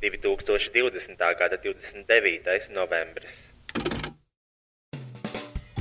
2020. gada 29. novembris.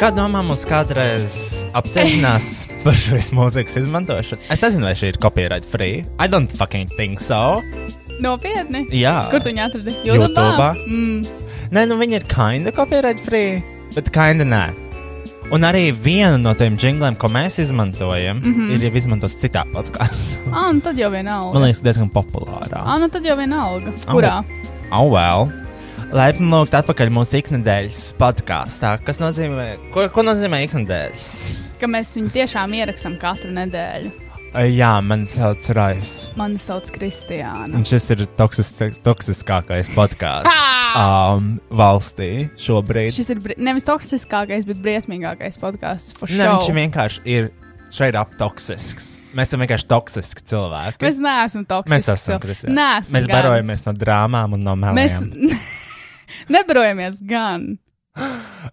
Kā domā, mums kādreiz apcietinās par šīs mūzikas izmantošanu? Es nezinu, vai šī ir copyright free. I don't fucking think so. Nopietni! Jā, Kur tu viņu atradi? YouTube'ā. Mm. Nē, nu viņi ir kinda copyright free, bet kinda nē. Un arī viena no tiem jingliem, ko mēs izmantojam, mm -hmm. ir jau izmantots citā podkāstā. Ah, nu tad jau vienalga. Man liekas, diezgan populārā. Ah, nu tad jau vienalga. Kurā? Oh, well. Laipni lūgt atpakaļ mūsu ikdienas podkāstā, kas nozīmē, ko, ko nozīmē ikdienas? Ka mēs viņu tiešām ierakstām katru nedēļu. Jā, man sauc Rais. Mani sauc Kristiāna. Un šis ir toksis, toksiskākais podkāsts um, valstī šobrīd. Šis ir bri- nevis toksiskākais, bet briesmīgākais podkāsts. for Ne, viņš show. vienkārši ir straight up toksisks. Mēs esam vienkārši toksiski cilvēki. Mēs neesam toksiski. Mēs esam Kristiāna. Nē, Mēs barojamies no drāmām un no Mēs meliem. nebarojamies gan.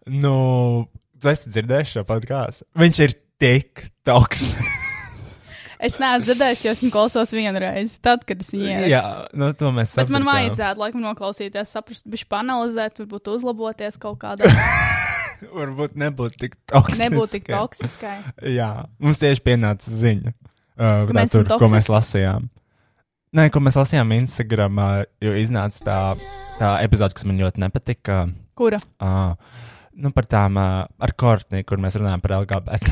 Nu, tu esi dzirdējis šo podkāstu. Viņš ir tik toksisks. Es neesmu dzirdējis, jo esmu klausos vienu reizi, tad, kad es viņu Jā, ierakstu. nu, to mēs Bet sapratām. man vajadzētu laikam noklausīties, saprast, bišķi panalizēt, varbūt uzlaboties kaut kādā. Varbūt nebūtu tik toksiski. Nebūtu tik toksiskai. Jā, mums tieši pienāca ziņa, uh, tā, mēs esam tur, ko toksiski? mēs lasījām. Nē, ko mēs lasījām Instagram, jo iznāca tā, tā epizode, kas man ļoti nepatika. Kura? Uh, nu, par tām uh, ar Kortni, kur mēs runājam par LGBT.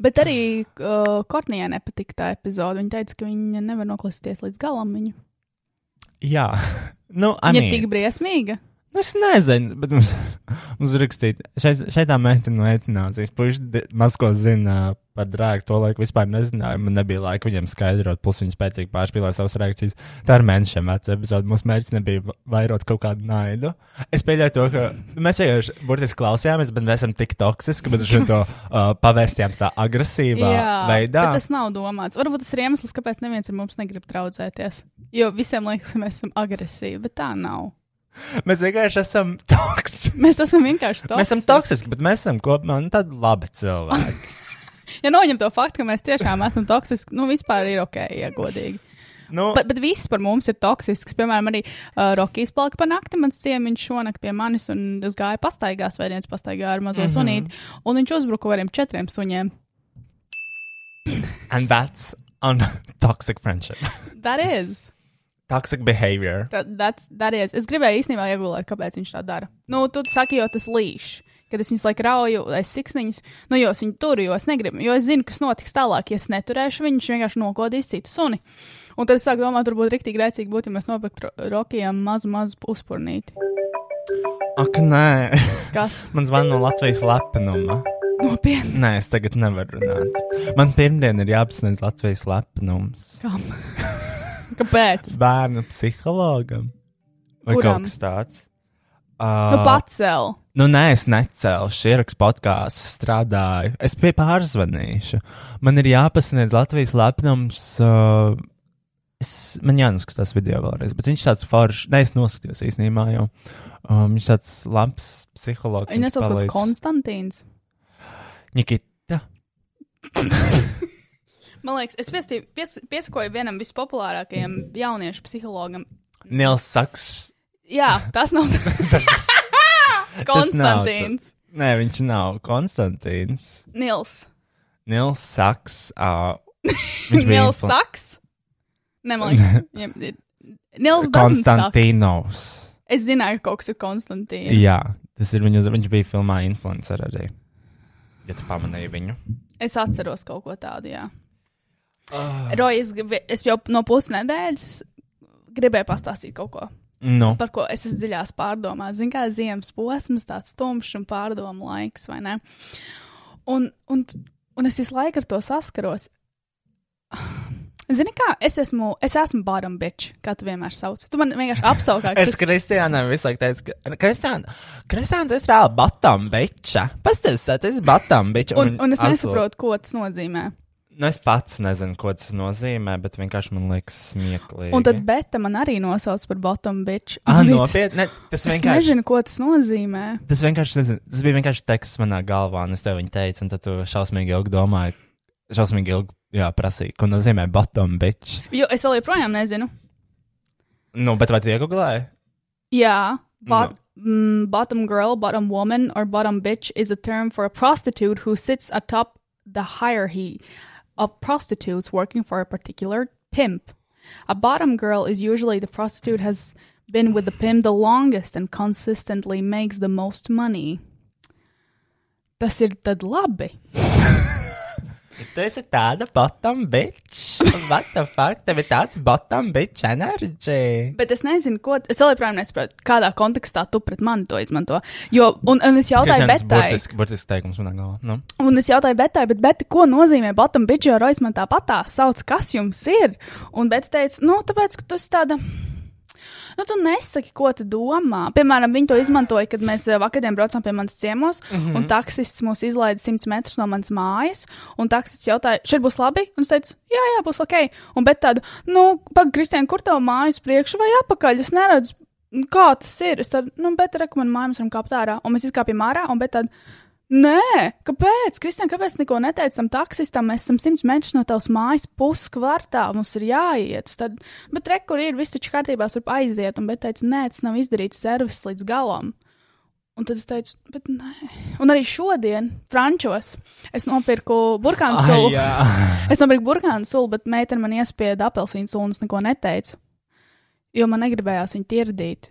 Bet arī uh, Kortnijai nepatika tā epizode. Viņa teica, ka viņa nevar noklausīties līdz galam viņu. Jā, nu, Viņa Anī, ir tik briesmīga. nu, es nezinu, bet mums, mums rakstīt, šeit, šeit tā meitene no etnācijas, puiši di- maz ko zina par drēgu, to laiku vispār nezināju, man nebija laika viņiem skaidrot, plus viņi spēcīgi pārspīlēja savas reakcijas. Tā ir mēnešiem veca epizode, mūsu mērķis nebija va- vairot kaut kādu naidu. Es pieļauju to, ka mēs vienkārši burtiski klausījāmies, bet mēs esam tik toksiski, bet šo to uh, pavēstījām tā agresīvā veidā. bet tas nav domāts. Varbūt tas ir iemesls, kāpēc neviens ar mums negrib traucēties. Jo visiem liekas, ka mēs esam agresīvi, bet tā nav. Mēs vienkārši esam toksiski. Mēs esam vienkārši toksiski. Mēs esam toksiski, bet mēs esam kopumā nu, tādi labi cilvēki. Ja noņem to faktu, ka mēs tiešām esam toksiski, nu vispār ir ok, ja godīgi. Nu, Bet, bet viss par mums ir toksisks. Piemēram, arī uh, Rukijs palika pa nakti. Mans ciemiņš šonakt pie manis, un es gāju pastaigās, vai viens pastaigā ar mazo mm -hmm. sunīti. Un viņš uzbruka variem četriem suņiem. and that's on toxic friendship. That is. toxic behavior. That, that's, that is. Es gribēju īstenībā iegulēt, kāpēc viņš tā dara. Nu, tu saki, jo tas līš. Kad es viņus laikam rauju, es siksniņus, nu, jo es viņu turu, jo es negribu, jo es zinu, kas notiks tālāk. Ja es neturēšu viņu, viņš vienkārši nokodīs citu suni. Un tad es sāku domāt, varbūt rīktīgi rēcīgi būtu, ja mēs nopirktu Rukijam mazu, mazu uzpurnīti. Ak, nē, Kas man zvan no Latvijas lepnuma. nopietni? Nē, es tagad nevaru runāt. Man pirmdien ir jāapsniedz Latvijas lepnums. Kam? Kāpēc? Bērnu psihologam. Vai Kuram? kaut kas tāds? Nu, Uh, pacēl. Nu, nē, es necelšu, ierakstu podkāstu, strādāju. Es pie pārzvanīšu. Man ir jāpasniedz Latvijas lepnums. Uh, es, man jānoskatās video vēlreiz, bet viņš tāds foršs. Nē, es noskatījos īstenībā jau. Um, viņš tāds labs psihologs. Viņa nesauc kāds Konstantīns. Nikita. Man liekas, es piestī, pies, piesakoju vienam vispopulārākajam jauniešu psihologam. Nils Saks. Jā, tas nav tas. tas nav Konstantīns. Nē, viņš nav Konstantīns. Nils. Nils Saks. Uh, viņš bija Nils influ- saks. Nē, man liekas. viņam ir- Nils Konstantīns. Konstantīnos. Es zināju, ka kaut kas ir Konstantīns. Jā, tas ir viņa. Viņš bija filmā Influencer arī. Ja tu pamanīji viņu, Es atceros kaut ko tādu, jā. Ah. Roja, es, gribi- es jau no pusnedēļas gribēju pastāstīt kaut ko. nu, par ko es esmu dziļās pārdomās. Ziniet, kā ziemas posms, tāds tumšs un pārdomu laiks, vai ne? Un, un, un es visu laiku ar to saskaros. Zini, kā es esmu, es esmu bottom bitch, kā tu vienmēr sauc. Tu man vienkārši apsaukā, ka es Kristiānam visu laiku teicu, ka Kristiāna, Kristiāna, tas ir reāli batam beča. Pastāstiet, tas ir batam beča. un, un es nesaprotu, ko tas nozīmē. Nu, es pats nezinu, ko tas nozīmē, bet vienkārši man liekas smieklīgi. Un tad Beta man arī nosauc par bottom bitch. Ah, Un nopietni, ne, tas Es vienkārši. nezinu, ko tas nozīmē. Tas vienkārši nezinu, tas bija vienkārši teksts manā galvā, un es tev viņu teicu, un tad tu šausmīgi ilgi domāji, šausmīgi ilgi jā, prasīji, ko nozīmē bottom bitch. Jo es vēl joprojām nezinu. Nu, bet vai tu iegooglēji? Yeah, bot- No. mm, bottom girl, bottom woman, or bottom bitch is a term for a prostitute who sits atop the hierarchy of prostitutes working for a particular pimp. A bottom girl is usually the prostitute has been with the pimp the longest and consistently makes the most money. Tas ir tad labi. Tu esi tāda bottom bitch. What the fuck? Tev ir tāds bottom bitch energy. Bet es nezinu, ko. Es vēl joprojām nesaprotu, kādā kontekstā tu pret mani to izmanto. Jo, un, un es jautāju, Tas bet burtiski, burtiski teikums manā galvā. Nu. Un es jautāju Betai, bet Beta, ko nozīmē bottom bitch, jo Rojas man tāpatā sauc, kas jums ir? Un Beta teica, nu, tāpēc, ka tu esi tāda. Nu, tu nesaki, ko tu domā. Piemēram, viņi to izmantoja, kad mēs eh, vakarā braucām pie manas ciemos, mm -hmm. un taksists mūs izlaida 100 metrus no manas mājas. Un taksists jautāja, šeit būs labi? Un es teicu, jā, jā, būs ok. Un bet tāda, nu, pagaidi, Kristija, kur tev mājas priekšu vai apakaļ? Es neredzu, kā tas ir. Es tādu, nu, bet rekomendāju māju, mēs varam kāpt ārā. Un mēs izkāpjam ārā, un bet tāda. Nē, kāpēc? Kristija, kāpēc neko neteicam taksistam? Mēs esam simts metrus no tavas mājas, puskvartā. Mums ir jāiet. Uz Tad, bet rekur ir, viss taču kārtībā, tur aiziet. Un bet teica, nē, tas nav izdarīts servis līdz galam. Un tad es teicu, bet nē. Un arī šodien, Frančos, es nopirku burkānu sulu. Es nopirku burkānu sulu, bet meitene man iespieda apelsīnu sulu un es neko neteicu. Jo man negribējās viņu tirdīt.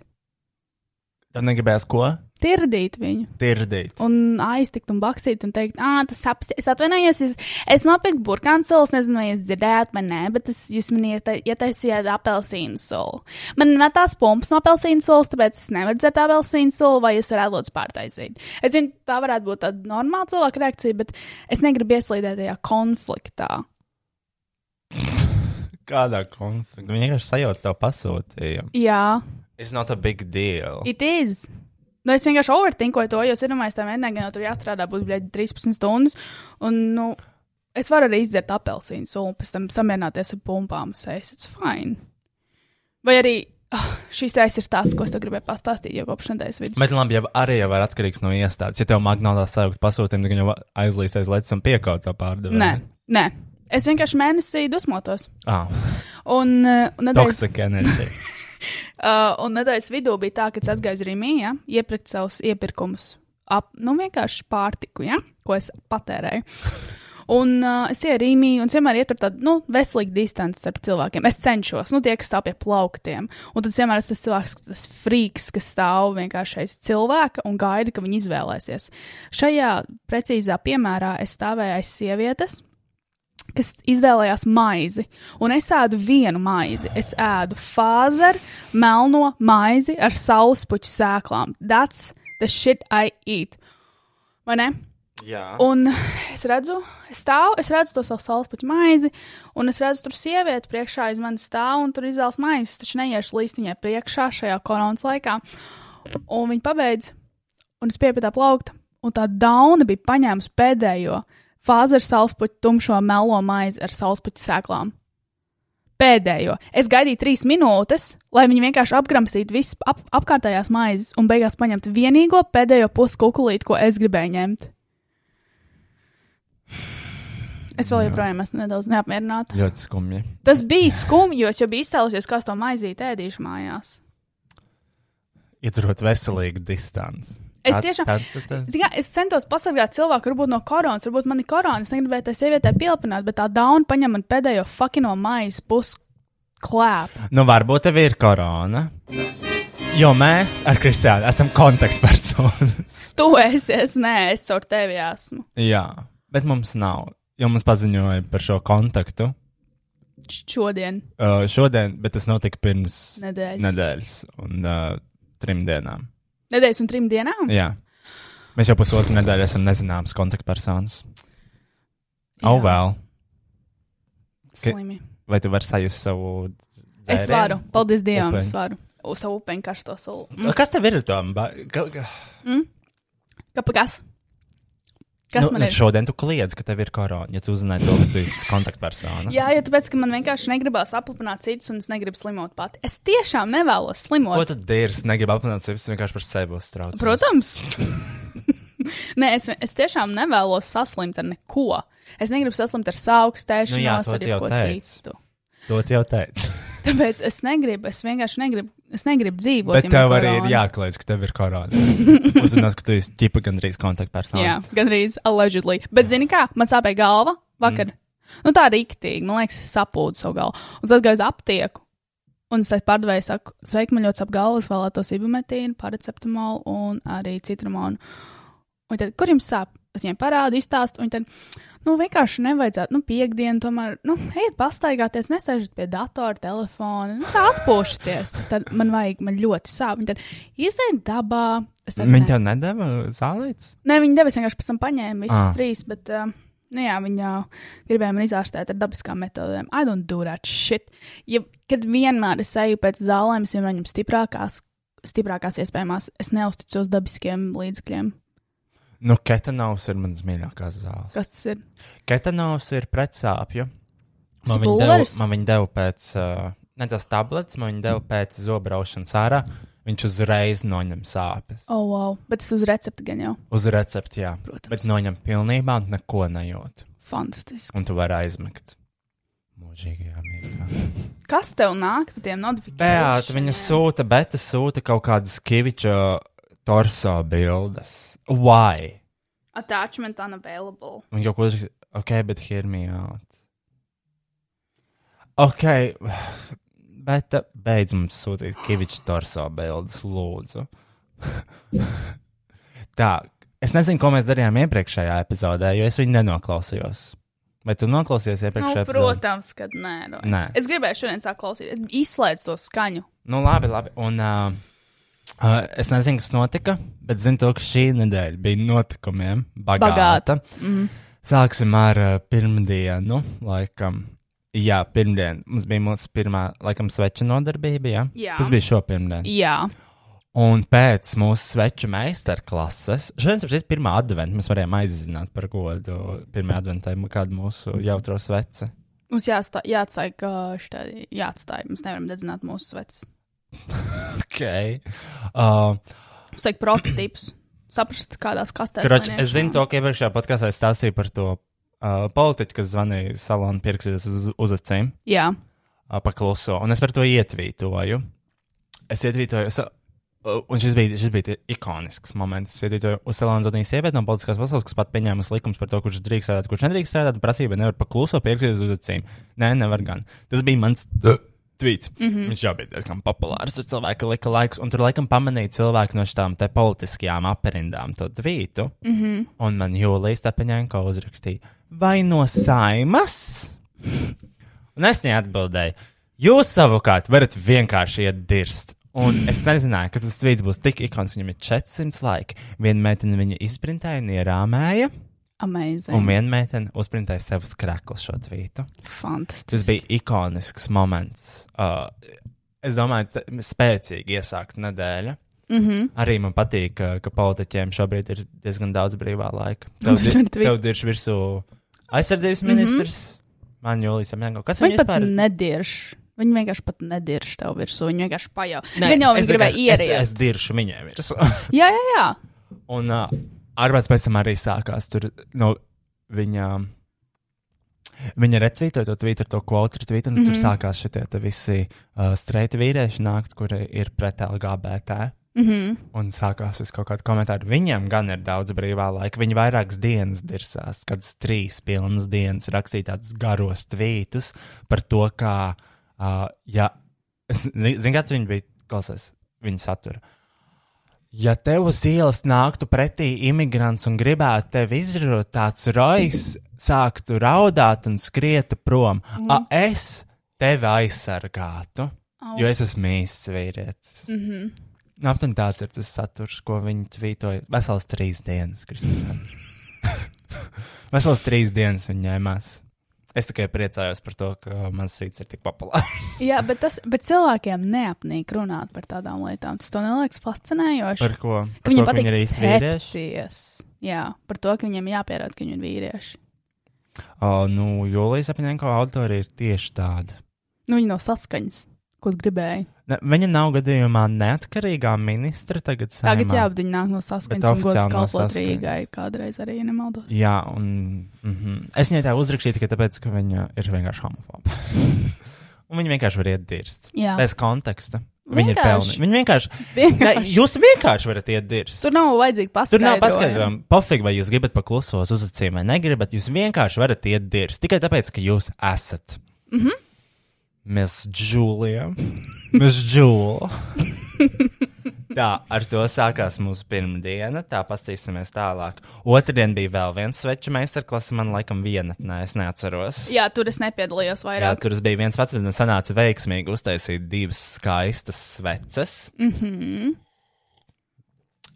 Tev negribēs ko? Tirdīt viņu. Tirdīt. un aiztikt un baksīt un teikt, ah, tas apstāties. Es atvainojos, es, es nopirku burkānu sulu, es nezinu, vai jūs dzirdējāt, vai nē, bet es, jūs man ieta- ietaisījāt apelsīnu sulu. Man metās pumps no apelsīnu sulas, tāpēc es nevaru dzert apelsīnu sulu, vai jūs varētu lūdzu pārtaisīt. Es zinu, tā varētu būt tāda normāla cilvēka reakcija, bet es negribu ieslīdēt tajā konfliktā. Kādā konfliktā? Viņa vienkārši sajauc tev pasūtījumu. Jā, It's not a big deal. it is. Nu, es vienkārši overtinkoju to, jo es domāju, ka tam vienam tur jāstrādā, būs bļaigi, 13 stundas. Un, nu, es varu arī izdzert apelsīnu sulu, pēc tam samierināties ar pumpām. Es esmu fine. Vai arī oh, šīs reizes ir tāds, ko es tev gribēju pastāstīt jau kopš nedēļas vidus. Bet labi, ja arī jau ir atkarīgs no iestādes. Ja tev magnālā sajūta pasūtījuma, tad viņa aizlīs aiz lecas un piekaut to pārdevēju. Nē, nē, Es vienkārši mēnesī dusmotos. Ah, Un, eh, un nedēļas toxic energy. Uh, un nedēļas vidū bija tā, ka es aizgāju uz Rīgā, ja, iepirkt savus iepirkumus, ap, nu vienkārši pārtiku, ja, ko es patērēju. Un uh, es ienāku Rīgā, un es vienmēr ietur tādu nu, veselīgu distanci starp cilvēkiem. Es cenšos, nu, tie, kas stāv pie plauktiem. Un tad es vienmēr esmu tas cilvēks, tas frīks, kas stāv vienkārši aiz cilvēka un gaida, ka viņi izvēlēsies. Šajā precīzā piemērā es stāvēju aiz sievietes, kas izvēlējās maizi. Un es ēdu vienu maizi. Es ēdu fāzeru, melno maizi ar saulespuķu sēklām. That's the shit I eat. Vai ne? Jā. Un es redzu, es stāvu, es redzu to savu saulespuķu maizi, un es redzu, tur sieviete priekšā aiz manis stāv un tur izvēlas maizi. Es taču neiešu līdz viņai priekšā šajā koronas laikā. Un viņa pabeidz, un es piepietu plaukta, un tā dauna bija paņēmusi pēdējo fāzi ar saulespuķu tumšo melo maizi ar saulespuķu sēklām. Pēdējo. Es gaidīju trīs minūtes, lai viņi vienkārši apgramstītu visas ap, apkārtējās maizes un beigās paņemtu vienīgo pēdējo puskukulīti, ko es gribēju ņemt. Es vēl joprojām esmu nedaudz neapmierināta. Ļoti skumji. Tas bija skumji, jo es jau biju izcēlusies, kas to maizīt ēdīšu mājās. Ieturot veselīgu distanci. Es Tā- tiešām- tā- tā- tā- Ziniet, es centos pasargāt cilvēku, varbūt no koronas, varbūt man ir korona. Es negribēju tai sievietei pielipināt, bet tā dauna paņem man pēdējo fakino maijas pusi klēpu. Nu, varbūt tev ir korona. Jo mēs ar Kristiānu esam kontaktpersonas. Tu esi, es nē, es caur tevi esmu. Jā, bet mums nav. Jo mums paziņoja par šo kontaktu Š- Šodien, uh, šodien, bet tas notika pirms nedēļas. nedēļas un uh, trim dienām. Nedēļas un trim dienām? Jā. Mēs jau pusotru nedēļu esam nezināmas kontaktpersonas. Oh, vēl. Slimi. Vai tu vari sajust savu? Es dzērienu? varu. Paldies Dievam, Upeņu. es varu. Uz savu upeņu karsto sulu. Mm. Uh, Kas tev ir tam? ba- ka- ka- Kāpēc? Kas nu, man ne, ir? Šodien tu kliedz, ka tev ir korona, ja tu uzzināji to, ka tu esi kontaktpersona. Jā, jo tāpēc, ka man vienkārši negribas aplipināt citus, un es negribu slimot pati. Es tiešām nevēlos Ko slimot. tad dēļas? Negribu apmainīt sevi, es vienkārši par sevi uztraucos. Protams. Nē, es, es tiešām nevēlos saslimt ar neko. Es negribu saslimt ar Nu jā, saaugstēšanos, to ar tu jau jebko teici. citu. To tu jau teici. Tāpēc es negribu, es vienkārši negribu, es negribu dzīvot. Bet ja man tev arī ir korona. jākliedz, ka tev ir korona. Uzzināt, ka tu esi tipa gandrīz kontaktpersona. Jā, gandrīz allegedly. Bet, zini, kā man sāpēja galva vakar? Mm. Nu, tā ir rīktīgi. Man liekas, es sapūdu savu galvu. Un tad gāju uz aptieku. Un es pārdevēju, saku, sveiki, man ļoti sāp galva. Es vēlētos ibumetīnu, paracetamolu un arī citramonu. Un tad, kur jums sāp? Es viņiem parādu, izstāstu. Un tad, nu, vienkārši nevajadzētu, nu, piekdienu, tomēr, nu, ejiet pastaigāties, nesēžat pie datora, telefona, nu, tā atpūšaties. Es Tad man vajag, man ļoti sāp. Viņi tad iziet dabā. Es tad, "Nē." Viņa tev nedēva zālītes? Nē, viņa devis vienkārši pēc tam paņēma visas Ah. ah. trīs. Bet, uh, Nu jā, viņa jau gribēja mani izārstēt ar dabiskām metodēm. I don't do that shit. Ja, kad vienmēr es eju pēc zālēm, es vienmēr ņemu stiprākās, stiprākās iespējamās. Es neusticos dabiskiem līdzekļiem. Nu, ketanovs ir mans mīļākais zāles. Kas tas ir? Ketanovs ir pretsāpju. Man Tas viņa deva- pulveris? man viņa deva pēc, uh, ne tās tabletes, man viņa deva pēc zobraušanas ārā. Viņš uzreiz noņem sāpes. Oh, wow. Bet tas uz recepti gan jau. Uz recepti, jā. Protams. Bet noņem pilnībā un neko nejūt. Fantastiski. Un tu vari aizmigt. Mūžīgajā mīļā. Kas tev nāk par tiem Beāt, viņa notifikācijām? sūta, bet sūta kaut kādas kiviča torso bildes. Why? Attachment unavailable. Un kaut ko uzrakstīt, ok, bet hear me out. Ok, bet uh, beidz mums sūtīt Kaviča torso bildes, lūdzu. Tā, es nezinu, ko mēs darījām iepriekšējā epizodē, jo es viņu nenoklausījos. Vai tu noklausījies Nu, iepriekšējā epizodē? protams, ka nē. Roy. Nē. Es gribēju šodien sākt klausīties. Izslēdz to skaņu. Nu, labi, labi. Un, uh, uh, es nezinu, kas notika, bet zinu, to, ka šī nedēļa bija notikumiem bagāta. bagāta. Mhm. Sāksim ar uh, pirmdienu, laikam. Jā, pirmdien mums bija mūsu pirmā, laikam, sveča nodarbība. Jā? Jā. Tas bija šo pirmdienu. Jā. Un pēc mūsu sveču meistarklases, šodien ir pirmā adventa, mēs varējām aizzināt par godu pirmā adventā, kādu mūsu jautro sveci. Mums jāstā, jāatstāj, ka šitā- jāatstāj. Mēs nevaram dedzināt mūsu svecus. Okay. Uh, Mums vajag prototypus, saprast, kādās kastēs. Kroč, lai es neiešām. zinu, to, ka iepriekšējā podkāstā es stāstīju par to uh, politiķu, kas zvanīja salonu pirksies uz, uz acīm, Jā, uh, pa kluso, un es par to ietvītoju. Es ietvītoju, es, uh, un šis bija, šis bija tie ikonisks moments. Es ietvītoju uz salonu zvanīju sievieti no politiskās pasaules, kas pat pieņēma likums par to, kurš drīkst strādāt, kurš nedrīkst strādāt, un prasība nevar pa kluso pirksies uz acīm. Nē, nevar gan. Tas bija mans. Tweets. Mm -hmm. Viņš jau bija diezgan populārs. Tur cilvēki lika laiks, un tur laikam pamanīja cilvēki no šīm te politiskajām aprindām to tvītu. Mm -hmm. Un man Jūlijas Stepaņēnko uzrakstīja, vai no saimas? Un es viņai atbildēju, jūs savukārt varat vienkārši iet dirst. Un es nezināju, ka tas tvīts būs tik ikons, viņam ir 400 laika. Viena meitene viņu izprintēja, un ierāmēja, un amazing. viena meitene uzprintēja sev uz krekla šo tvītu. Tas Fantastiski. bija ikonisks moments. Uh, es domāju, ka spēcīgi iesākt nedēļa. Mm -hmm. Arī man patīk, ka, ka politiķiem šobrīd ir diezgan daudz brīvā laika. Mums ir Tev tweet. ir virsū aizsardzības ministrs, man jūlijas apgabals. Kas Viņi viņam pat vispār ir... ir? nedirž. Viņi vienkārši pat nedirž tev virsū. Viņi vienkārši pajau. Nē, Viņi jau es viņi gribēja vienkārši- ieriet. Es, es diršu viņiem virsū. Jā, jā, jā. Un uh, Arvāts pēc tam arī sākās tur no viņa. Viņa retvītoja to tvītu ar to kvotu, retvītu, un mm -hmm. tur Mhm. sākās šie te visi uh, streiti vīrieši nākt, kuri ir pret LGBT. Mm -hmm. Un sākās viss kaut kāda komentāra. Viņam gan ir daudz brīvā laika. Viņi vairākas dienas dirsās, kad trīs pilnas dienas rakstīja tādus garos tvītus par to, kā, uh, ja, zināms, kāds viņi bija, klausies, viņa satura. Ja tev uz ielas nāktu pretī imigrants un gribētu tevi izrunāt, tāds rojs sāktu raudāt un skrietu prom, mm. a, es tevi aizsargātu, Au. oh. jo es esmu īsts vīrietis. Mm -hmm. Nu, aptuveni tāds ir tas saturs, ko viņi tvītoja. Veselas trīs dienas, Kristīna. Veselas trīs dienas viņa ņēmās. Es tikai priecājos par to, ka mans svīts ir tik populārs. Jā, bet, tas, bet cilvēkiem neapnīk runāt par tādām lietām. Tas tev neliekas fascinējoši. Par ko? ka Par viņiem to, ka patīk viņi ir īsti vīrieši. cepties. Jā, par to, ka viņiem jāpierāda, ka viņi ir vīrieši. O, nu, Jolijas apņēmko autori ir tieši tāda. Nu, viņi nav saskaņas, ko tu gribēji. Ne, viņa nav gadījumā neatkarīgā ministra tagad. Tagad Saeimā. jā, bet viņi nāk no saskaņas Bet un gods oficiāli no kalpot saskaņas. Rīgai. Kādreiz arī ja nemaldos. Jā, un mm -hmm. es viņai tā uzrakstīju tikai tāpēc, ka viņa ir vienkārši homofoba. un viņa vienkārši var iet dirst. Jā, Bez konteksta. Viņa ir pelnījusi. Vienkārši. Viņa vienkārši Ne, vienkārši. jūs vienkārši varat iet dirzt. Tur nav vajadzīgi Tur nav paskaidrojumi. paskaidrojuma. Pofīgi, vai jūs gribat paklusos uz acīm vai negribat. Jūs vienkārši varat iet dirzt tikai tāpēc, ka jūs esat. Mhm. Mēs džūlijam. Mēs džūlijam. Tā, ar to sākās mūsu pirmdiena. Tā, paskatīsimies tālāk. Otradien bija vēl viens sveču meistarklases, man laikam vienatnē, es neatceros. Jā, tur es nepiedalījos Jā, vairāk. tur bija viens pats, bet man sanāca veiksmīgi uztaisīt divas skaistas sveces. Mm -hmm.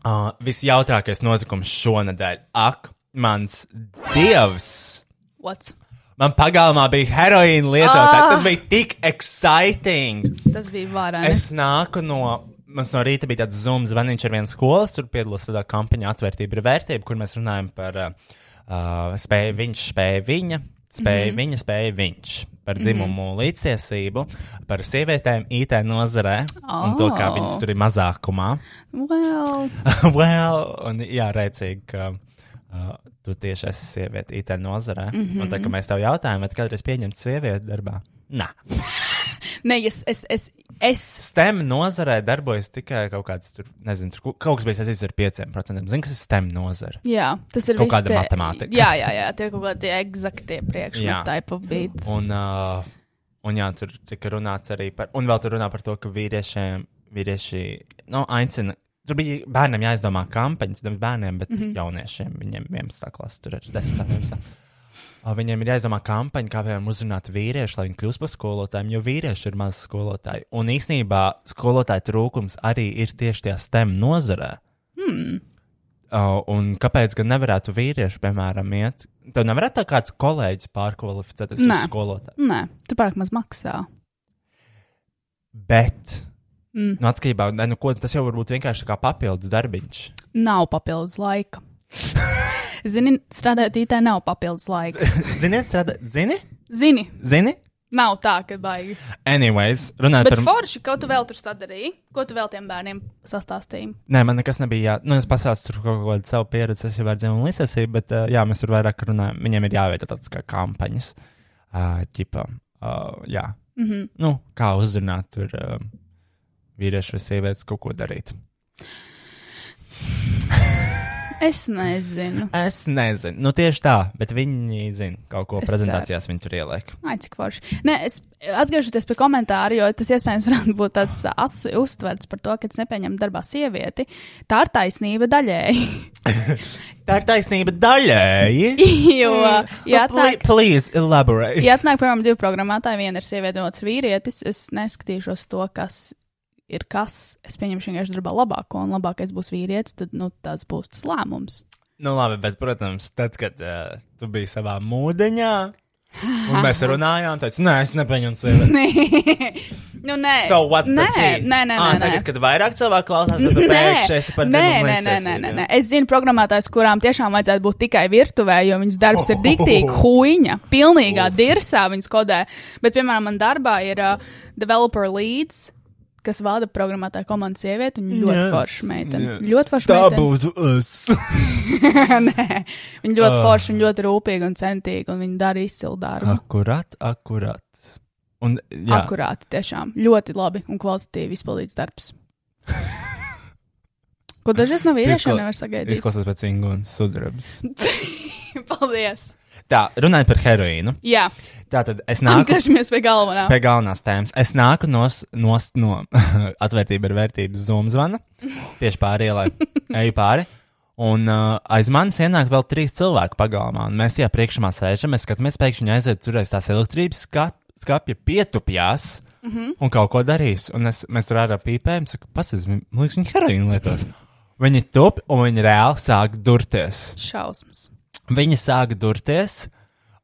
uh, visjautrākais notikums šonadēļ. Ak, mans dievs! What's? Man pagalmā bija heroīna lietotāja. Tas bija tik exciting! Tas bija vārā. Es nāku no. Mums no rīta bija tāds zūmu zvaniņš ar vienu skolas, tur piedalās tādā kampaņā atvērtība ir vērtība, kur mēs runājam par uh, uh, spēju viņš, spēju viņa, spēju mm -hmm. viņa, spēju viņš. Par dzimumu mm -hmm. līdztiesību, par sievietēm IT nozarē oh. un to, kā Oh. viņas tur ir mazākumā. Well, well, un, jā, rēcīgi, ka uh, tu tieši esi sieviete IT nozarē. Mm -hmm. Un tā kā mēs tev jautājām, vai tu kādreiz pieņemts sievieti darbā? Nā. nē, es, es, es, es. STEM nozarē darbojas tikai kaut kāds, tur, nezinu, tur, kaut kas bija saistīts ar 5%. Zini, kas ir STEM nozare? Jā, tas ir Kaut viss kāda tie- matemātika. Jā, jā, jā, tie ir kaut kādi eksaktie priekšmeti, Jā. type of beats. Un, uh, un jā, tur tika runāts arī par, un vēl tur runā par to, ka vīriešiem, vīrieši, nu, aicina. Tur bija bērnam jāizdomā kampaņas, nevis bērniem, bet mm -hmm. jauniešiem, viņiem 11. klasē, tur ir 10. klasē. Viņiem ir jāizdomā kampaņa, kā viņiem uzrunāt vīriešu, lai viņi kļūst par skolotājiem, jo vīrieši ir maz skolotāji. Un īsnībā skolotāju trūkums arī ir tieši tajā STEM nozarē. Hmm. Uh, un kāpēc gan nevarētu vīrieši, piemēram, iet? Tev nevarētu tā kāds kolēģis pārkvalificēties Nē. uz skolotāju. Nē, tu pārāk maz maksā. Bet, Mm. nu, atkarībā no nu, ko tas jau var būt vienkārši kā papildus darbiņš. Nav papildus laika. Zini, strādājot IT, nav papildus laika. Zini, strādā, zini, Zini, zini, Nav tā, ka baigi. Anyways, runājot Bet par. forši, ko tu vēl tur sadarīji? Ko tu vēl tiem bērniem sastāstīji? Nē, man nekas nebija. Jā, nu, es pasāstu tur kaut kādu savu pieredzi, es jau ar dzimumu līdzsēsīju, bet uh, jā, mēs tur vairāk runājam. Viņiem ir jāveido tādas kā kampaņas, uh, ķipa. Uh, jā, Mm -hmm. nu, kā uzrunāt tur uh, vīriešu vai sievietes kaut ko darīt. Es nezinu. Es nezinu, nu tieši tā, bet viņi zina kaut ko. Es Prezentācijās viņi tur ieliek. Ai, cik forši. Nē, es atgriežoties pie komentāra, jo tas iespējams varētu būt tāds ass uztverts par to, ka es nepieņemu darbā sievieti. Tā ir taisnība daļēji. Tā ir taisnība daļēji. Nu, jo, Mm. ja atnāk, Please elaborate. ja atnāk, piemēram, divi programmētāji, viena ir sieviete, un otrs vīrietis, es neskatīšos to, kas ir kas. Es pieņemšu vienkārši darbā labāko, un labākais būs vīrietis, tad nu, tas būs tas lēmums. Nu, labi, bet, protams, tad, kad uh, tu biji savā mūdeņā, un mēs runājām, teicu, nē, es nepieņemu sevi. nu, nē, So, what's nē, the tea? nē, nē, Ah, nē, nē. Tagad, kad vairāk cilvēku klausās, tad pēkšņi esi par nē, dzimumu nē, nē, nē, līdztiesību. nē, nē. Es zinu programmētājus, kurām tiešām vajadzētu būt tikai virtuvē, jo viņas darbs ir Oh. diktīgi huīņa, pilnīgā dirsā viņas kodē. Bet, piemēram, man darbā ir uh, developer leads, kas vada programmētāja komandas sievieti, un viņa ļoti yes, forša meitene. Yes. Ļoti forša Tā meitene. būtu es. Nē, viņa ļoti Ah. uh. forša, viņa ļoti rūpīga un centīga, un viņa dara izcilu darbu. Uh. Akurat, akurat. Un, jā, Akur. Akurāti, tiešām ļoti labi un kvalitatīvi izpildīts darbs. Ko dažreiz no Izkla- vīriešiem nevar sagaidīt? izklausās pēc Ingūnas sudrabas. Paldies! Tā, runājot par heroīnu. Jā, Tā tad es nāku atgriežamies pie galvenā. pie galvenās tēmas. Es nāku nos, nost no atvērtība ir vērtības zoom zvana. Tieši pāri ielai eju pāri. Un uh, aiz manis ienāk vēl trīs cilvēki pagalmā. Un mēs jau priekšā sēžam, mēs skatāmies, pēkšņi viņa aiziet tur aiz tās elektrības skap, skapja pietupjās. Mm -hmm. Un kaut ko darīs. Un es, mēs tur ārā pīpējam, saka, paskatās, man liekas, viņa heroīna lietos. Viņi tup un viņi reāli sāk durties. Šausmas. Viņa sāka durties,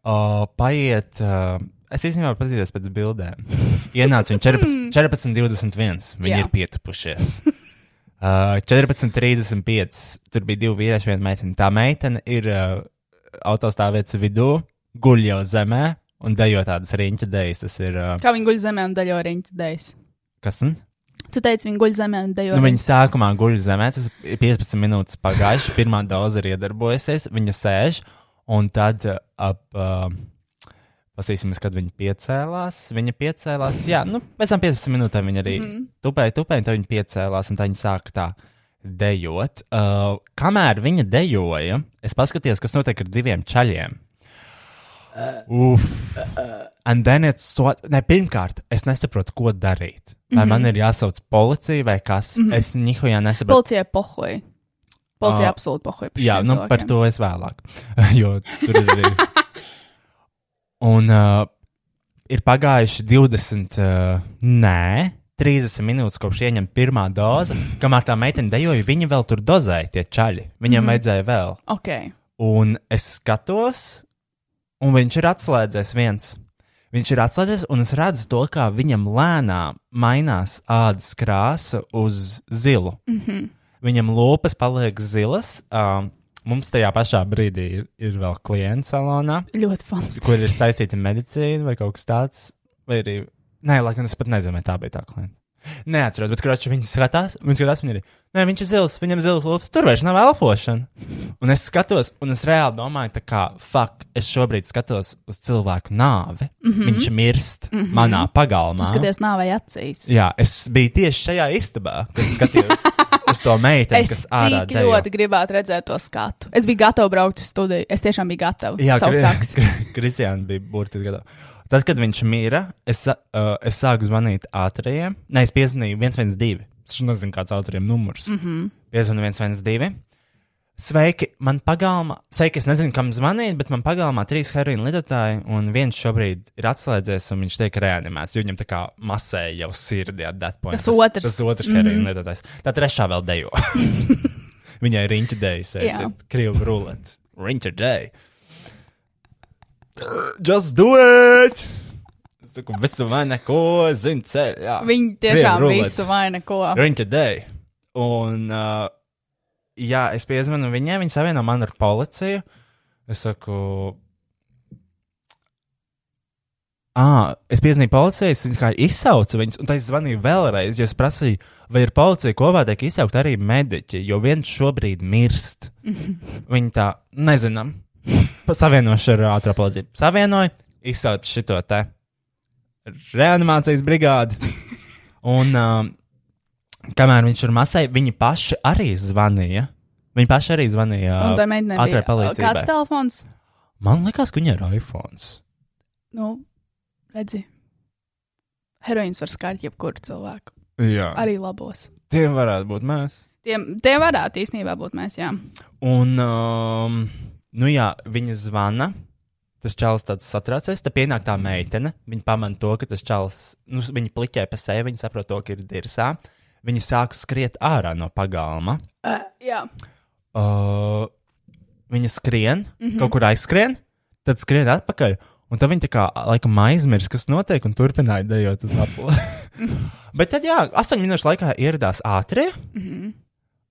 uh, paiet. Uh, es īstenībā paskatījos pēc bildēm. Ienāca viņa 14, 14 21. Viņi Jā. ir pietupušies. Uh, 14, 35. Tur bija divi vīrieši, viena meitene. Tā meitene ir uh, autostāvvietas vidū, guļ jau zemē un dejo tādas riņķa dēļas. Tas ir. Uh, Kā viņi guļ zemē un daļo riņķi dēļas. kas tas ir? Tu teici, viņi guļ zemē un daļo Nu, viņa sākumā guļ zemē, tas ir 15 minūtes pagājušas, pirmā doze ir iedarbojusies, viņa sēž, un tad uh, ap. Uh, Pasīsimies, kad viņa piecēlās. Viņa piecēlās, jā, nu, pēc tam 15 minūtēm viņa arī mm. tupēja, tupēja, un tad viņa piecēlās, un tā viņa sāka tā dejot. Uh, kamēr viņa dejoja, es paskatījos, kas notiek ar diviem čaļiem. Uf. Un uh, then it's so. Ne, pirmkārt, es nesaprotu, ko darīt. Vai mm -hmm. man ir jāsauc policija vai kas? Mm -hmm. Es nihujā nesaprotu. Policijai pohoja. Policija Ā, absolūti pohoja. Ah. Jā, nu par to es vēlāk. jo tur ir arī. Un uh, ir pagājuši 20, uh, nē, 30 minūtes kopš ieņemta pirmā doza. Kamēr tā meitene dejoja, viņi vēl tur dozēja tie čaļi. Viņiem mm -hmm. vajadzēja vēl. Ok. Un es skatos, un viņš ir atslēdzies viens. Viņš ir atslēdzies, un es redzu to, kā viņam lēnām mainās ādas krāsa uz zilu. Mm -hmm. Viņam lūpas paliek zilas. Um, mums tajā pašā brīdī ir, ir vēl klients salonā, Ļoti fantastiski. kur ir saistīta medicīna vai kaut kas tāds. Vai arī, nē, laikam, es pat nezinu, vai tā bija tā klienta. Neatceros, bet kurš viņa skatās, viņa skatās, viņa ir. Nē, viņš ir zils, viņam ir zils lūpas, tur vairs nav elpošana. Un es skatos, un es reāli domāju, tā kā, fuck, es šobrīd skatos uz cilvēku nāvi. Mm -hmm. Viņš mirst mm -hmm. manā pagalmā. Mhm. Tu skaties nāvei acīs. Jā, es biju tieši šajā istabā, kad skatījos uz to meiteni, Es kas ārā tik dejo. ļoti gribētu redzēt to skatu. Es biju gatava braukt uz studiju. Es tiešām biju gatava. Jā, Saukt Kri- taksi. Kri- Kristiāna bija burtiski gatava. Tad, kad viņš mīra, es, sa- uh, es sāku zvanīt ātrajiem. Nē, es piezvanīju 112. Es taču nezinu, kāds ātrajiem numurs. Mm Mhm. -hmm. Piezvanīju 112. Sveiki, man pagalmā, sveiki, es nezinu, kam zvanīt, bet man pagalmā trīs heroīna lidotāji, un viens šobrīd ir atslēdzies, un viņš tiek reanimēts, jo viņam tā kā masēja jau sirdi at that point. Tas otrs. Mhm. Tas otrs heroīna mm -hmm. lidotājs. Tā trešā vēl dejo. Viņai ir riņķa dēļa, Jā. krievu rulēt. Riņķa dēļa. Just do it! Es saku, visu vai neko, zinu, ceļu. jā. Viņi Krievu tiešām ruletes. visu vai neko. Riņķa dēļ. Un, uh, jā, es piezvanu viņiem, viņi savieno mani ar policiju. Es saku, Ah, es piezvanīju policijai, es viņu kā izsaucu viņus, un tad es zvanīju vēlreiz, jo es prasīju, vai ir policija kopā tiek izsaukt arī mediķi, jo viens šobrīd mirst. Viņi tā, nezinām, Pa- savienošu ar ātrā policiju. Savienoju, izsaucu šito te reanimācijas brigādi. Un um, kamēr viņš tur masēja, viņi paši arī zvanīja. Viņi paši arī zvanīja. Un tā meitene ātrai bija. uh, palīdzībai. Kāds telefons? Man liekas, ka viņai ir iPhone. Nu, redzi. Heroīns var skārt jebkuru cilvēku. Jā, arī Arī labos. tie varētu būt mēs. Tiem, tie varētu īstenībā būt mēs, jā. Un, um, nu jā, viņa zvana. Tas čels tāds satraucies, tad pienāk tā meitene. Viņa pamana to, ka tas čels, nu, viņa pliķē pa sevi, viņa saprot to, ka ir dirsā. Viņa sāk skriet ārā no pagalma. Uh, jā. Uh, viņa skrien, mm -hmm. kaut kur aizskrien, tad skrien atpakaļ. Un tad viņa tā kā laikam aizmirst, kas notiek, un turpināja dejot uz apli. Bet tad, jā, astoņu minūšu laikā ieradās ātrie. Mm Mhm. -hmm.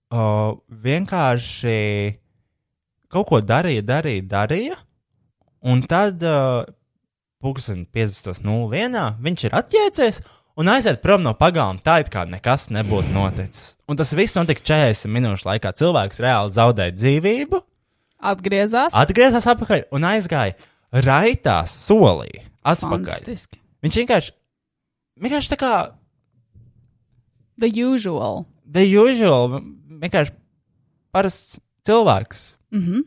uh, vienkārši kaut ko darīja, darīja, darīja. Un tad uh, pūksteni 15.01. viņš ir atjēdzies un aiziet prom no pagalma. Tā it kā nekas nebūtu noticis. Un tas viss notika 40 minūšu laikā. Cilvēks reāli zaudēja dzīvību, Atgriezās. atgriezās atpakaļ un aizgāja raitā solī. Atpakaļ. Fantastiski. Viņš vienkārši, vienkārši tā kā The usual. the usual, vienkārši parasts cilvēks. Mm -hmm.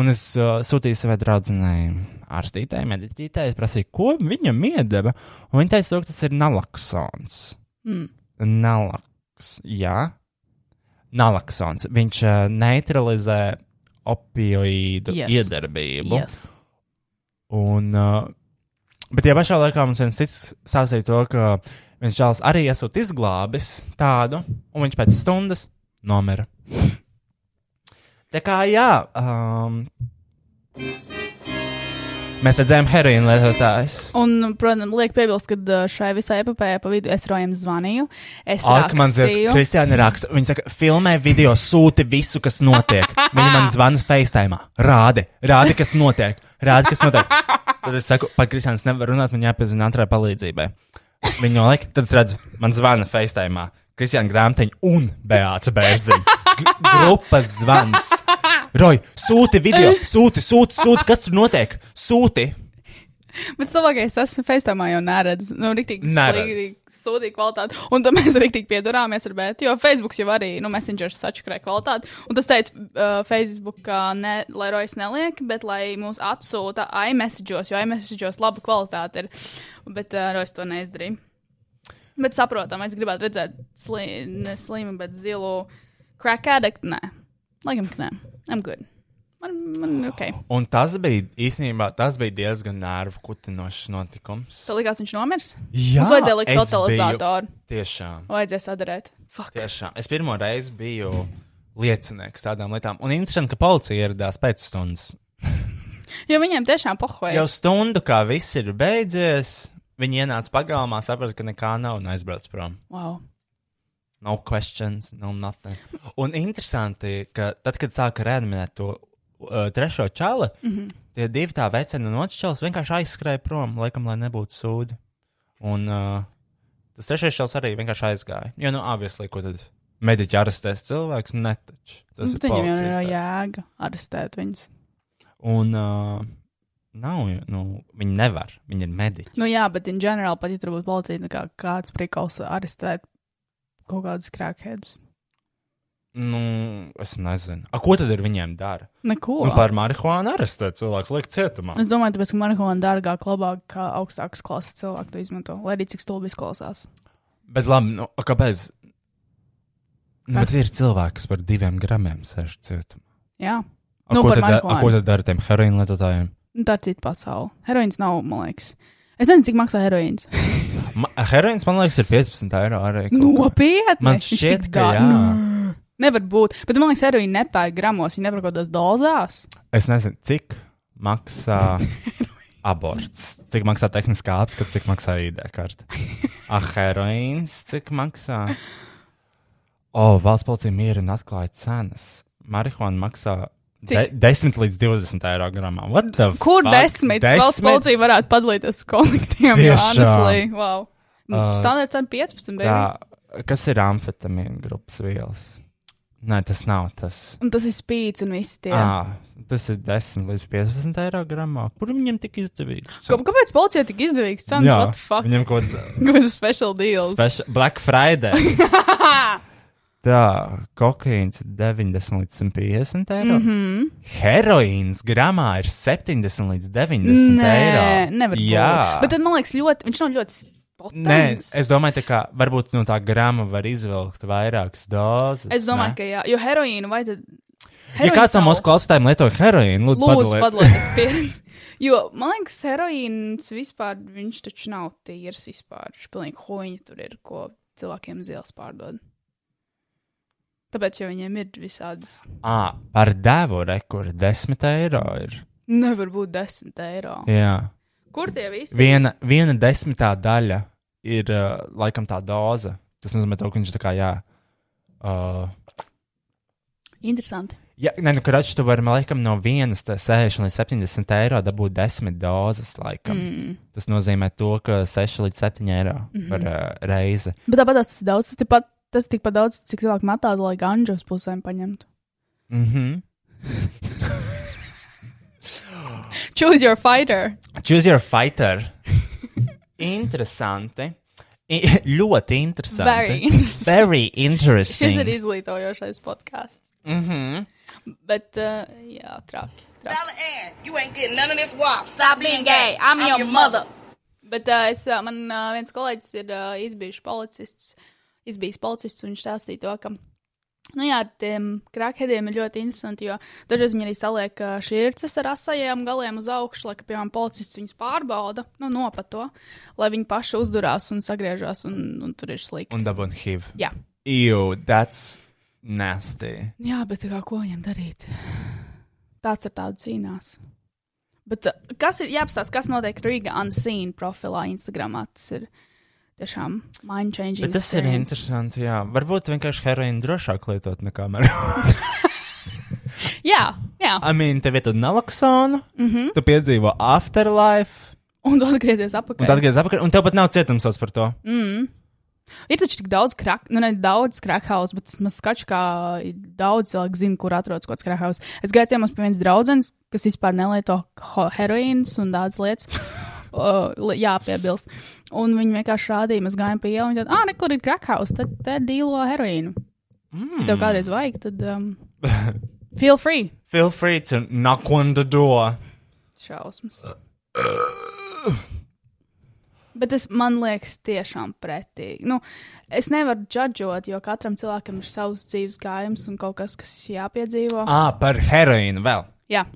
Un es uh, sūtīju savai draudzenei, ārstītājai, mediķītājai, es prasīju, ko viņam iedeva. Un Viņa teica, lūk, tas ir nalaksons. Mm. Nalaks, jā, nalaksons. Viņš uh, neutralizē opioīdu yes. Yes. iedarbību. Yes. Un, uh, bet tajā pašā laikā mums viens cits stāstīja to, ka viens čels arī esot izglābis tādu, un viņš pēc stundas nomira. Tā kā jā, um, mēs redzējām heroīnu lietotājus. Un, protams, liek piebilst, ka uh, šai visai epopējai pa vidu es rojam zvanīju. Es Alkmans ir rakstīju. Kristiāna raksta, viņa saka, filmē video, sūti visu, kas notiek. Viņa man zvana FaceTime, rādi, rādi, kas notiek, rādi, kas notiek. Tad es saku, pat Kristiāns nevar runāt, man jāpiezina otrā palīdzībai. Viņa noliek, tad es redzu, man zvana FaceTime, Kristiāna grāmatiņa un Beāta Bērziņa. Gr- Grupas zvans. Roj, sūti video, sūti, sūti, sūti, kas tur notiek? Sūti. Bet cilvēkais tas FaceTime jau neredz. Nu, rīktīgi Neredz. sliktīgi, sūdīgi kvalitāti. Un tad mēs rīktīgi piedurāmies ar bētu, jo Facebook jau arī, nu, Messenger sačakrē kvalitāti. Un tas teica uh, Facebook, ka ne, lai Rojas neliek, bet lai mūs atsūta iMessage'os, jo iMessage'os laba kvalitāte ir. Bet uh, Rojas to neizdarīja. Bet saprotam, es gribētu redzēt sli, ne slimu, bet zilu crack addict. Nē, laikam, ka nē. I'm good. Man, man, ok. Un tas bija īstenībā, tas bija diezgan nervu kutinošs notikums. Tev likās, viņš nomirs? Jā, Mums vajadzēja likt es totalizatoru. Biju, tiešām, Vajadzēs atdarēt. Fuck. tiešām. Es pirmo reizi biju liecinieks tādām lietām. Un interesanti, ka policija ieradās pēc stundas. Jo viņiem tiešām pohoja. Jau stundu, kā viss ir beidzies, viņi ienāca pagalmā, saprata, ka nekā nav un aizbrauc prom. Wow. No questions, no nothing. Un interesanti, ka tad, kad sāka rēminēt to uh, trešo čali, mm -hmm. tie divi tā veceni un otrs čels vienkārši aizskrēja prom, laikam, lai nebūtu sūdi. Un uh, tas trešais čels arī vienkārši aizgāja. Jo, nu, obviously, ko tad mediķi arestēs cilvēks? Netaču. Tas Bet ir Nu, Viņiem jau policijas ir darbs. jēga arestēt viņus. Un uh, nav, jo, nu, viņi nevar, viņi ir mediķi. Nu jā, bet in general, pat ja tur būtu policija, nu kā kāds prikals arestēt kaut kādus crackheadus. Nu, es nezinu. A, ko tad ar viņiem dara? Neko. Nu, par marihuānu arestēt cilvēks, liek cietumā. Es domāju, tāpēc, ka marihuāna dārgāk, labāk, kā augstākas klases cilvēku to izmanto, lai arī cik stulbi izklausās. Bet, labi, nu, a, kāpēc? Nu, Kas? bet ir cilvēki, kas par diviem gramiem sēž cietumā. Jā, A, Nu, ko, par tad, da- a, marihuānu. ko tad dara tiem heroīna lietotājiem? nu, tā ir cita pasaule. Heroīns nav, man liekas. Es nezinu, cik maksā heroīns. Ma- Heroīns, man liekas, ir 15 eiro arī. kaut Nu. kā. Nopietni! Man Viņš šķiet, tik ka dār- jā. Nē. Nevar būt. Bet man liekas, heroīna nepērk gramos, viņa nepērk kaut kādās dozās. Es nezinu, cik maksā aborts, cik maksā tehniskā apskata, cik maksā ID karte. A, heroīns, cik maksā? O, valsts policija mierina atklāja cenas. Marihuana maksā Cik? De, 10 līdz 20 eiro gramā. What the Kur fuck? desmit? desmit? Valsts policija varētu padalīties uz konfliktiem, jo Tiešām. honestly, wow. Uh, Uh, Standarts ir 15, bet. Tā, kas ir amfetamīna grupas vielas? Nē, tas nav tas. Un tas ir spīts un visi tie. À, tas ir 10 līdz 15 eiro gramā. Kur viņam tik izdevīgs? Ko- Kāpēc policija tik izdevīgs cenas? Jā, What the fuck? Viņam kaut kāds Good special deals. special Black Friday. Tā, kokaīns ir 90 līdz 150 eiro. Mm Mhm. -hmm. Heroīns gramā ir 70 līds 90 eiro. nevar Jā. būt. Bet tad man liekas, ļoti, viņš nav ļoti Nē, spēcīgs. es domāju, tā kā varbūt no tā grama var izvilkt vairākas dozes. es domāju, ne? ka jā, jo heroīnu vai tad. Ja heroīns kāds no nav. mūsu klausītājiem lieto heroīnu, lūdzu, Lūdzu, padaliet- padalieties pieredzi. Jo, man liekas, heroīns vispār, viņš taču nav tīrs vispār. Viņš pilnīgi hoņi tur ir, ko cilvēkiem zils pārdod. Tāpēc, jo viņiem ir visādas, Ā, par devu rekordu 10 eiro ir. nevar būt desmit eiro. Jā. Kur tie visi? Viena, viena desmitā daļa ir uh, laikam tā doza. Tas nozīmē, to, ka viņš tā kā jā. Uh, Interesanti. Jā, nē, nu, krāšņi tu vari, man liekas, no vienas tā 60 līdz 70 eiro dabūt desmit dozes. Mm. Mm. Tas nozīmē, to, ka 6 līdz 7 eiro mm -hmm. par uh, reizi. Bet tāpat tas ir daudz, tas tikpat, tas tikpat daudz, cik cilvēku matā, lai ganžos pusēm paņemtu. Mm -hmm. Choose your fighter! Choose your fighter. interesanti. I, ļoti interesanti. Very. Very interesting. Šis ir izglītojošais podkāsts. mm -hmm. Bet, uh, jā, traki. traki. Dollar ad. You ain't getting none of this wop. Stop being gay. I'm, I'm your, your mother. Bet uh, es, uh, man uh, viens kolēģis ir uh, izbijis policists, izbijis policists, un viņš stāstīja to, ka, nu jā, ar tiem krakheadiem ir ļoti interesanti, jo dažreiz viņi arī saliek uh, šķirces ar asajiem galiem uz augšu, lai, ka, piemēram, policists viņus pārbauda, nu, nopato, lai viņi paši uzdurās un sagriežās, un, un tur ir slikti. Un dabūn HIV. Jā. Ew, that's nasty. Jā, bet tā kā ko viņam darīt? Tāds ar tādu cīnās. Bet uh, kas ir jāapstāsta, kas notiek Riga Unseen profilā Instagram? Tas ir tiešām mind changing. Bet tas ir interesanti. Jā. Varbūt vienkārši heroīnu drošāk lietot nekā marihuānu. Jā, jā. I mean, tev ir tāda naloksona, mm -hmm. tu piedzīvo afterlife, Un tu atgriezies un atpakaļ. tad atgriezies atpakaļ, un tev pat nav cietumsots par to. Mm. Ir taču tik daudz krak, nu, ne daudz krakhaus, bet man skaču, kā daudz cilvēku zina, kur atrodas kaut kāds krakhaus. Es gāju ciemos pie vienas draudzenes, kas vispār nelieto ho- heroīnas un tādas lietas. Uh, li- jāpiebilst. Un viņi vienkārši rādīja, mēs gājām pie ielas, un viņi teica, ah, nekur ir krakhaus, tad te dīlo heroīnu. Mm. Ja tev kādreiz vajag, tad um, feel free. Feel free to knock on the door. Šausmas. Bet es man liekas, tiešām pretīgi. Nu, es nevaru judžot, jo katram cilvēkam ir savs dzīves gājums un kaut kas, kas jāpiedzīvo. Ah, par heroīnu vēl. Jā,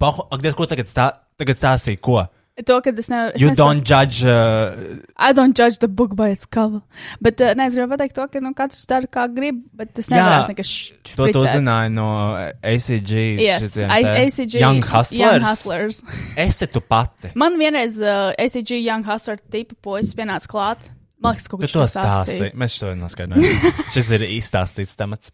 Paho, ak, diez, ko tagad, stā, tagad stāstīja? Ko? to, ka es nevaru. es You nesaprotu- don't judge. Uh, I don't judge the book by its cover. Bet uh, ne, es gribu pateikt to, ka nu, katrs dara kā grib, bet es nevaru nekas to tu uzzināji no uh, ACG. Yes, šitiem I- te ACG. Young Hustlers. Eh. Young hustlers. Mm, Esi tu pati. Man vienreiz uh, ACG Young Hustler tipa poisis pienāca klāt. Man liekas, ka Tu viņš to stāstīji. Mēs to noskaidrojām. Šis ir īstāstīts temats.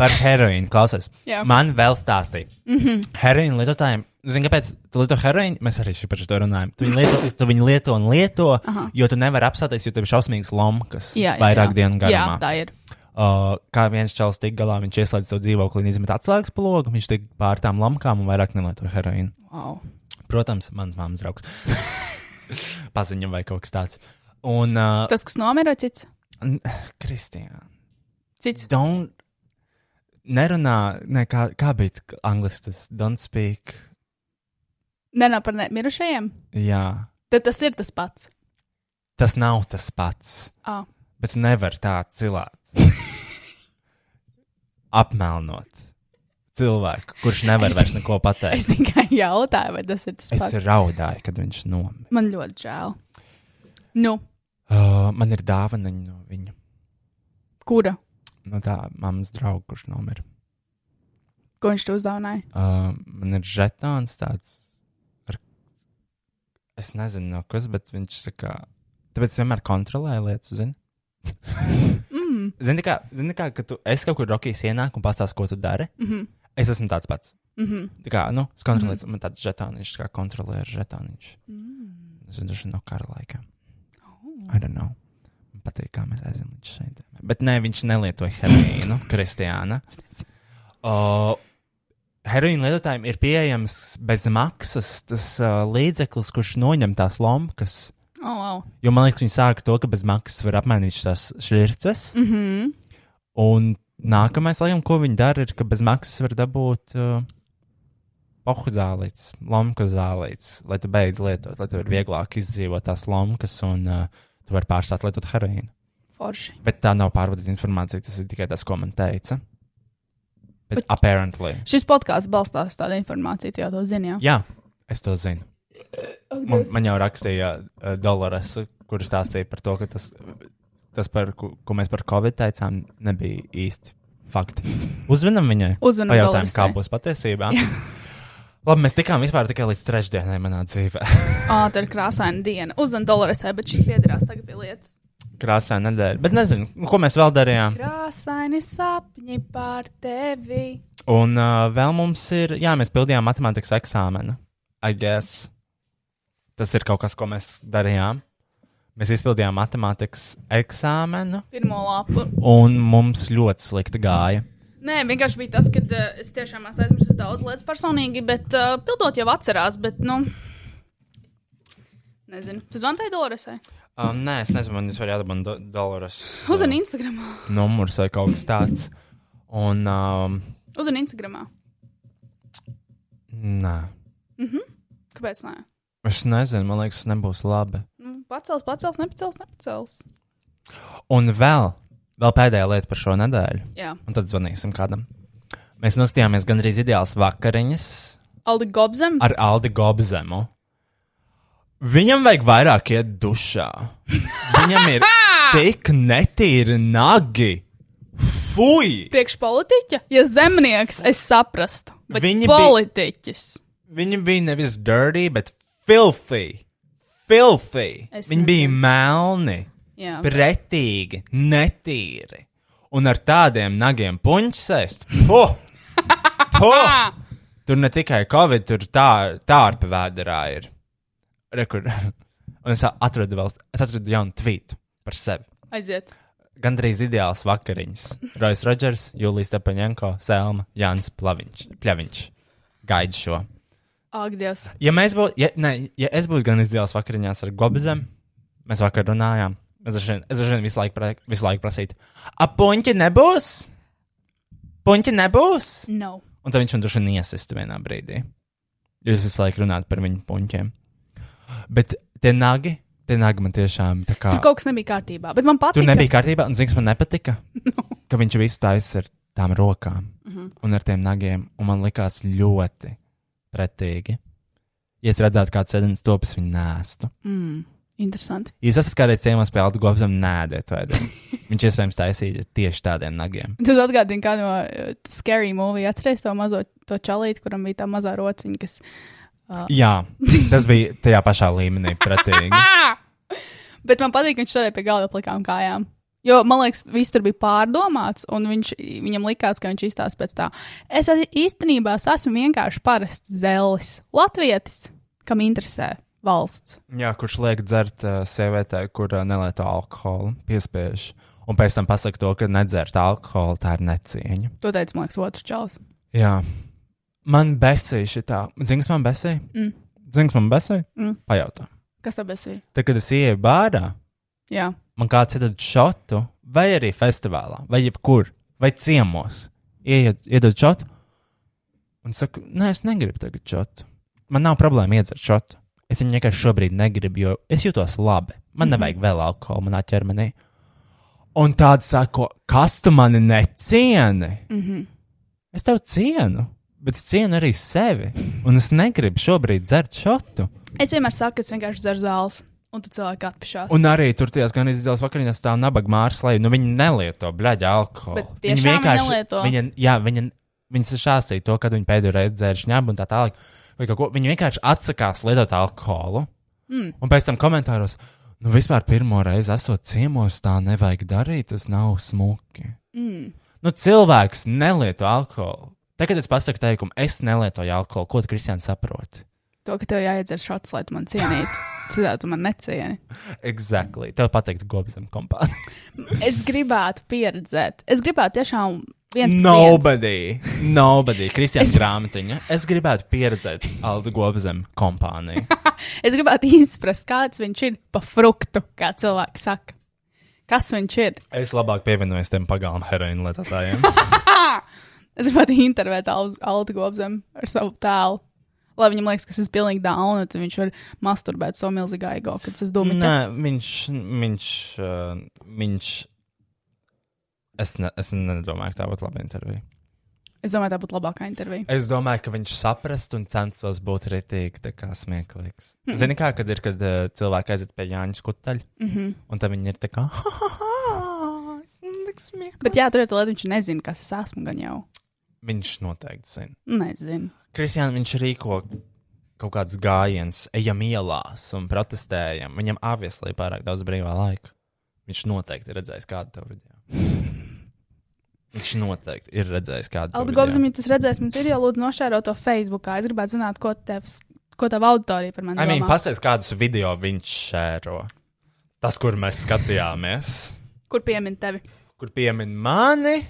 Par heroīnu klausies. Jā. Mhm. Man vēl stāstīja. Mm -hmm. Heroīnu lietotājiem. Zini, kāpēc tu lieto heroīnu? Mēs arī šeit par to runājam. Tu viņu lieto, tu viņu lieto un lieto, Aha. jo tu nevari apstāties, jo tev ir šausmīgs lomkas Jā, jā, vairāk jā. dienu garumā. Jā, tā ir. Uh, kā viens čels tik galā, viņš ieslēdz savu dzīvokli un izmet atslēgas plogu, viņš tik pār tām lamkām un vairāk nelieto heroīnu. Wow. Protams, mans māmas draugs. Paziņam vai kaut kas tāds. Un, uh, Tas, kas nomira, ir cits. Kristija, cits. don't. Nerunā, ne, kā, kā bija angļuiski tas don't speak. Nē, nav par ne- mirušajiem. Jā, Tad tas ir tas pats. tas nav tas pats. Ah. Bet tu nevari tā cilāt. Apmelnot cilvēku, kurš nevar vairs neko Es pateikt. tikai jautāju, vai tas ir tas Es, pats. es raudāju, kad viņš nomira. Man ļoti žēl. Nu, Uh, man ir dāvana no viņa, kura? no tā mammas drauga, kurš nomira. Ko viņš tev uzdāvināja? Uh, man ir žetons tāds, ar... es nezinu, no kas, bet viņš tā kā. Tāpēc es vienmēr kontrolēju lietas, zini. mm. Zini, kā, zini kā, ka tu, es kaut kur rokīs ienāku un pastāstu, ko tu dari. Mm -hmm. Es esmu tāds pats. Tā kā, nu, es kontrolēju, man tāds žetāniņš, kā kontrolē ar žetāniņš. Tas ir droši vien no kara laikā. I don't know. Man patīk, kā mēs aizējām līdz šeit. Bet nē, viņš nelietoja heroīnu, Kristiāna. Uh, heroīna lietotājiem ir pieejams bez maksas tas uh, līdzeklis, kurš noņem tās lomkas. Oh, wow. Jo man liekas, viņi sāka to, ka bez maksas var apmainīt šīs šķirces. Mm -hmm. Un nākamais, laikam, ko viņi dara, ir, ka bez maksas var dabūt uh, pohu zālītes, lomku zālītes, lai tu beidz lietot, lai tev ir vieglāk izdzīvot tās lomkas un uh, tu vari pārstāt lietot heroīnu. Forši. Bet tā nav pārbaudīta informācija, tas ir tikai tas, ko man teica. Bet, Bet- Bet... apparently. Šis podkāsts balstās uz tādu informāciju, jau to zinām. Jā, es to zinu. Oh, Man, man jau rakstīja uh, Dolores, kurš stāstīja par to, ka tas, tas par, ko, ko mēs par Covid teicām, nebija īsti fakti. Uzvinam viņai. Uzvinam Pajautājam, kā Doloresai. būs patiesībā. Labi, mēs tikām vispār tikai līdz trešdienai manā dzīvē. Ah, tā ir krāsaina diena. Uzmanīgi, dolarisē, bet šis piedarās tagad pie lietas. Krāsā nedēļa. Bet nezinu, nu, ko mēs vēl darījām. Krāsaini sapņi par tevi. Un uh, vēl mums ir, jā, mēs pildījām matemātikas eksāmenu. I guess. Tas ir kaut kas, ko mēs darījām. Mēs izpildījām matemātikas eksāmenu, Pirmo lapu. un mums ļoti slikti gāja. Nē, vienkārši bija tas, ka uh, es tiešām esmu aizmirsis daudz lietas personīgi, bet uh, pildot jau atcerās, bet, nu, nezinu. Tu zvanīji Doloresai? Um, nē, es nezinu, man jūs varat atbildēt, do, Doloras. Uzmanīgi Instagramā. Numurs vai kaut kas tāds. Un, um, Uzmanīgi Instagramā. nē, Kāpēc? Nē? es nezinu, man liekas, tas nebūs labi. Nu, Pacels, pacels, nepacels, nepacels. Un vēl, vēl pēdējā lieta par šo nedēļu. Jā, Un tad zvanīsim kādam. Mēs noskatījāmies gandrīz ideāls vakariņas Aldi Gobzem. ar Aldi Gobzemu. Viņam vajag vairāk iet dušā. Viņam ir tik netīri nagi. Fui! Priekšpolitiķa, ja zemnieks, es saprastu. Bet Viņi Viņi bija- politiķis. Viņi bija nevis dirty, bet filthy. Filthy. Es Viņi bija melni. Jā, pretīgi, netīri. Un ar tādiem nagiem puņķis sēst. Puh! Puh! Tur ne tikai covid, tur tā, tā ar pavēderā ir. Rekur. Un es atradu vēl, es atradu jaunu tvītu par sevi. aiziet. Gan drīz ideāls vakariņas. Rojas Rodžers, Jūlijas Stepaņenko, Selma, Jānis Plaviņš, Pļaviņš. Gaidu šo. Ak, Dievs. Ja, mēs būtu, ja, ne, ja es būtu gan izdevējis vakariņās ar Gobzem, mēs vakar runājām. Es droši vien- es droši vien visu laiku, pra- visu laiku prasītu, apuņķi nebūs! Puņķi nebūs! No. Un tad viņš man droši vien iesistu vienā brīdī. Jūs visu laiku runājat par viņu puņķiem. Bet tie nagi, tie nagi man tiešām tā kā. Tur kaut kas nebija kārtībā. Bet man Tur patīk. nebija kārtībā, un zinu, kas man nepatika. Ka viņš visu taisīja ar tām rokām mm -hmm. un ar tiem nagiem, un man likās ļoti pretīgi. Ja es redzētu, kāds sēdes topus viņa nēstu. Mm, Interesanti. Jūs esat kādreiz ciemos pie Alta Gobsam, nēdiet, vai ne? Viņš iespējams taisīja tieši tādiem nagiem. Tas atgādina, kā no uh, Scary Movie atceries to mazo to čalīti, kuram bija tā mazā rociņa, kas. Jā, tas bija tajā pašā līmenī pretīgi. Bet man patīk, ka viņš stāvēja pie galda plikām kājām. Jo, man liekas, viss tur bija pārdomāts, un viņš, viņam likās, ka viņš izstāsta pēc tā. Es es- īstenībā es esmu vienkārši parasts zelis, latvietis, kam interesē valsts. Jā, kurš liek dzert uh, sievietē, kur uh, nelieto alkoholu, piespiež. Un pēc tam pasaka to, ka nedzert alkoholu, tā ir necieņa. To teica, man liekas, otrs čels. Jā, man besīja šī tā. Zini, kas man besīja? Mm. Zini, kas man besīja? Mm. Pajautā. Kas tā bija? Tad, kad es ienāku bārā, Jā, man kāds iedod šotu, vai arī festivālā, vai jebkur, vai ciemos. Ieiet, iedod šotu, un saku, nē, es negribu tagad šotu. Man nav problēma iedzert šotu. Es viņu vienkārši šobrīd negribu, jo es jūtos labi. Man mm -hmm. nevajag vēl alkohola manā ķermenī. Un tāds saka, kas tu mani necieni? Mm -hmm. Es tevi cienu, bet es cienu arī sevi. Un es negribu šobrīd dzert šotu. es vienmēr saku, ka es vienkārši dzeru zāles, un tad cilvēki atpišās. Un arī tur tajās gan izdevās vakariņās tā nabaga mārsla, nu viņi nelieto bļaģa alkoholu. Bet Viņi tiešām nelieto? Viņa, jā, viņa, viņa sašāsīja to, kad viņi pēdējo reizi dzēra šņābu un tā tālāk. Vai kaut ko. Viņi vienkārši atsakās lietot alkoholu. Mm. Un pēc tam komentāros, nu vispār pirmo reizi esot ciemos, tā nevajag darīt, tas nav smuki. Mm. Nu cilvēks nelieto alkoholu. Tagad es pasaku teikumu, es nelietoju alkoholu. Ko tu, Kristiāna, saproti? To, ka tev jāiedzer šāds, lai tu man cienītu. Citādi tu man necieni. Exactly. Tev pateiktu, gobsam kompānija. Es gribētu pieredzēt. Es gribētu tiešām viens pret viens. Nobody. Nobody. Kristiāna Es- es... grāmatiņa. Es gribētu pieredzēt Aldu gobsam kompāniju. Es gribētu izprast, kāds viņš ir pa fruktu, kā cilvēks saka. Kas viņš ir? Es labāk pievienojos tiem pagalmu heroīnu lietotājiem. Es gribētu intervēt Al- Altu Gobzem ar savu tēlu. Lai viņam liekas, ka es esmu pilnīgi down, un tad viņš var masturbēt savu milzīgā ego, kad es domāju, ka Nē, viņš. viņš, uh, viņš... Es, ne, es nedomāju, ka tā būtu laba intervija. es domāju, tā būtu labākā intervija. Es domāju, ka viņš saprastu un censtos būt ritīgi, tā kā smieklīgs. Mm. Zini, kā kad ir, kad uh, cilvēki aiziet pie Jāņa skutaļa, mm Mhm. -hmm. un tad viņi ir tā kā. "Ha, ha, ha, es esmu tik smieklīgs." Bet jā, tur ir tā, lai viņš nezina, kas es esmu, gan jau. Viņš noteikti zina. Nezinu. Kristiāna, viņš rīko kaut kādus gājienus, ejam ielās un protestējam. Viņam avieslī pārāk daudz brīvā laika. Viņš noteikti ir redzējis kādu to video. Viņš noteikti ir redzējis kādu to Aldu video. Gobzem, ja tu redzēsi mans video, lūdzu, nošēro to Facebookā. Es gribētu zināt, ko tev, ko tev auditorija par mani I mean, domā. pasakās, kādus video viņš šēro. Tas, kur mēs skatījāmies, Kur piemin tevi? kur piemin mani,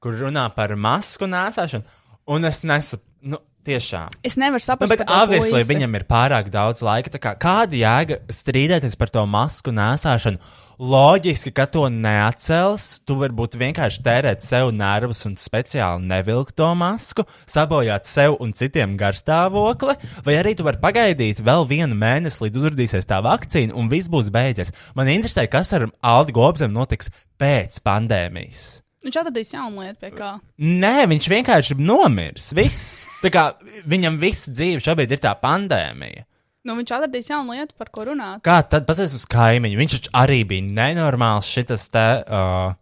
kur runā par masku nēsāšanu. Un es nesaprotu, nu, tiešām. Es nevaru Nu, saprast, bet ko tu aviesli puisi. viņam ir pārāk daudz laika. tā Kā, kāda jēga strīdēties par to masku nēsāšanu? Loģiski, ka to neatcels. Tu varbūt vienkārši tērēt sev nervus un speciāli nevilkt to masku, sabojāt sev un citiem garstāvokli, vai arī tu vari pagaidīt vēl vienu mēnesi, līdz uzrādīsies tā vakcīna un viss būs beidzies. Man interesē, kas ar Aldi Gobzem notiks pēc pandēmijas. Viņš atradīs jaunu lietu, pie kā. Nē, viņš vienkārši nomirs. Viss. Tā kā viņam viss dzīve šobrīd ir tā pandēmija. Nu, viņš atradīs jaunu lietu, par ko runāt. Kā tad pasies uz kaimiņu? Viņš taču arī bija nenormāls šitas te. Uh,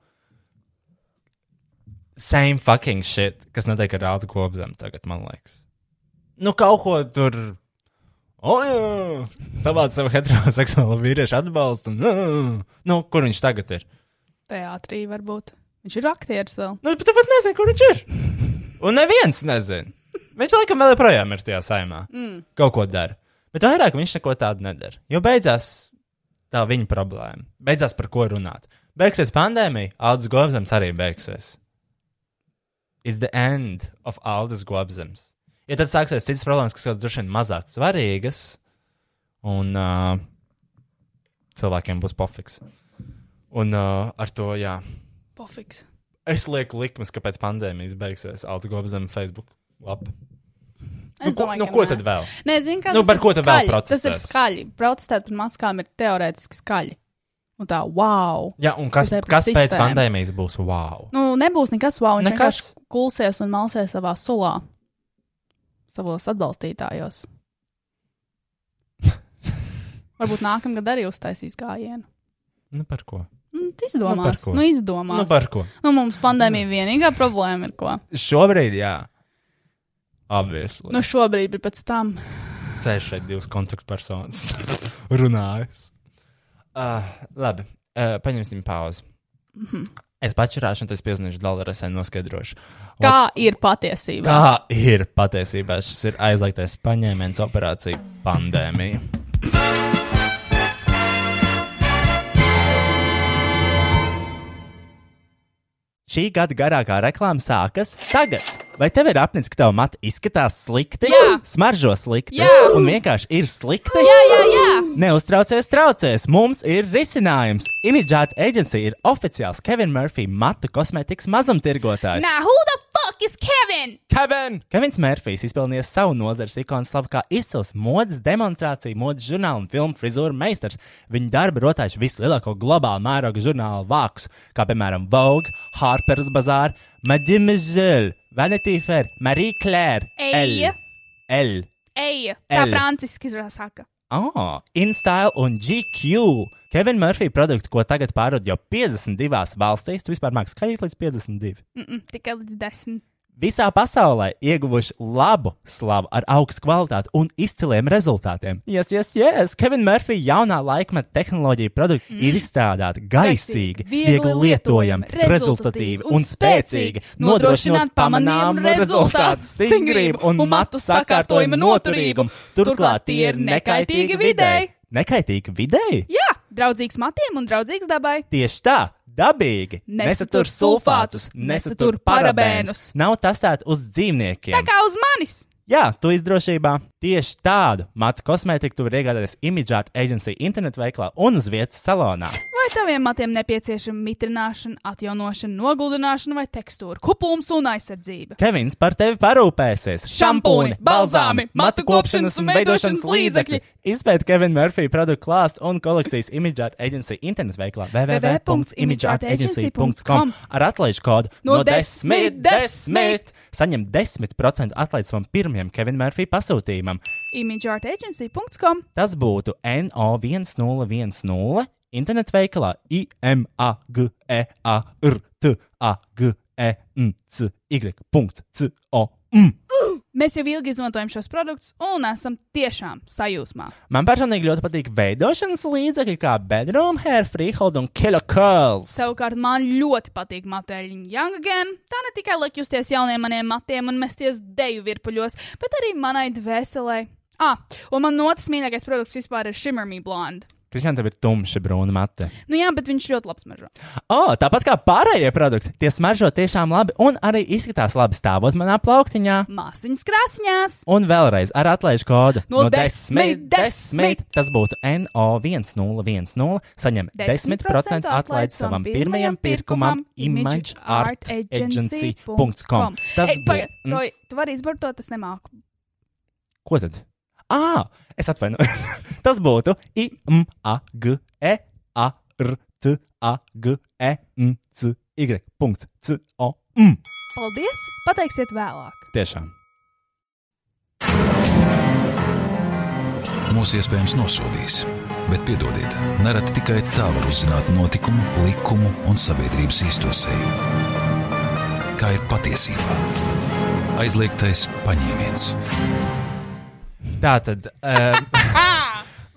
Same fucking shit, kas notiek ar Aldu Gobzem tagad, man liekas. Nu, kaut ko tur. Ojoj! Savāc savu heteroseksuālu vīriešu atbalstu. un, Nu, kur viņš tagad ir? Teātrī varbūt. Viņš ir aktieris vēl. Nu, bet tu pat nezini, kur viņš ir. Un neviens nezina. Viņš laikam vēl joprojām ir tajā saimā. Mm. Kaut ko dara. Bet vairāk viņš neko tādu nedara. Jo beidzās tā viņa problēma. Beidzās par ko runāt. Beigsies pandēmija, Aldis Gobsams arī beigsies. It's the end of Aldis Gobsams. Ja tad sāksies citas problēmas, kas kaut kādas droši vien mazāk svarīgas, un uh, cilvēkiem būs pofiks. Un uh, ar to, jā Pofiks. es lieku likmes, ka pēc pandēmijas beigsies autogobzem Facebook. Labi. Nu, Es ko- domāju, nu, ka ko nē. tad vēl? Nē, zinu, kā Nu, tas par ir ko tad vēl skaļi. Tas ir protestēt? skaļi. Protestēt par maskām ir teorētiski skaļi. Un tā, wow. Jā, un kas, Tas ir par kas pēc sistēmu. pandēmijas būs wow? Nu, nebūs nekas wow. Viņš Nekas. vienkārši kulsies un malsies savā sulā. Savos atbalstītājos. Varbūt nākamgad arī uztaisīs gājienu. Nu, par ko? Nu, tu izdomās. ko? Nu, izdomās. Nu, par ko? nu, mums pandēmija vienīgā problēma ir ko. Šobrīd, jā. Obviously. Nu, šobrīd, bet pēc tam. Sēž šeit divas kontaktpersonas. Runājas. Uh, labi, uh, paņemsim pauzi. Mhm. Es pačurāšu, un tad es piezīmēšu dolāru, es noskaidrošu. Kā ir patiesībā? Tā ir patiesībā. Šis ir aizliegtais paņēmiens operācija pandēmija. Šī gada garākā reklāma sākas tagad. Vai tev ir apnicis, ka tava matra izskatās slikti, Jā. smaržo slikti Jā. un vienkārši ir slikti? Jā, jā, jā. Neuztraucies, traucēs! Mums ir risinājums! Imidžāta aģentūra ir oficiāls Kevina Murphy matu kosmētikas mazumtirgotājs. Now, who the fuck is Kevin? Kevin! Kevins Mērfijs izpelnījis savu nozares ikonu slavu kā izcils modes demonstrācija, modes žurnāla un filmu frizūra meistars. Viņa darbi rotājuši vislielāko globālu mēroga žurnālu vākus, kā piemēram Vogue, Harper's Bazaar, Mademoiselle, Vanity Fair, Marie Claire, Elle, Eja. Elle, Ej, tā Elle. franciski izrasaka. Ah, InStyle un GQ. Kevina Murphy produktu, ko tagad pārdod jau 52 valstīs, tu vispār mākslinieks skaitīt līdz 52. Mm -mm, tikai līdz desmit. visā pasaulē ieguvuši labu slavu ar augstu kvalitāti un izciliem rezultātiem. Yes, yes, yes. Kevin Murphy jaunā laikmeta tehnoloģija produkti mm. ir izstrādāti gaisīgi, viegli, viegli lietojami, rezultatīvi un spēcīgi, nodrošinot pamanāmu rezultātu stingrību un matu sakārtojuma noturīgumu. Turklāt tie ir nekaitīgi videi. Nekaitīgi videi? Jā, draudzīgs matiem un draudzīgs dabai. Tieši tā, dabīgi. Nesatur sulfātus, nesatur parabēnus. Nav testēta uz dzīvniekiem. Tā kā uz manis! Jā, tu izdrošībā tieši tādu matu kosmētiku tu vari iegādāties Imidžāta aģentūra internetu veiklā un uz vietas salonā. Vai taviem matiem nepieciešama mitrināšana, atjaunošana, noguldināšana vai tekstūra, kupums un aizsardzība? Kevins par tevi parūpēsies. Šampūni, balzāmi, matu kopšanas un veidošanas līdzekļi. Izpēt Kevina Murphy produktu klāstu un kolekcijas Imidžāta aģentūra internetu veiklā www.imidžātaagency.com ar atlaižu kodu No desmit, desmit. Saņem 10% atlaides savam pirmajam Kevina Murphy pasūtījumam. imageartagency.com Tas būtu NO1010 internetu veikalā E imageartagency.com. Mēs jau ilgi izmantojam šos produktus un esam tiešām sajūsmā. Man personīgi ļoti patīk veidošanas līdzekļi, kā bedroom hair, freehold un killer curls. Savukārt man ļoti patīk matēļiņa Young Again. Tā ne tikai liek justies jauniem maniem matiem un mesties deju virpuļos, bet arī manai dvēselē. Ah, un man otrs mīļākais produkts vispār ir Shimmer Me Blonde. Kristian, tev ir tumša brūna mate. Nu jā, bet viņš ļoti labs mažo. O, tāpat kā pārējie produkti, tie smaržo tiešām labi un arī izskatās labi stāvot manā plauktiņā. Māsiņas krāsņās! Un vēlreiz ar atlaižu kodu No desmit, desmit. Tas būtu NO1010. Saņem 10% atlaides savam pirmajam pirkumam, imageartagency.com. Tas mm. Ei, būtu. pagaid, Roy, Tu vari izbarot, es nemāku. Ko tad? Ā, es atvainojos. Tas būtu E IMAGEARTAGENCY.com. Paldies! Pateiksiet vēlāk! Tiešām. Mūs iespējams nosodīs, bet piedodiet, nereti tikai tā var uzzināt notikumu, likumu un sabiedrības īsto seju. Kā ir patiesībā? Aizliegtais paņēmiens. Tā tad. Um,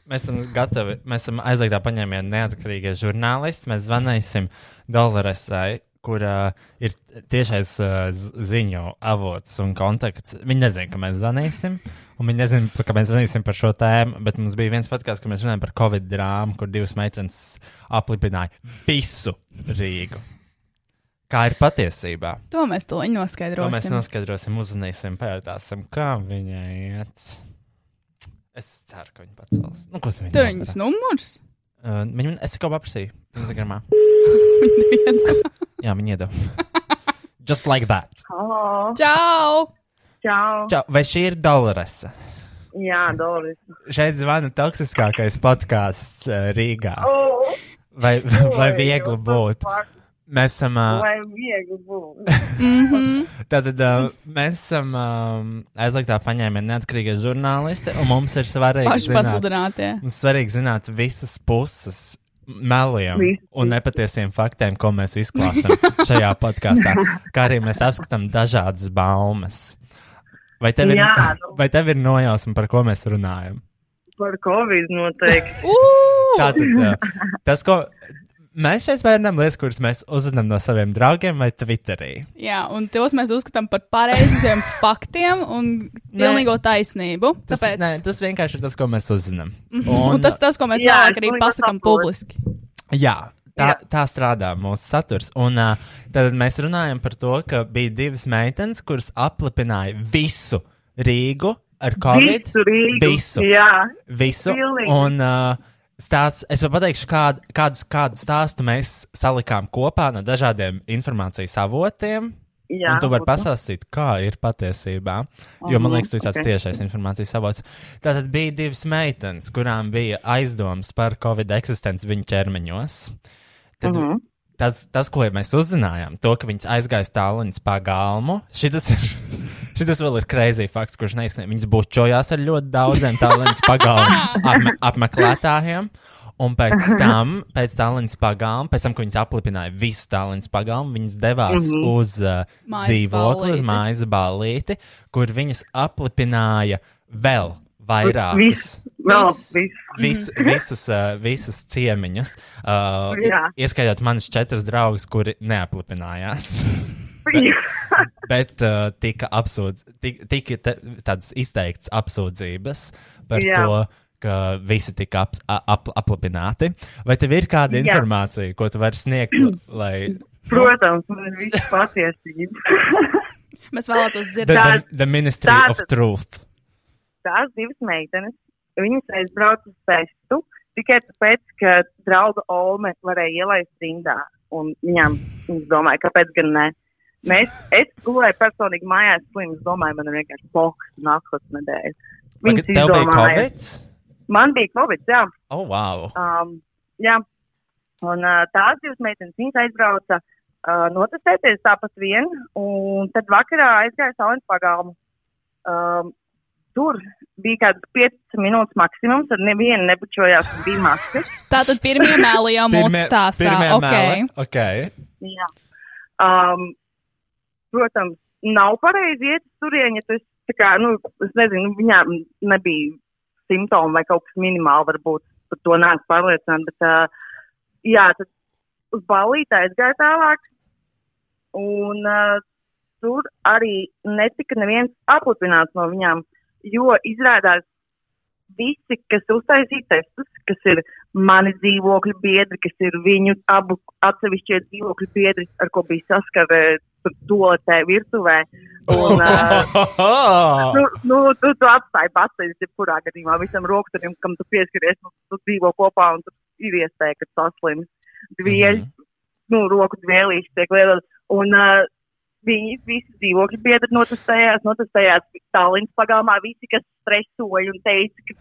Mēs esam gatavi. Mēs esam aizliegtā paņēmienā neatkarīgie žurnālisti. Mēs zvanīsim Dolorasai, kur uh, ir tiešais uh, z- ziņu avots un kontakts. Viņi nezina, ka mēs zvanīsim. Un viņi nezina, pa- ka mēs zvanīsim par šo tēmu. Bet mums bija viens podkāsts, kur mēs runājām par Covid drāmu, kur divas meitenes aplipināja visu Rīgu. Kā ir patiesībā? To mēs to To mēs noskaidrosim. noskaidrosim, uzzinīsim, pajautāsim, kā viņai iet. Es ceru, ka viņi pacels. Nu, ko viņi Tur ir viņas numurs. Uh, viņi man, es kaut ko paprasīju Instagramā. Jā, viņi iedeva. Just like that. Halo, Čau! čau. Čau, vai šī ir Doloresa? Jā, Doris. Šeit zvana toksiskākais podkāsts uh, Rīgā. Vai, vai viegli būt? Mēs esam. Uh, Lai viegli būtu. Mhm. Tātad uh, mēs esam um, aizliegtā paņēmienā neatkarīgie žurnālisti, un mums ir svarīgi Paši zināt, pasludinātie! mums svarīgi zināt visas puses meliem Visu. un nepatiesiem faktiem, ko mēs izklāstām šajā podkāstā. Kā arī mēs apskatām dažādas baumas. Vai tev, ir, Jā, nu. vai tev ir nojausma, par ko mēs runājam? Par Covid noteikti. Ugh! Tātad, uh, tas, ko mēs šeit vērnam, lietas, kuras mēs uzzinām no saviem draugiem vai Twitterī. Jā, un tos mēs uzskatām par pareiziem faktiem un pilnīgo taisnību. Tas, Tāpēc Mhm. nē, tas vienkārši ir tas, ko mēs uzzinām. Un tas ir tas, ko mēs Jā, vēlāk es arī pilnīgi pasakām saprotu. publiski. Jā, tā, Jā. tā strādā mūsu saturs. Un uh, tad mēs runājam par to, ka bija divas meitenes, kuras aplipināja visu Rīgu ar Covid. Visu Rīgu. Visu. Jā, visu. Pilnīgi. Un, uh, Stāsts, es vēl pateikšu, kādu, kādu, kādu stāstu mēs salikām kopā no dažādiem informācijas avotiem. jā. Jā, un tu vari būtu. pastāstīt, kā ir patiesībā. Jo man Aha, liekas, tas ir ok. okay. tiešais informācijas avots. Tātad bija divas meitenes, kurām bija aizdomas par covid eksistenci viņu ķermeņos. Tad, Mhm. uh -huh. tas, tas, ko mēs uzzinājām, to, ka viņas aizgāja uz tālrunis pa galmu, šitas ir. Šis vēl ir krāzīgi fakts, kurš neizskanēja. Viņas bučojās ar ļoti daudziem tālrunis pagalmu apme apmeklētājiem. Un pēc tam, pēc Tallinas pagām, pēc tam, kad viņas aplipināja visu Tallinas pagām, viņas devās mm -hmm. uz uh, Mhm. Mājas dzīvokli, uz ballīti. mājas ballīti, kur viņas aplipināja vēl vairākus. Viss, vēl Visus. viss. Vis, Mhm. visus, uh, visus ciemiņus, uh, Jā. ieskaitot manas četras draugus, kuri neaplipinājās. Bet uh, tika, apsūdz, tika, tika te- tādas izteiktas apsūdzības par Jā. to, ka visi tika ap, ap, aplipināti. Vai tev ir kāda Jā. informācija, ko tu vari sniegt? Lai... Protams, man ir viss patiesība. Mēs vēlētos The, dzirdēt. the, the Ministry tā- of Truth. Tās divas meitenes, viņas aizbrauca uz testu tikai tāpēc, ka drauga Olme varēja ielaist rindā. Un viņām, viņas domāja, kāpēc gan ne. Mēs, es gulēju personīgi mājās, slims, domāju, man ir vienkārši poks nākotnes nedēļa. Vai Viņas Tev bija izdomāja- Covid? Man bija Covid, jā. Oh, wow! Um, jā. Un uh, tās divas meitenes, viņas aizbrauca uh, notestēties tāpat vien, un tad vakarā aizgāja Salins pagalmu. Um, tur bija kāds 5 minūtes maksimums, tad neviena nebučojās un bija maska. Tātad pirmie mēli jau mūsu Pirmie- stāstā. pirmie Okay. meli. Okay. Jā. Um, protams, nav pareizi iet uz turieni, ja tas tā kā, nu, es nezinu, viņām nebija simptomi vai kaut kas minimāli, varbūt par to nāk pārliecināt, bet, uh, jā, tad uz balīti aizgāja tālāk, un uh, tur arī netika neviens aplipināts no viņām, jo izrādās visi, kas uztaisīja testus, kas ir mani dzīvokļu biedri, kas ir viņu abu atsevišķie dzīvokļu biedri, ar ko bija saskarē tur toaletē, virtuvē. Un, Oh, uh, Nu, nu, tu, tu atstāji pasteļus, jebkurā gadījumā visam rokturim, kam tu pieskaries, nu, tu dzīvo kopā un tur ir iespēja, ka tu saslims. Dvieļ, mm -hmm. nu, roku dvielīši tiek lietot. Un uh, viņi visi dzīvokļu biedri notestējās, notestējās Tallinas pagalmā, visi, kas stresoja un teica, ka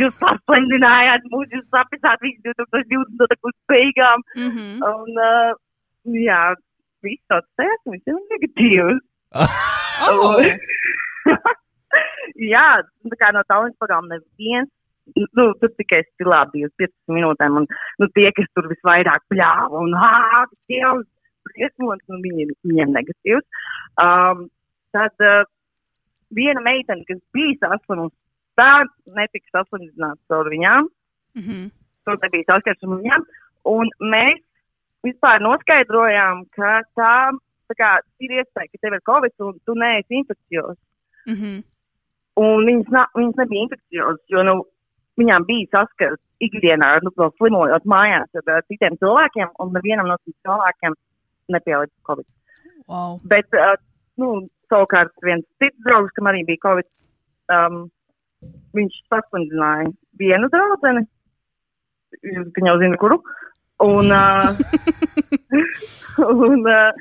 jūs pasplendinājāt mūs, jūs sapisāt visu 2020. gadu beigām. Mm -hmm. Un, uh, jā, viss tāds tēls, visiem ir negatīvs. oh. Jā, nu, tā kā no tālens pagām neviens. Nu, tur tikai stilā bija uz 15 minūtēm, un nu, tie, kas tur visvairāk pļāva un ātrāk, dievs, briesmons, un viņiem, viņiem negatīvs. Um, tad uh, viena meitene, kas bija saslimusi, tā netika saslimzināta ar viņām mm -hmm. tur nebija saskarsme ar viņiem. Un mēs vispār noskaidrojām, ka tā, tā kā, ir iespēja, ka tev ir covid un tu neesi infekcijos. Mm -hmm. Un viņas, na, viņas nebija infekcijos, jo nu, viņām bija saskars ikdienā, nu, vēl slimojot mājās ar uh, citiem cilvēkiem, un nevienam no tiem cilvēkiem nepielika covid. wow. Bet, uh, nu, savukārt, viens cits draugs, kam arī bija covid, um, viņš paslimdināja vienu draugu. Jūs gan jau zināt, kuru. Un, uh, un, uh,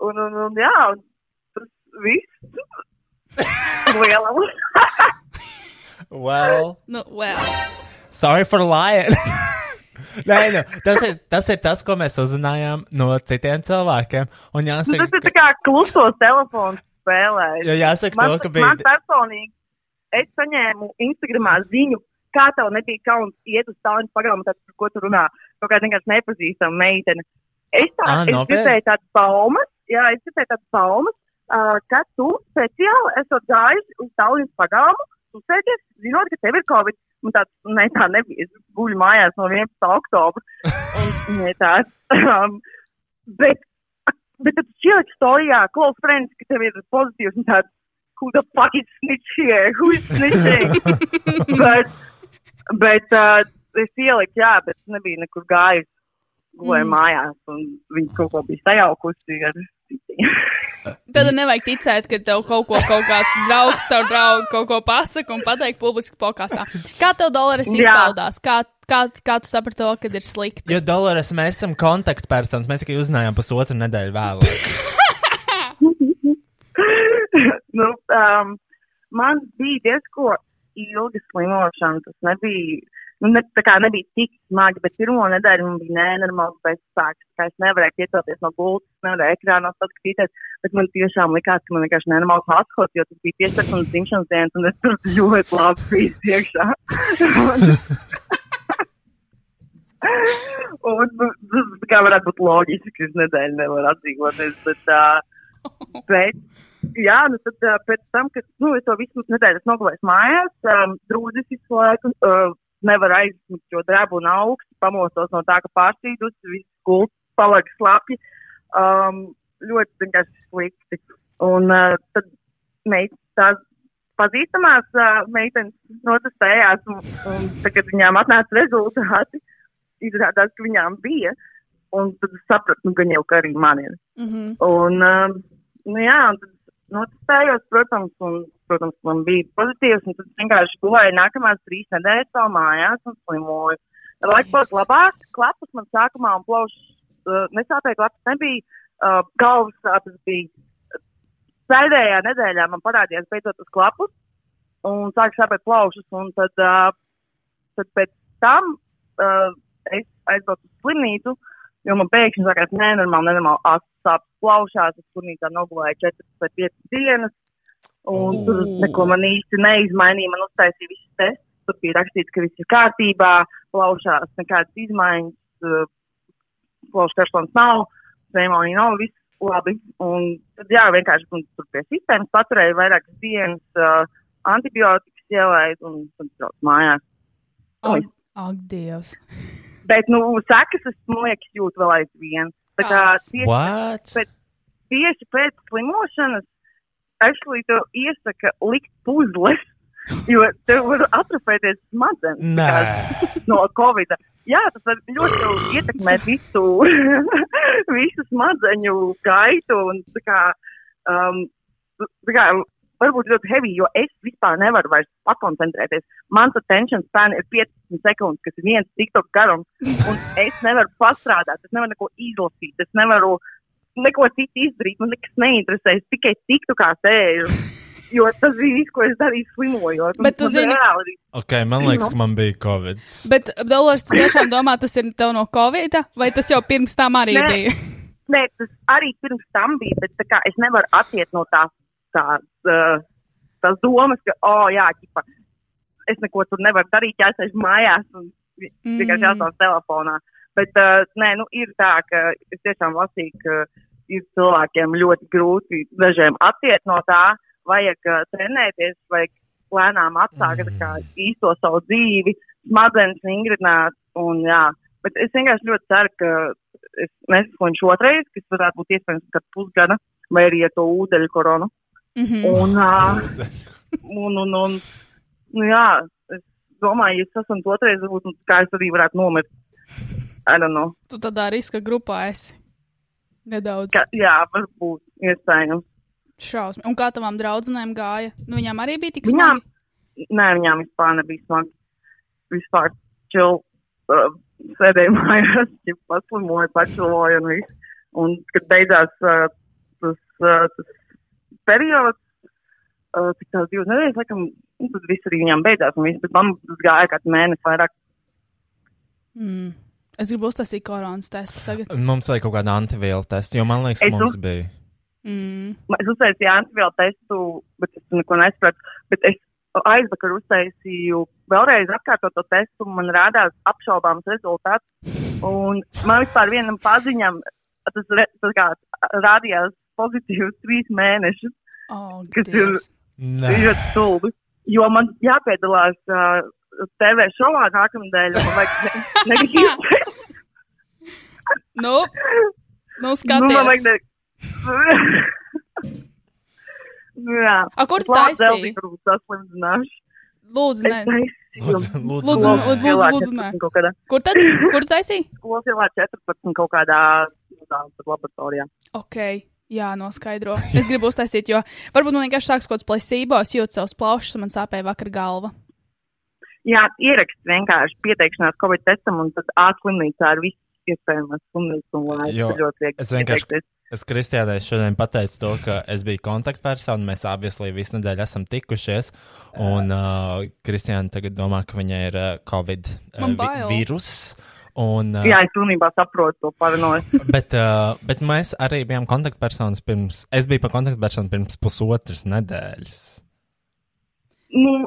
un, un, un, jā, un tas viss. Liela. well. Nu, well. Sorry for lying. Nē, nu, tas, ir, tas ir tas, ko mēs uzzinājām no citiem cilvēkiem. Un Nu, jāsaka, tas ir tā kā klusos telefons spēlēs. jo jāsaka man, to, ka bija. man personīgi, es saņēmu Instagramā ziņu, kā tev nebija kauns iet uz tādu pagalmu, tad par ko tu runā. Kaut kāda vienkārši nepazīstama meitene. Es tā, Ā, es nopietni? dzirdēju tādas baumas, jā, es dzirdēju tādas baumas, uh, ka tu speciāli esot gājis uz tādu pagalmu, uzsēties, zinot, ka tev ir covid. Un tāds, ne, tā nebija. Es guļu mājās no 11. oktobra. Un, ne, tāds, um, bet, bet tad šķiet, ka storijā, close friends, ka tev ir pozitīvs un tāds, who the fuck is snitch here? Who is snitching? bet, bet uh, es ieliku, jā, bet nebija nekur gājis. Gulēju mm. mājās, un viņi kaut ko bija sajaukusi ar citiem. Tad nevajag ticēt, ka tev kaut ko kaut kāds draugs savu draugu kaut ko pasaka un pateikt publiski podkāstā. Kā tev dolāris Jā. izpaudās? Kā, kā, kā tu saprati to, kad ir slikti? Jo Dolores, mēs esam kontaktpersonas, mēs tikai uzzinājām pusotru nedēļu vēlāk. nu, um, man bija diezgan ilga slimošana. Tas nebija, nu, ne, tā kā nebija tik smagi, bet pirmo nedēļu man bija nenormāli bezspēks. tā kā Es nevarēju piecelties no gultas, nevarēju ekrānos paskatīties, bet man tiešām likās, ka man vienkārši nenormāli paskot, jo tas bija 15 un dzimšanas dienas, un es tur ļoti labi biju iekšā. Un, nu, tas kā varētu būt loģiski, ka es nedēļu nevaru atdzīvoties. Bet, uh, bet, jā, nu tad uh, pēc tam, kad nu, es to visu nedēļu esmu nogulējis mājās, um, drūzis visu laiku uh, nevar aizmigt, jo drēbu un augstu pamostos no tā, ka pārstīdus, viss gults paliek slapji. Um, ļoti vienkārši slikti. Un uh, tad meit, tās pazīstamās uh, meitenes protestējās, un, un tad, kad viņām atnāca rezultāti, izrādās, ka viņām bija. Un tad es sapratu, nu, gan jau, ka arī man ir. Mhm. Un, um, nu, jā, un tad notestējos, protams, un, protams, man bija pozitīvs, un tad vienkārši gulēju nākamās trīs nedēļas vēl mājās un slimoju. Laiks būs labāk, klapas man sākumā un plaušas uh, nesāpēja, klapas nebija, uh, galvas sāpes bija. Pēdējā nedēļā man parādījās beidzot uz klapus, un sāk sāpēt plaušas, un tad, uh, tad pēc tam uh, es aizbraucu uz slimnīcu, jo man pēkšņi sākās nenormāli, nenormāli asas sāpes plaušās, es slimnīcā nogulēju 4 vai 5 dienas, un Mm. tur neko man īsti neizmainīja, man uztaisīja visus testus, tur bija rakstīts, ka viss ir kārtībā, plaušās nekādas izmaiņas, uh, plaušu karstums nav, pneimonija nav, viss labi. Un tad jā, vienkārši un, tur pie sistēmas paturēja vairākas dienas, uh, antibiotikas ielaid un tad brauc mājās. Ak, ak, Dievs. Bet, nu, sekas es, man liekas, jūtu vēl aizvien. Tā kā Kāds? tieši, What? tieši pēc slimošanas Ashley tev iesaka likt puzles, jo tev var atrapēties smadzenes tā Nē. kā no Covid. Jā, tas var ļoti tev ietekmēt visu, visu smadzeņu gaitu un tā kā, um, tā kā varbūt ļoti heavy, jo es vispār nevaru vairs pakoncentrēties. Mans attention span ir 15 sekundes, kas ir viens tiktok garums, un es nevaru pastrādāt, es nevaru neko izlasīt, es nevaru neko citu izdarīt, man nekas neinteresē, es tikai tiktokā sēžu. Jo tas bija viss, ko es darīju slimojot. un Bet tu man zini- reāli arī Ok, man liekas, Nu. ka man bija Covid. Bet, Dolors, tu tiešām domā, tas ir tev no Covid, vai tas jau pirms tam arī Nē. bija? Nē, tas arī pirms tam bija, bet tā kā, es nevaru attiekt no tās, tās, uh, tās domas, ka, oh, jā, ķipa, es neko tur nevaru darīt, jāsēž mājās un vi- Mm. vienkārši jāstāv telefonā. Bet, uh, nē, nu, ir tā, ka es tiešām lasīju, ka ir cilvēkiem ļoti grūti dažiem attiekt no tā, vajag uh, trenēties, vajag lēnām atsākt tā kā īsto savu dzīvi, smadzenes ningrināt un, jā. Bet es vienkārši ļoti ceru, ka es nesaslimšu otrais, kas varētu būt iespējams kad pusgada, vai arī ar to ūdeļu koronu. Mhm. Un, ā, un, un, un, nu jā, es domāju, ja es saslimšu otrais, varbūt nu, kā es arī varētu nomirt. I don't know. Tu tādā riska grupā esi. Nedaudz Ka, jā, varbūt iespējams. šausmīgi. Un kā tavām draudzenēm gāja? Nu, viņām arī bija tik Viņām, smagi. nē, viņām vispār nebija smagi. Vispār čil, uh, sēdēju mājās, ja paslimoju, pačiloju un viss. Un, kad beidzās uh, tas, uh, tas periods, uh, tik tās divas nedēļas, laikam, nu, tad viss arī viņām beidzās un viss. Bet man tas gāja kāds mēnesis vairāk. Mm. Es gribu uztaisīt koronas testu tagad. Mums vajag kaut kādu antivielu testu, jo man liekas, Es ka mums bija. Mm. Es uztaisīju antivielu testu, bet es neko nesapratu. Bet es aizvakar uztaisīju vēlreiz atkārtot to testu, un man rādās apšaubāms rezultāts. Un man vispār vienam paziņam tas, re, tas kā, rādījās pozitīvs trīs mēnešus, Oh, Kas ir- Dievs. Tas ir Nē, ļoti stulbi. Jo man jāpiedalās uh, TV šovā nākamnedēļ, un man vajag ne, ne, Nu, nu nu, man skaties. vajag ne, Nu, jā. A, kur Es tu labi taisīji? zeltīju, Varbūt tas slimdināšu. Lūdzu, Es nē. taisīju. lūdzu, Lūdzu, lūdzu. lūdzu, nē. lūdzu. Skolā 14 kaut kādā- Kur tad? Kur tu taisīji? skolas ielā 14 kaut kādā nu, tā, tur laboratorijā. Ok, jā, noskaidro. Es gribu uztaisīt, jo varbūt man vienkārši sāks kaut kāds placebo, es jūtu savus plaušas, un man sāpēja vakar galva. Jā, ierakst vienkārši pieteikšanās Covid testam un tad ātlimnīcā ar visu iespējamās slimnīcu un Jo, laiku. Ļoti viegli es vienkārši- pieteikties. Es Kristiānai šodien pateicu to, ka es biju kontaktpersona. Mēs abi visu nedēļu esam tikušies. Un uh, Kristiāna tagad domā, ka viņai ir uh, Covid uh, Man vi bail. vīruss. Un, uh, Jā, es pilnībā saprotu to paranoju. bet, uh, bet mēs arī bijām kontaktpersonas pirms. Es biju pa kontaktpersonu pirms pusotras nedēļas. nu,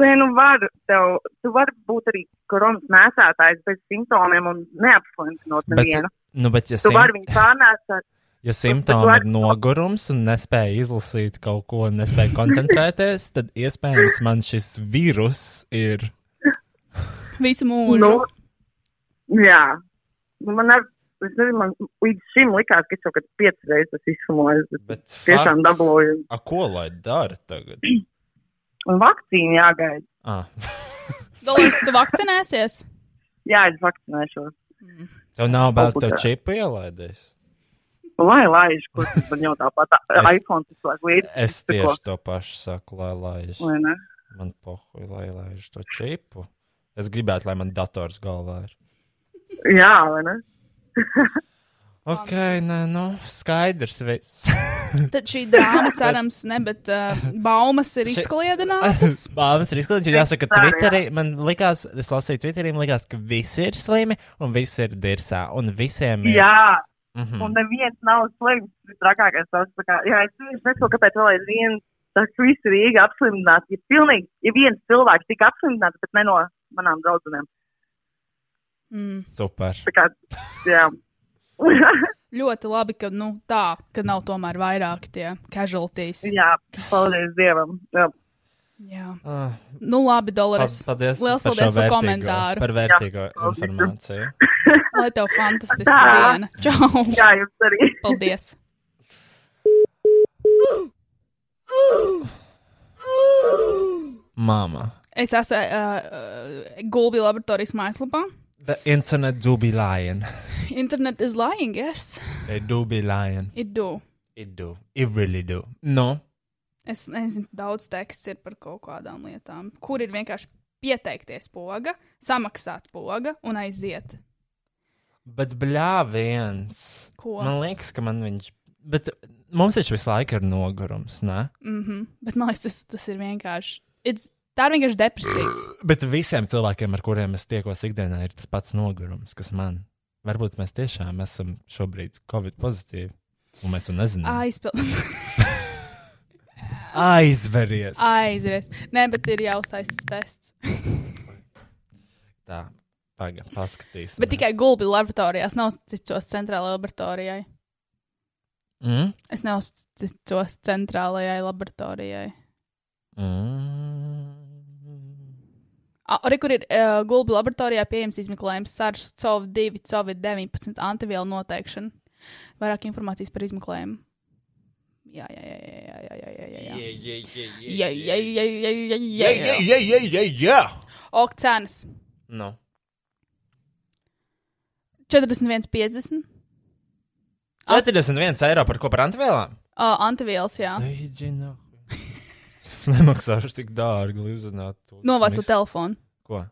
Nē, nu var, tev, tu vari būt arī koronas nesētājs bez simptomiem un neapslimstinot Bet, nevienu. nu, bet ja, Tu vari sim, viņu pārnēsāt. ja tu simptomi vari- ir nogurums un nespēja izlasīt kaut ko, nespēja koncentrēties, tad iespējams man šis vīrus ir. Visu mūžu. Nu, jā. Nu, man ar, es nezinu, man līdz šim likās, ka es jau kad piecas reizes esmu izsumojis, bet Bet tiešām dabloju. A, ko lai dara tagad? Un vakcīnu jāgaida. Ah. Dolārs, tu vakcinēsies? Jā, es vakcinēšos. Tev nav bail, ka tev Komputā. čipu ielaidīs. Lai laiž, kur tas man jau tāpat Es- iPhone tas vajag līdzi. Es Tu ko? tieši to pašu saku, lai laiž. Vai ne? Man pohuj, lai laiž to čipu. Es gribētu, lai man dators galvā ir. Jā, vai ne? Ok, nē, nu, skaidrs viss. Tad šī drāma, cerams, ne, bet uh, baumas ir Še- izkliedinātas. Bāvis ir izklaidīts, jo jāsaka, ka Tā, jā. Twitterī man likās, es lasīju Twitterī, man likās, ka visi ir slimi un visi ir dirsā. Un visiem ir. Jā, Mhm. un neviens nav slims. Tas ir trakākais. Tas, tā kā, jā, es vienkārši nesaprotu, kāpēc vēl aizvien tas viss ir īga apslimināts. Ja pilnīgi, ja viens cilvēks tika apslimināts, bet ne no manām draudzenēm. Mm, Super. Tā kā, jā. ļoti labi, ka nu, tā, ka nav tomēr vairāk tie casualties. jā, paldies Dievam. Jā. Jā. Ah, Nu, labi, Dolārs. pa- paldies Liels par, šo paldies par vērtīgo- komentāru. Par vērtīgo paldies. informāciju. Lai tev fantastiska Tā. diena. Čau! jā, jums arī. Paldies! Māma. Es esmu uh, Gulbi laboratorijas mājaslapā. The internet do be lying. Internet is lying, yes, They do be lying. it do. It do. It really do. Nu, No. Es nezinu, daudz teksts ir par kaut kādām lietām, kur ir vienkārši pieteikties poga, samaksāt poga un aiziet. Bet bļā viens. Ko? Man liekas, ka man viņš. Bet mums taču visu laiku ir nogurums, ne? Mm -hmm. Bet man liekas, tas, tas ir vienkārši. It's, tā ir vienkārši depresija. Bet visiem cilvēkiem, ar kuriem es tiekos ikdienā, ir tas pats nogurums, kas man. Varbūt mēs tiešām esam šobrīd Covid pozitīvi. Un mēs to nezinām. Aizpildīt. Aizveries! Aizries. Nē, bet ir jāuztais tas tests. Tā, pagaidi, paskatīsimies. Bet tikai gulbi laboratorijās nav cicos centrālajai laboratorijai. Mm? Es neuzticos centrālajai laboratorijai. Mm. A- Arī kur ir uh, gulbi laboratorijā pieejams izmeklējums SARS, COV2, COVID-19 antivielu noteikšana. Vairāk informācijas par izmeklējumu. Jā, jā, jā, jā, jā, jā, jā, jā, jā. Jā, jā, jā, jā, jā, jā, jā, jā. Mm. jā, jā, jā! Ok, cenas Nu, 41,50. Ah. 41 eiro par ko par antivielām? Uh, antivielas, jā. Leģina. Es Nu, nemaksāšu tik dārgi, lai uzzinātu. to. Novāca Smiks. telefonu. Ko?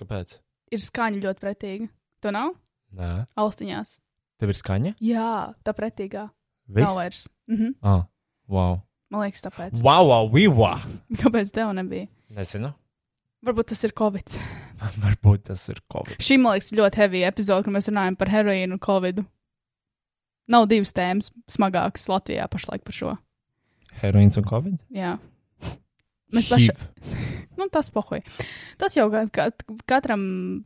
Kāpēc? Ir skaņa ļoti pretīga. Tu nav? Nē, Austiņās. tev ir skaņa. Jā, tā pretīgā. Nav Viss. vairs. Mhm. Ah, wow. Man liekas, tāpēc. Wow, wow, wow. Kāpēc tev nebija? Nezinu. Varbūt tas ir covid. Varbūt tas ir COVID. Šī, man liekas, ļoti heavy epizode, kad mēs runājam par heroīnu un covid. Nav divas tēmas smagākas Latvijā pašlaik par šo. Heroīns un COVID? Jā. Mēs paši. Nu, tas pohoj. Tas jau ka- ka- katram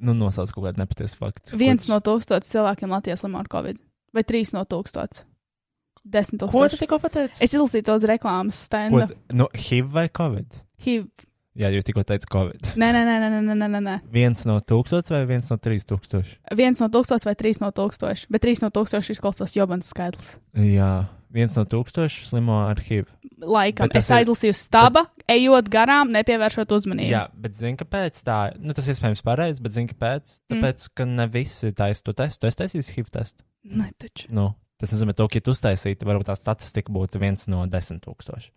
Nu, nosauc kaut kādu nepatiesu faktu. viens Ko- no tūkstotis cilvēkiem Latvijā slimo ar covid. Vai trīs no tūkstotis. Desmit Ko tu tūkstoši. tikko pateici? Es izlasīju tos reklāmas Ko stendu. tu- Nu, HIV vai COVID? HIV. Jā, jūs tikko teicāt COVID. Nē, nē, nē, nē, nē, nē, nē, nē. Viens no tūkstošiem vai viens no trīs tūkstošiem? Viens no tūkstotis vai trīs no tūkstoši. Bet trīs no tūkstoši izklausās jobans skaitlis. Jā, viens no tūkstošiem slimo ar HIV. laikam. Bet tas Es ir- aizlasīju staba, bet... ejot garām, nepievēršot uzmanību. Jā, bet zini, kāpēc tā? Nu, tas iespējams pareizi, bet zini, kāpēc? Mm. Tāpēc, mm. ka ne visi taisa to testu. Es taisīju HIV testu. Nē, taču. Nu, tas nozīmē, to, ka, ja tu uztaisītu, varbūt tā statistika būtu viens no desmit tūkstošiem.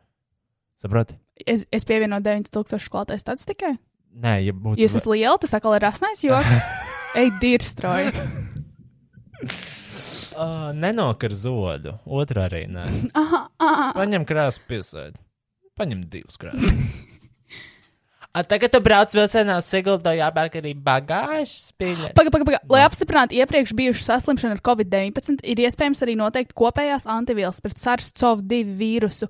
Saproti? Es, es pievienoju 9000 klātais statistikai. Nē, ja būtu. Jūs esat liela, tas atkal ir rasnais joks. Ej, dirstroji. uh, nenokar zodu. Otra arī nē. Aha, aha. Paņem krāsu, piesēdi. Paņem divus krāsus. A tagad tu brauc vilcienā uz Sigludu, jāpērk arī bagāžas piļņa. Paga, paga, paga. Lai apstiprinātu iepriekš bijušu saslimšanu ar covid-19, ir iespējams arī noteikt kopējās antivielas pret SARS-CoV-2 vīrusu,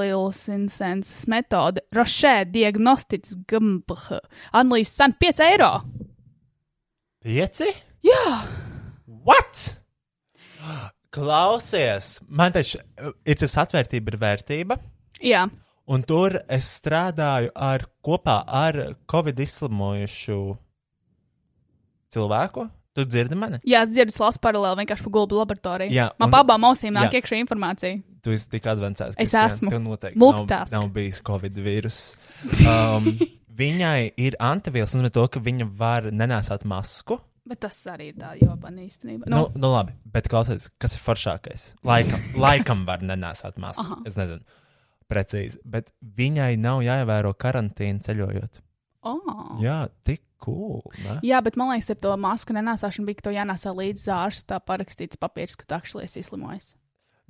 elektrohemoilsinsenses metode, Rošē diagnostics GMBH, analīzes cena 5 eiro. Pieci? Jā, What? Klausies, man taču uh, ir tas atvērtība ir vērtība, jā. un tur es strādāju ar, kopā ar Covid izslimojušu cilvēku. Tu dzirdi mani? jā es dzirdu slāpes paralēli vienkārši pa gulbu laboratoriju. Jā, Man un- pa abām ausīm nāk jā. iekšā informācija. Tu esi tik advancēts. Es Kristiāna, esmu. Tev noteikti Multitask. Nav, nav bijis Covid vīrus. Um, viņai ir antivielas, un to, ka viņa var nenēsāt masku. Bet tas arī ir tā joba īstenībā. Nu, Nu, nu, labi, bet klausies, kas ir foršākais? Laikam, laikam var nenēsāt masku. Aha. Es nezinu. Precīzi, bet viņai nav jāievēro karantīna ceļojot. nu. Oh. Jā, tik cool. Ne? Jā, bet man liekas, ar to masku nenāsāšanu bija, ka to jānāsā līdz ārstā parakstīts papīrs, ka tu akšļi esi izslimojis.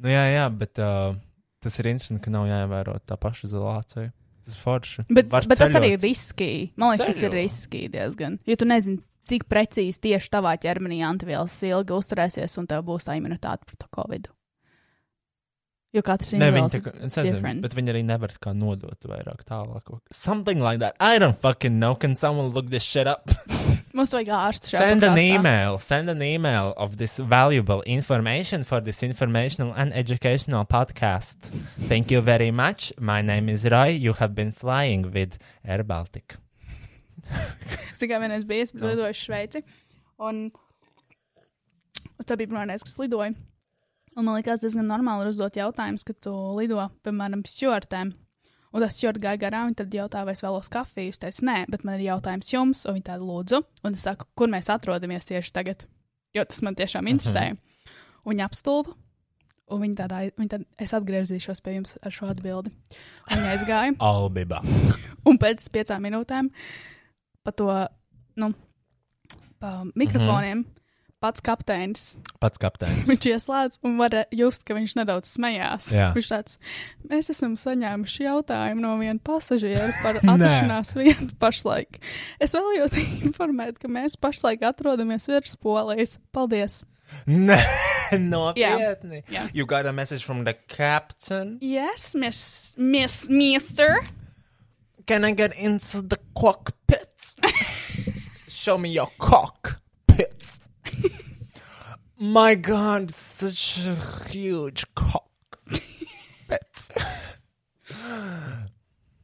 Nu, jā, jā, bet uh, tas ir interesanti, ka nav jāievēro tā paša izolācija. Tas ir forši. Bet, Var bet tas ceļot. arī ir riski. Man liekas, tas ir Ceļo. riski diezgan. Jo tu nezini, cik precīzi tieši tavā ķermenī antivielas ilgi uzturēsies, un tev būs tā imunitāte pret to covid. Jo katrs Ne, viņa individuāls tā ir kā, es nezinu, different. bet viņa arī nevar tā kā nodot vairāk tālāk. Something like that. I don't fucking know. Can someone look this shit up? Mums vajag ārstu šajā Send an podkastā. email. Send an email of this valuable information for this informational and educational podcast. Thank you very much. My name is Roy. You have been flying with Air Baltic. Es tikai vienreiz biju, es lidoju uz Šveici. Un tā bija pirmā reize, kad es lidoju. Un man liekas, diezgan normāli ir uzdot jautājumus, kad tu lido, piemēram, stjortēm. Un tas stjorta gāja garām, viņa tad jautāja, vai es vēlos kafiju. Es teicu, nē, bet man ir jautājums jums, un viņa tāda lūdzu. Un es saku, kur mēs atrodamies tieši tagad, jo tas man tiešām interesē. Un viņa apstulba. Un viņa tādā, viņa tad, es atgriezīšos pie jums ar šo atbildi. Un Viņa aizgāja. Albiba. Un pēc piecām minūtēm pa to nu, pa mikrofoniem mm -hmm. pats kapteinis Pats kapteinis. viņš ieslēdz un var just, ka viņš nedaudz smējās. Jā. Viņš tāds, mēs esam saņēmuši jautājumu no viena pasažiera par atrašanās vietu pašlaik. Es vēlējos informēt, ka mēs pašlaik atrodamies virs polijas. Paldies! Nē, nopietni. Jā. You got a message from the captain. Yes, miss, miss, mister! Can I get into the cockpit? Show me your cockpit. My God, such a huge cockpit.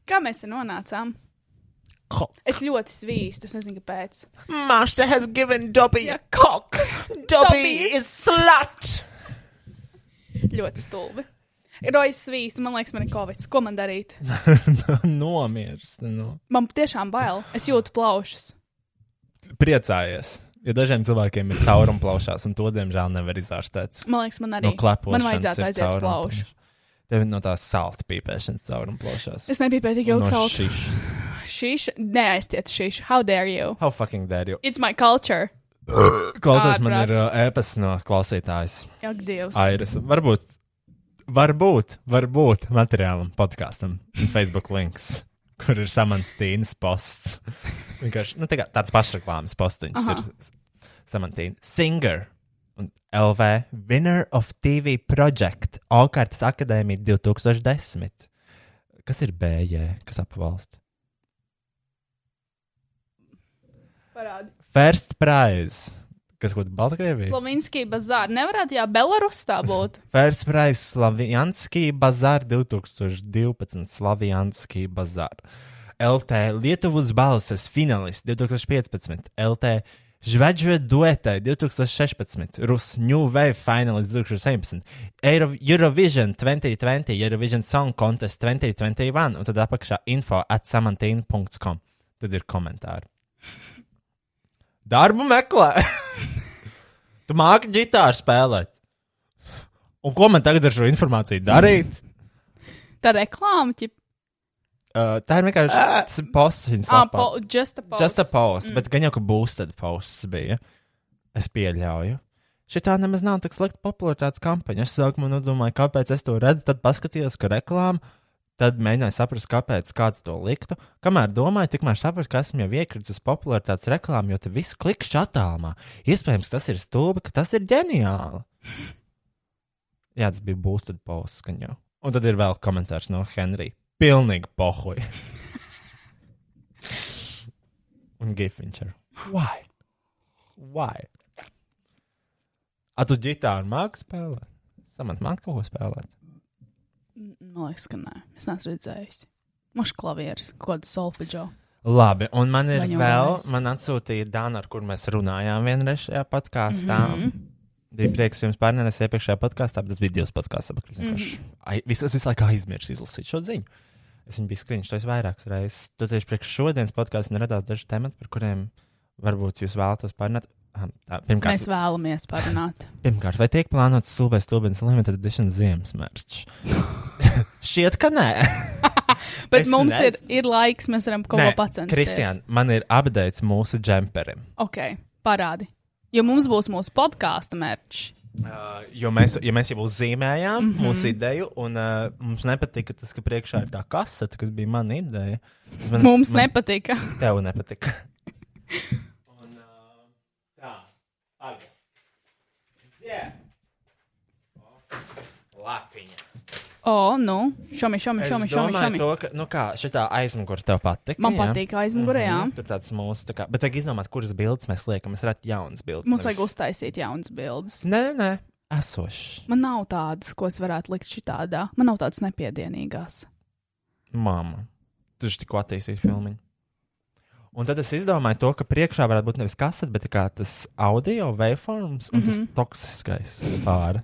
Kā mēs te nonācām? Cock. Es ļoti svīstu, es nezinu, kāpēc. Master has given Dobby a cock. Dobby, Dobby. is slut. Ļoti stulbi. Rojas svīst, man liekas, man ir covid. Ko man darīt? Nomirst. No. Man tiešām bail. Es jūtu plaušas. Priecājies. Jo dažiem cilvēkiem ir caurums plaušās, un to, diemžēl, nevar izārstēt. Man liekas, man arī No klepošanas. Man vajadzētu ir aiziet uz caurumplaušas. plaušu. Tev ir no tās salta pīpēšanas caurums plaušās. Es nebiju pētīgi ilgi no salt. šīs. Šīš, neaiztiet šīš. How dare you? How fucking dare you? It's my culture. Klausies, man Ārprāts. ir uh, ēpas no klausītājas. Jak dievs. Airis. Varbūt, varbūt, varbūt materiālam, podkāstam, Facebook links, kur ir samants Tīnas posts. Vienkārši nu, tā kā tāds pašreklāmas postiņš Aha. ir samantīna. Singer un LV Winner of TV Project Alkārtas akadēmija 2010. Kas ir BJ, kas apvalst? Parādi. First prize. Kas kaut kāda Baltkrievija? Slovinskija bazāra. Nevarētu, jā, Belarus tā būtu. First Prize Slavijanskī bazār 2012 Slavijanskī bazār. LT Lietuvas balses finālists 2015, LT Žvaigždžu duetē 2016, Rus New Wave finālists 2017, Euro Eurovision 2020, Eurovision Song Contest 2021 un tad apakšā info at samantīna.com. Tad ir komentāri. Darbu meklē! tu māki ģitāru spēlēt! Un ko man tagad ar šo informāciju darīt? Tā reklāma, ķip. Uh, tā ir vienkārši posts. Viņa Ah, slapā. po, just a po. Just a posts, mm. bet gan jau ka būs tad posts bija. Es pieļauju. Šitā nemaz nav tik slikta popularitātes kampaņa. Es sākumā nu domāju, kāpēc es to redzu, tad paskatījos, ka reklāma Tad mēģināju saprast, kāpēc kāds to liktu. Kamēr domāju, tikmēr sapratu, ka esmu jau iekritis uz popularitātes reklāmu, jo te viss klikšķi attālumā. Iespējams, tas ir stulbi, ka tas ir ģeniāli. Jā, tas bija boosted pauses skaņā. Un tad ir vēl komentārs no Henrija. Pilnīgi pohuj. Un gifiņš ir. Why? Why? A tu ģitāru māki spēlēt? Samant, man kaut ko spēlēt. Man liekas, ka nē, es neesmu redzējis. Mašs klavieris, kaut kāda solfeģa. Labi, un man ir Vai jau vēl, mēs? man atsūtīja Dāna, ar kur mēs runājām vienreiz šajā podkāstā. Mm Mhm. -hmm. Bija prieks jums pārnēs iepriekšējā podkāstā, bet tas bija divas podkāstu Mhm. apakšas. Mm -hmm. Visas visu laiku aizmirsu izlasīt šo ziņu. Es viņu biju skriņš, tas vairākas reizes. Tad tieši priekš šodienas podkāstā man radās daži temati, par kuriem varbūt jūs vēlatos pārnāt. Pirmkārt, Mēs vēlamies parunāt. Pirmkārt, vai tiek plānots stulbais stulbens limited edition ziemas mērķis? Šķiet, ka nē. Bet Es mums ir, nezinu. ir laiks, mēs varam kaut ko pacensties. Kristian, man ir apdeits mūsu džemperim. Ok, parādi. Jo mums būs mūsu podkāstu mērķis. Uh, jo mēs, ja mēs jau uzzīmējām Mhm. mm -hmm. mūsu ideju, un uh, mums nepatika tas, ka priekšā ir tā kasete, kas bija mana ideja. Man, Mums nepatika. Tev nepatika. un, uh, tā, tagad. Dzē. Lapiņa. O, nu, šomi, šomi, Es šomi, šomi. domāju, šomi. to, ka, nu kā, šitā aizmugure tev patīk. Man patīk aizmugure, jā. Mhm. Tur tāds mūsu, tā kā, bet tagad izdomāt, kuras bildes mēs liekam. Mēs redzam, jaunas bildes. Mums vajag nevis- uztaisīt jaunas bildes. Nē, nē, nē. esošs. Man nav tādas, ko es varētu likt šitādā. Man nav tādas nepiedienīgās. Māma. Tu taču tikko attīstīji filmu. Un tad es izdomāju to, ka priekšā varētu būt nevis kasete, bet tā kā tas audio waveforms un mm Mhm. -hmm. tas toksiskais pāri.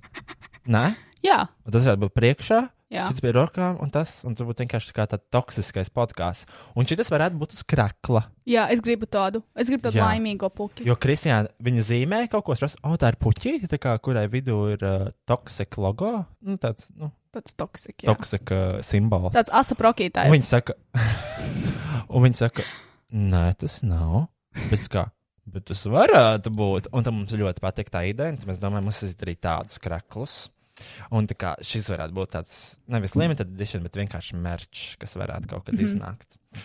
Nē, Jā, un tas varētu būt priekšā. jā. Šis bija rokām, un tas, un tur būtu vienkārši tā kā tāds toksiskais podkāsts. Un šis varētu būt uz krakla. jā, es gribu tādu. Es gribu tādu Jā. laimīgo puķi. Jo Kristiāna, viņa zīmē kaut ko tādu, oh, tā ir puķīte, tā kā, kurai vidū ir uh, toksika logo, nu, tāds nu, Tāds toksik. Jā. toksika simbols. Tāds asaprokītājs. Un viņa saka, un viņa saka, nē, tas nav. Bet, es kā, bet tas varētu būt. Un tam mums ļoti patīk tā ideja. un tad Mēs domājam, mums ir arī tāds kraklus. Un tā kā šis varētu būt tāds nevis limited edition, bet vienkārši merch, kas varētu kaut Mhm. kad mm -hmm. iznākt.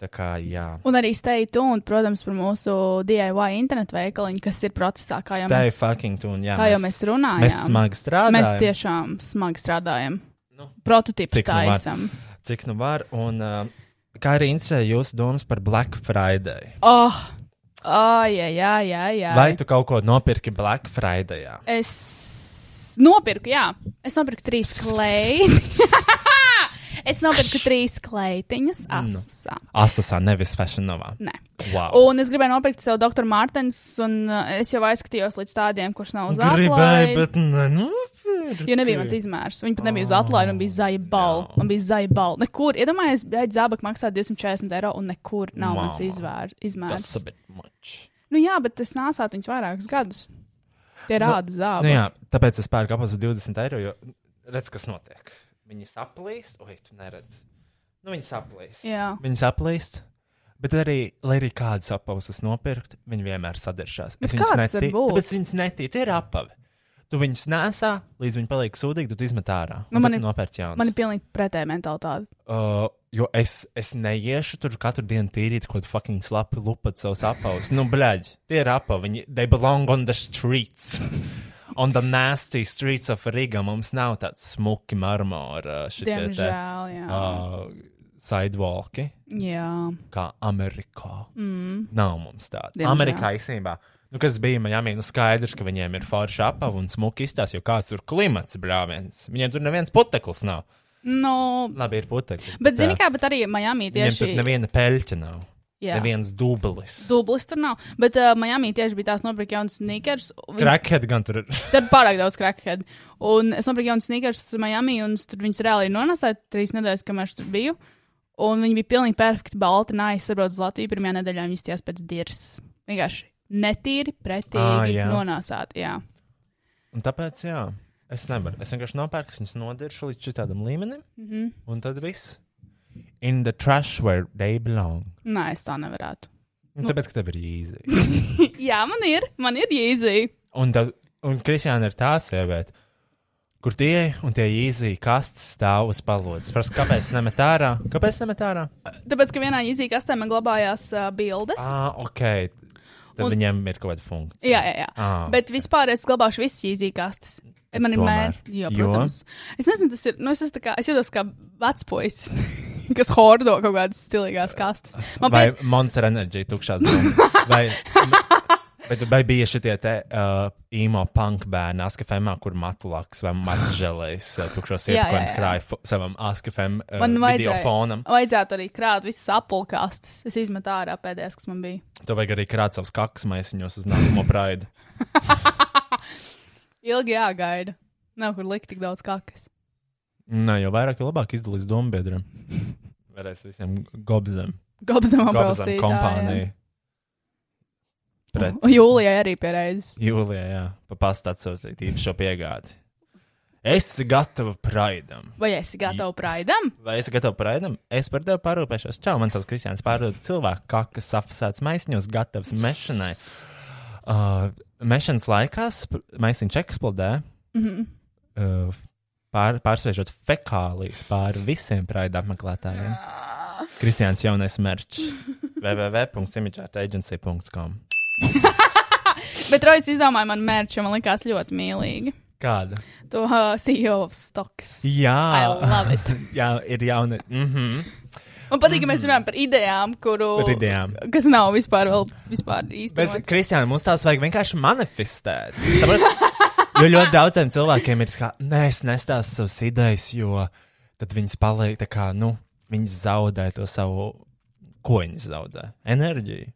Tā kā, jā. Un arī steitu, un, protams, par mūsu DIY internetu veikaliņu, kas ir procesā, kā jau Stay mēs, fucking tune, jā. kā jau mēs runājām. Mēs smagi strādājam. Mēs tiešām smagi strādājam. Nu, Prototyps cik nu var. taisam. cik nu var. Un, uh, kā arī interesē jūsu domas par Black Friday? Oh, oh, jā, jā, jā, jā. Vai tu kaut ko nopirki Black Friday? Es nopirku, jā, es nopirku trīs kleitiņas. es nopirku trīs kleitiņas Nu. asā. Asasā, nevis Fashionovā. Nē. Wow. Un es gribēju nopirkt sev doktoru Mārtens, un uh, es jau aizskatījos līdz tādiem, kurš nav uz Gribēju, atlaidi. bet nenopirku. Jo nebija mans izmērs. Viņa pat nebija uz atlaidi, man bija zaļa balva. jā. Man bija zaļa balva. Nekur, iedomājieties, ja zābak maksā 240 eiro, un nekur nav Mamma. mans izvēr, izmērs. Tas ir much. Nu jā, bet es nesātu viņus vairākus gadus. Tie rāda Nu, zābaki. jā, tāpēc es pērku apmēram 20 eiro, jo redz, kas notiek. Viņi saplīst, oi, tu neredz. Nu, viņi saplīst. Jā. Viņi saplīst. Bet arī, lai arī kādu apavus nopirkt, viņi vienmēr sadaršās. Bet Es viņus kāds var neti- būt? Tāpēc viņas netīra, tie ir apavi. Tu viņus nesā, līdz viņi paliek sūdīgi, tu tos izmet ārā. Nu, Nu, man man ir ir- nopērts jauns. Man ir pilnīgi pretēja mentalitāte. Uh, jo es, es neiešu tur katru dienu tīrīt kaut kādu fucking slapu lupat savus apavus. Nu, blēģi, tie ir apavi. Viņi, they belong on the streets. On the nasty streets of Riga mums nav tāds smuki marmora šitie te Diemžēl, jā. uh, sidewalki, Jā. kā Amerikā. Mm. Nav mums tāda. Diemžēl. Amerikā īstenībā. Nu, kas bija Miami, nu skaidrs, ka viņiem ir forša apava un smuki izstāsta, jo kāds tur klimats brāviens. Viņiem tur neviens puteklis nav. Nu, Labi, ir putekļi. bet jā. zini kā, bet arī Miami Viņam tur tieši. neviena peļķa nav. Jā. Jā. Neviens dublis. Dublis tur nav, bet uh, Miami tieši bija tās nopirkt jaunas sneakers. Viņ- Krakhead gan tur ir. Tad pārāk daudz crackhead. Un es nopirku jaunu sneakers Miami, un es tur viņas reāli nonāca trīs nedēļas, kamēr es tur biju. Un viņi bija pilnīgi perfekti balti, nājas, saprotu, uz Latviju. Pirmajā nedēļā viņi stījās pēc dirzas. Vienkārši netīri, Ā, pretīgi Ah, jā. nonāsāt. Jā. Un tāpēc, jā, es nevaru. Es vienkārši nopērku, es viņus nodiršu līdz šitādam līmenim. Mm Mhm. -hmm. Un tad viss. In the trash where they belong. Nē, es tā nevarētu. Un Nu. tāpēc, ka tev ir īzija. jā, man ir, man ir jēzī. Un, tad- un Kristiāna ir tā sieviete. kur tie un tie īzija kastes stāv uz palodzes. Prasu, kāpēc nemet ārā? Kāpēc nemet ārā? Tāpēc, ka vienā īzī kastē man glabājās uh, bildes. Ah, ok. Tad un... Un- viņiem ir kaut kāda funkcija. Jā, jā, jā. Ah, Ah, bet vispār es glabāšu visas īzīkastes. Man ir Tomēr. mērķis, jo, Jo? protams. Es nezinu, tas ir. Nu, es, esmu tā kā, es jūtos kā vecs puisis, kas hordo kaut kādas stilīgās kastes. Man Vai patīk, Monster Energy tukšās domas? vai, bet, vai bija šitie te uh, īmo punk bērni Askafemā, kur matulaks vai matželējs uh, tukšos Jā, jā, iepakojums jā. krāja fo- savam Askafem uh, man vajadzētu, videofonam? vajadzētu arī krāt visas apakastes. Es izmetu ārā pēdējās, kas man bija. Tev vajag arī krāt savus kakas maisiņos uz nākamo praidu. Ilgi jāgaida. Nav kur likt tik daudz kakas. Nē, jo vairāk, jo labāk izdalīs domu biedriem. Varēs visiem gobzem, gobzem Gobzam apelsītājiem. kompāniju. Pret Jūlijai arī pierādījis. jūlijā, jā, pa pastu atsūtīt īpašo piegādi. Es esmu gatava praidam. Vai esi gatavs praidam? Vai esi gatava praidam? Es par tevi parūpēšos. Čau, man savs Kristians pārdod cilvēku, kā kas apsēts maisiņos, gatavs mešanai. Uh, mešanas laikā sp- maisiņš eksplodē, Mm -hmm. uh, pār, pārsviežot fekālijas pāri visiem praida apmeklētājiem. Kristians jaunais merčs. www.imageartagency.com Bet Rojas izdomāja man mērķi, man likās ļoti mīlīgi. Kāda? To uh, CEO of stocks. I Jā, love it. jā ir jauna. Mhm. Man patīk, ka mēs runājam par idejām, kuru, Par idejām. kas nav vispār, vēl, vispār Bet, īstenībā. Kristiāna, mums tās vajag vienkārši manifestēt. Saprati? jo ļoti daudziem cilvēkiem ir tā, ka nē, es nestāstu savas idejas, jo tad viņas paliek tā kā, nu, viņas zaudē to savu, ko viņas zaudē? Enerģiju.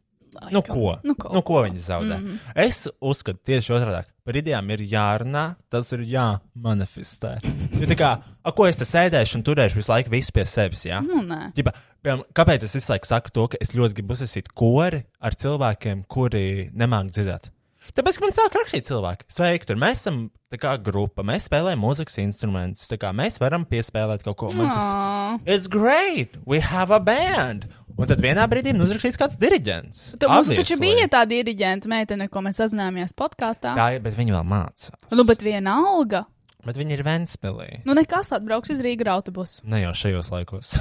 Nu, ko? Nu, ko? Mhm. nu, ko viņas zaudē? Mm -hmm. Es uzskatu tieši otrādi. Par idejām ir jārunā, tas ir jāmanifestē. Jo tā kā, "A, ko es te sēdēšu un turēšu visu laiku visu pie sevis? Jā? Nu, nē. Ģipa, piemēram, kāpēc es visu laiku saku to, ka es ļoti gribu uzsākt kori ar cilvēkiem, kuri nemāķi dzirdēt? Tāpēc, ka man sāk rakstīt cilvēki, sveiki, tur mēs esam tā kā grupa, mēs spēlējam mūzikas instrumentus, tā kā mēs varam piespēlēt kaut ko. Man Tas, Ā. It's great, we have a band. Un tad vienā brīdī man uzrakstīs kāds diriģents. Tu, mums taču Obviously. bija tāda diriģenta meitene, ar ko mēs sazinājāmies podkāstā. Tā ir, bet viņi vēl mācās. Nu, bet viena alga. Bet viņi ir Ventspēlī. Nu, nekas atbrauks uz Rīgas autobusu. Ne jau šajos laikos.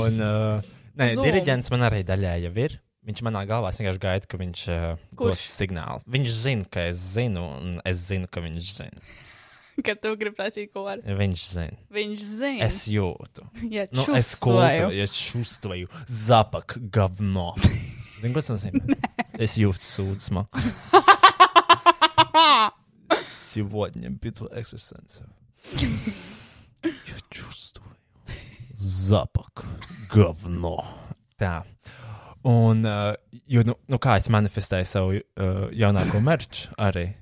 Un, uh, nē, Zoom. diriģents man arī daļai jau ir. Viņš manā galvā es vienkārši gaida, ka viņš uh, Kurš? dos signālu. Viņš zina, ka es zinu, un es zinu, ka viņš zina. Kad tu gribi taisīt ko ar Viņš zina. viņš zina. Es jūtu. ja Nu, es čustoju. kultu, es šustvēju zapak gavno. Zini, ko tas nozīmē? es jūtu sūdu smaku. Сегодня битва экстрасенсов. Я чувствую запах говно. Tā. Un, uh, jo, nu, nu, kā es manifestēju savu uh, jaunāko merču arī.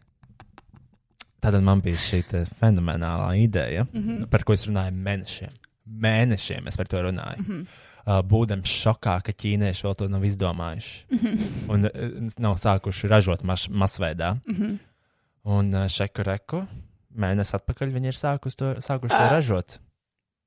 Tad man bija šī te fenomenālā ideja, mm -hmm. par ko es runāju mēnešiem. Mēnešiem es par to runāju. Mm -hmm. uh, būdams šokā, ka ķīnieši vēl to nav izdomājuši. Mm -hmm. Un uh, nav sākuši ražot maš, masveidā. Mm -hmm. Un uh, šeku reku mēnesi atpakaļ viņi ir sākuši to, sākuši to ražot.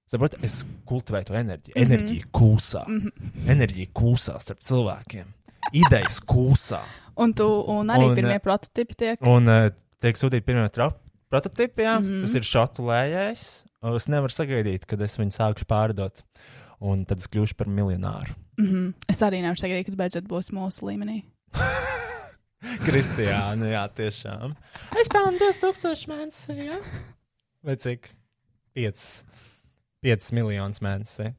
Saprotu, es kultivēju to enerģiju. Enerģija kūsā. Mm -hmm. Enerģija kūsā starp cilvēkiem. Idejas kūsā. Un tu un arī un, Un, pirmie eh, prototipi tiek. Un uh, tiek sūtīti pirmie tra- prototipi, jā. Mm -hmm. Tas ir šatulējais. Es nevaru sagaidīt, kad es viņu sākušu pārdot. Un tad es kļūšu par miljonāru. Mm -hmm. Es arī nevaru sagaidīt, kad beidzot būs mūsu līmenī. Kristijā, nu jā, tiešām. Es pelnu 2000 mēnesī. Ja? Vai cik? 5, 5 miljonus mēnesī.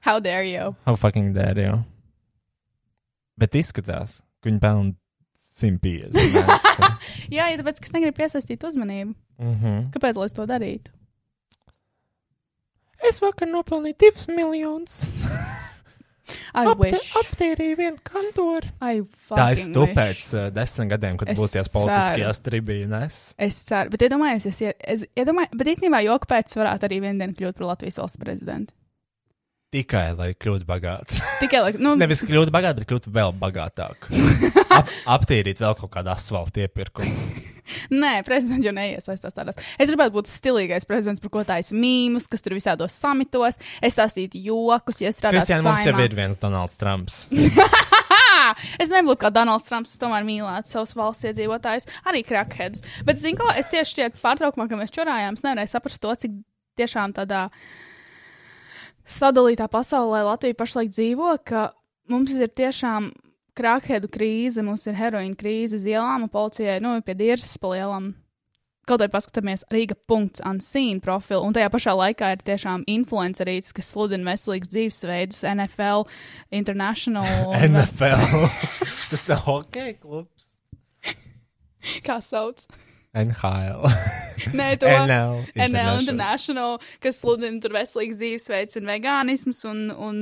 How dare you? How fucking dare you? Bet izskatās, ka viņi pelna 150. mēnesī. Jā, ja tāpēc, ka es negribu piesaistīt uzmanību. Mhm. Kāpēc lai es to darītu? Es vakar nopelnīju 2 miljonus. I Apte, wish. Ap... aptīrīju vienu kantoru. I Tā es fucking tu wish. pēc uh, desmit gadiem, kad Es būsies politiskajās tribīnēs. Es ceru, bet iedomājieties, es, ie- es iedomājos, bet īstenībā joku pēc varētu arī vienā dienā kļūt par Latvijas valsts prezidentu. Tikai lai kļūtu bagāts. Tikai, lai, nu, Nevis kļūt bagāts, bet kļūt vēl bagātāk. Ap, aptīrīt vēl kaut kādu asfaltu iepirkumu. nē, prezidents jau neiesaistās tādās. Es gribētu būt stilīgais prezidents, par ko tais mīmus, kas tur visādos samitos. Es stāstītu jokus, ja es strādātu Kristija, mums jau Saeimā. ir viens Donalds Trumps. Ā! Es nebūtu kā Donalds Trumps, es tomēr mīlētu savus valsts iedzīvotājus, arī krakheadus. Bet, zinu, ko es tieši šķiet pārtraukumā, ka mēs čurājām, es nevarēju saprast to, cik tiešām tādā sadalītā pasaulē Latvija pašlaik dzīvo, ka mums ir tiešām krakheadu krīze, mums ir heroīna krīze uz ielām, un policijai, nu, pie dirzas palielam. Kaut arī paskatāmies Rīga. Unseen profilu, un tajā pašā laikā ir tiešām influencerīts, kas sludina veselīgus dzīvesveidus, NFL, International. un- NFL. Tas nav hockey klubs. Kā sauc? NHL. Nē, to NL NL International. International, kas sludina tur veselīgs dzīvesveids un vegānisms un, un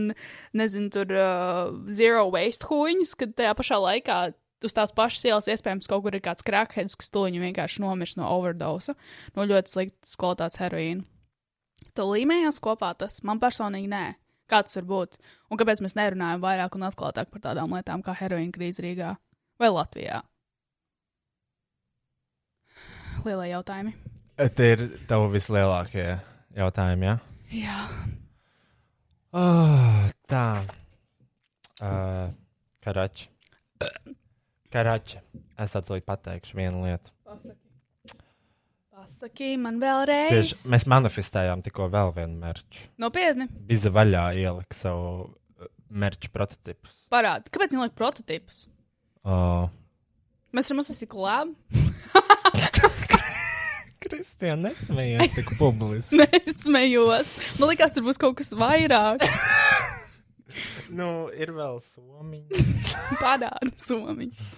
nezinu, tur uh, zero waste huņas, kad tajā pašā laikā uz tās pašas ielas iespējams kaut kur ir kāds krakheads, kas to viņu vienkārši nomirst no overdose, no ļoti sliktas kvalitātes heroīna. To līmējās kopā tas man personīgi nē. Kā tas var būt? Un kāpēc mēs nerunājam vairāk un atklātāk par tādām lietām kā heroīna krīze Rīgā vai Latvijā? Lielie jautājumi. Tie ir tavi vislielākie jautājumi, jā? Jā. Ah, Oh, tā. Uh, karači. Uh. Karači. Es tev tūlīt pateikšu vienu lietu. Pasaki man vēlreiz. Tieši mēs manifestējām tikko vēl vienu merču. Nopietni, Biza vaļā ielika savu uh, merču prototipu. parādi. Kāpēc viņi liek prototipus? Oh. Mēs varam uzsākt klābu. Kristija, nesmējies tik publiski. Es smējos. Man liekas, tur būs kaut kas vairāk. nu, ir vēl Somija. Parādi somiņas.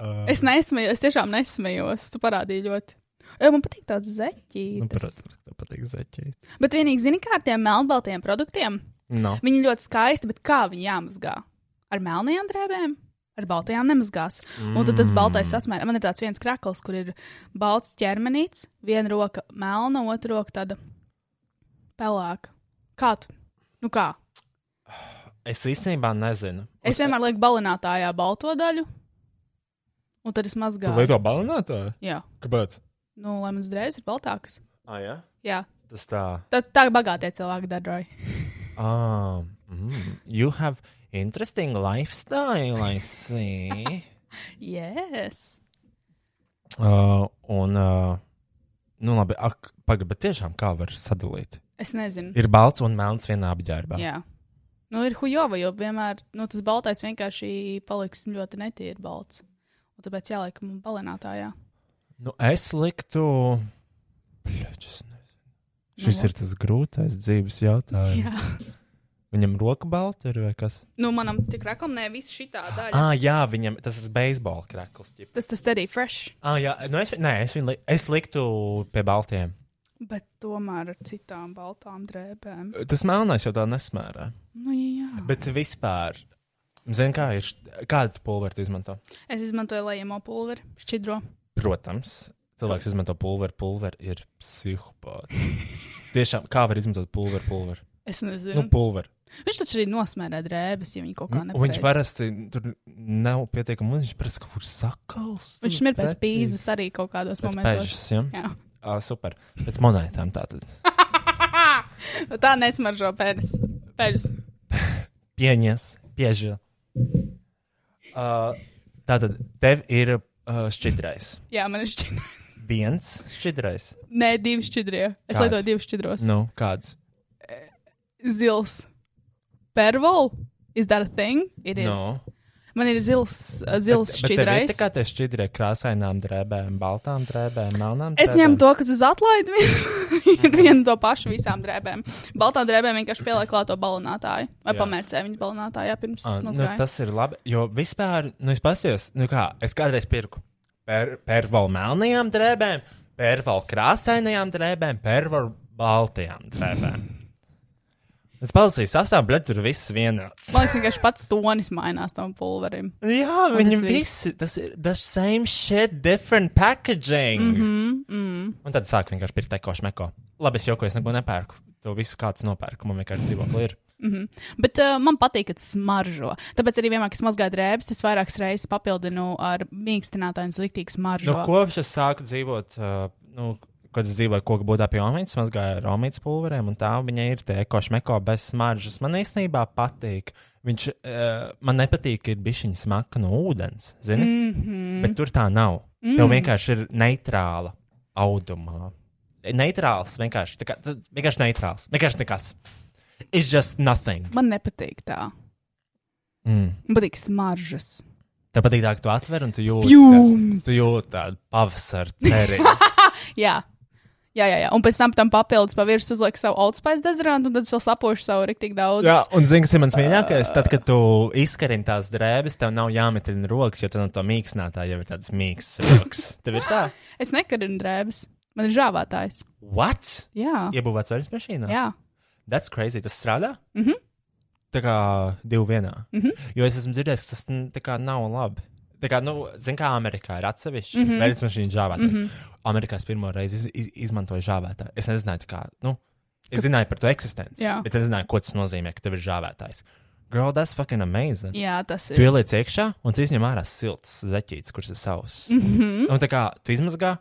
Uh. Es nesmējos, es tiešām nesmējos. Tu parādīji ļoti. Jā, man patīk tāds nu, zeķis. protams, ka tev patīk zaķīt. Bet vienīgi, zini, kā ar tiem melnbaltiem produktiem? No. Viņi ļoti skaisti, bet kā viņi jāmazgā? Ar melnajām drēbēm, ar baltajām nemazgās. Mm. Un tad tas baltais sasmērā. Man ir tāds viens krakls, kur ir balts ķermenis, viena roka melna, otra roka tāda pelēka. Kā tu? Nu kā? Es īstenībā nezinu. Es vienmēr lieku balinātājā balto daļu, un tad es Tu mazgāju. lieto balinātāju? Jā, Kāpēc? nu, lai mans drēbes ir baltākas. Ah, jā. Jā, Tas tā. tā, tā bagātie cilvēki darbojas. Ah, mm, you have interesting lifestyle, I see. Yes. uh, un, uh, nu labi, ak, pagaidi, bet tiešām kā var sadalīt? Es nezinu. Ir balts un melns vienā apģērbā. Jā. Nu, ir hujova, jo vienmēr nu, tas baltais vienkārši paliks ļoti netīri balts. Un tāpēc jāliek man balinātājā. Nu, es liktu. Pļačas, Šis Nu, ir tas grūtais dzīves jautājums. Jā. Viņam roka balta ir vai kas? Nu, manam tik raklam, nē, viss šitā daļa. Ah, jā, viņam tas ir beisbola krekls. ģip. Tas tas arī fresh, Ah, jā, nu es, nē, es, viņu, li- es liktu pie baltiem. bet tomēr ar citām baltām drēbēm. Tas melnais jau tā nesmērā. Nu, jā. Bet vispār, zini, kā ir, št- kādu pulveri tu izmanto? Es izmantoju lejamo pulveri, šķidro. Protams, cilvēks izmanto pulveri, pulveri ir psihopāts. Tiešām, kā var izmantot pulveri, pulveri? Es Nu, nezinu. Nu, pulveri. viņš taču arī nosmērē drēbes, ja viņi kaut kā Un nepareizi. viņš parasti tur nav pietiekami, un viņš parasti kaut kur sakals. Viņš smir pēc pīzdas arī kaut kādos Pēc momentos. pēžas, jā. Jā. Ah, super. Pēc monētām tātad. Tā nesmaržo pēdas. Pēdas. Pieņas, pieža. Uh, tātad, tev ir uh, šķidrais. Jā, man ir šķidro. Viens šķidrais. Nē, divi šķidrie. Es Kādi? lietoju divus šķidros. Nu, kāds? zils pervol. Is that a thing? It is. Nu. Man ir zils, uh, zils Bet- bet tev ir šķidrais. Tā kā tie šķidrē krāsainām drēbēm, baltām drēbēm, melnām. Es ņemu to, kas uz atlaidi ir vienu to pašu visām drēbēm. Baltā drēbēm vienkārši pieliek klāt to balinātāju. Vai Jā. pamērcē viņu balinātājā pirms Ah, tas nu, mazgāja. tas ir labi. Jo vispār, nu, es pasijos, nu kā, es kādreiz pirku per, pervalu melnajām drēbēm, pervalu krāsainajām drēbēm, pervalu baltajām drēbēm. Es palasīju, sastāv, bet tur viss vienāds. Man liekas, vienkārši pats tonis mainās tam pulverim. Jā, Un viņi tas viss. visi, tas ir the same shit, different packaging. Mm -hmm, Mhm, mm. Un tad sāk vienkārši pirkt teko šmeko. Labi, es jokoju, es neko nepērku. To visu kāds nopērk, man vienkārši dzīvokli ir. Bet uh, man patīk, ka tas smaržo. Tāpēc arī vienmēr, kad es mazgāju drēbes, es vairākas reizes papildinu ar mīkstinātāju un sliktīgu smaržo. Nu, kopš es sāku dzīvot, uh, nu, kad es dzīvoju koku būdā pie Romas, mazgāju ar Romas pulveriem, un tā viņa ir tie košmeko bez smaržas. Man īstenībā patīk. Viņš, uh, man nepatīk, ka ir bišķiņa smaka no ūdens, zini? Mm -hmm. Bet tur tā nav. Mm. Tev vienkārši ir neitrāla audumā. Neitrāls vienkārši. tā Kā, tā- vienkārši neitrāls. Vienkārši nekas. It's just nothing. Man nepatīk tā. Mm. Man patīk smaržas. Tev patīk tā, ka tu atver un tu jūti, Fumes. ka, tu jūti tādu pavasara cerību. Jā. Jā, jā, jā. Un pēc tam tam papildus pavirši uzliek savu old spice dezerantu, un tad es vēl sapošu savu rīktīgi daudz. Jā, un zini, kas ir mans mīļākais? Tad, kad tu izkarini tās drēbes, tev nav jāmetina rokas, jo tu no to mīkstinātā jau ir tāds mīksts rokas. Tev ir tā? Es nekarinu drēbes. Man ir žāvātājs. What? Jā. Iebūvēts vairs mašīnā? Jā. That's crazy. Tas strādā? Mhm. Mm tā kā divi vienā. Mm Mhm. -hmm. Jo es esmu dzirdējis, ka tas n- tā kā nav labi. Tā kā, nu, zin, kā Amerikā ir atsevišķi Mhm. mm -hmm. veids mašīnu žāvētājs. Mm -hmm. Amerikā es pirmo reizi iz, iz, izmantoju žāvētāju. Es nezināju, tā kā, nu, es zināju par to eksistenci, Jā. bet es nezināju, ko tas nozīmē, ka tev ir žāvētājs. Girl, that's fucking amazing. Jā, tas Tu ir. ieliec iekšā, un tu izņem ārā silts zeķītis, kurš ir savs. Mm Mhm. -hmm. Un tā kā tu izmazgā,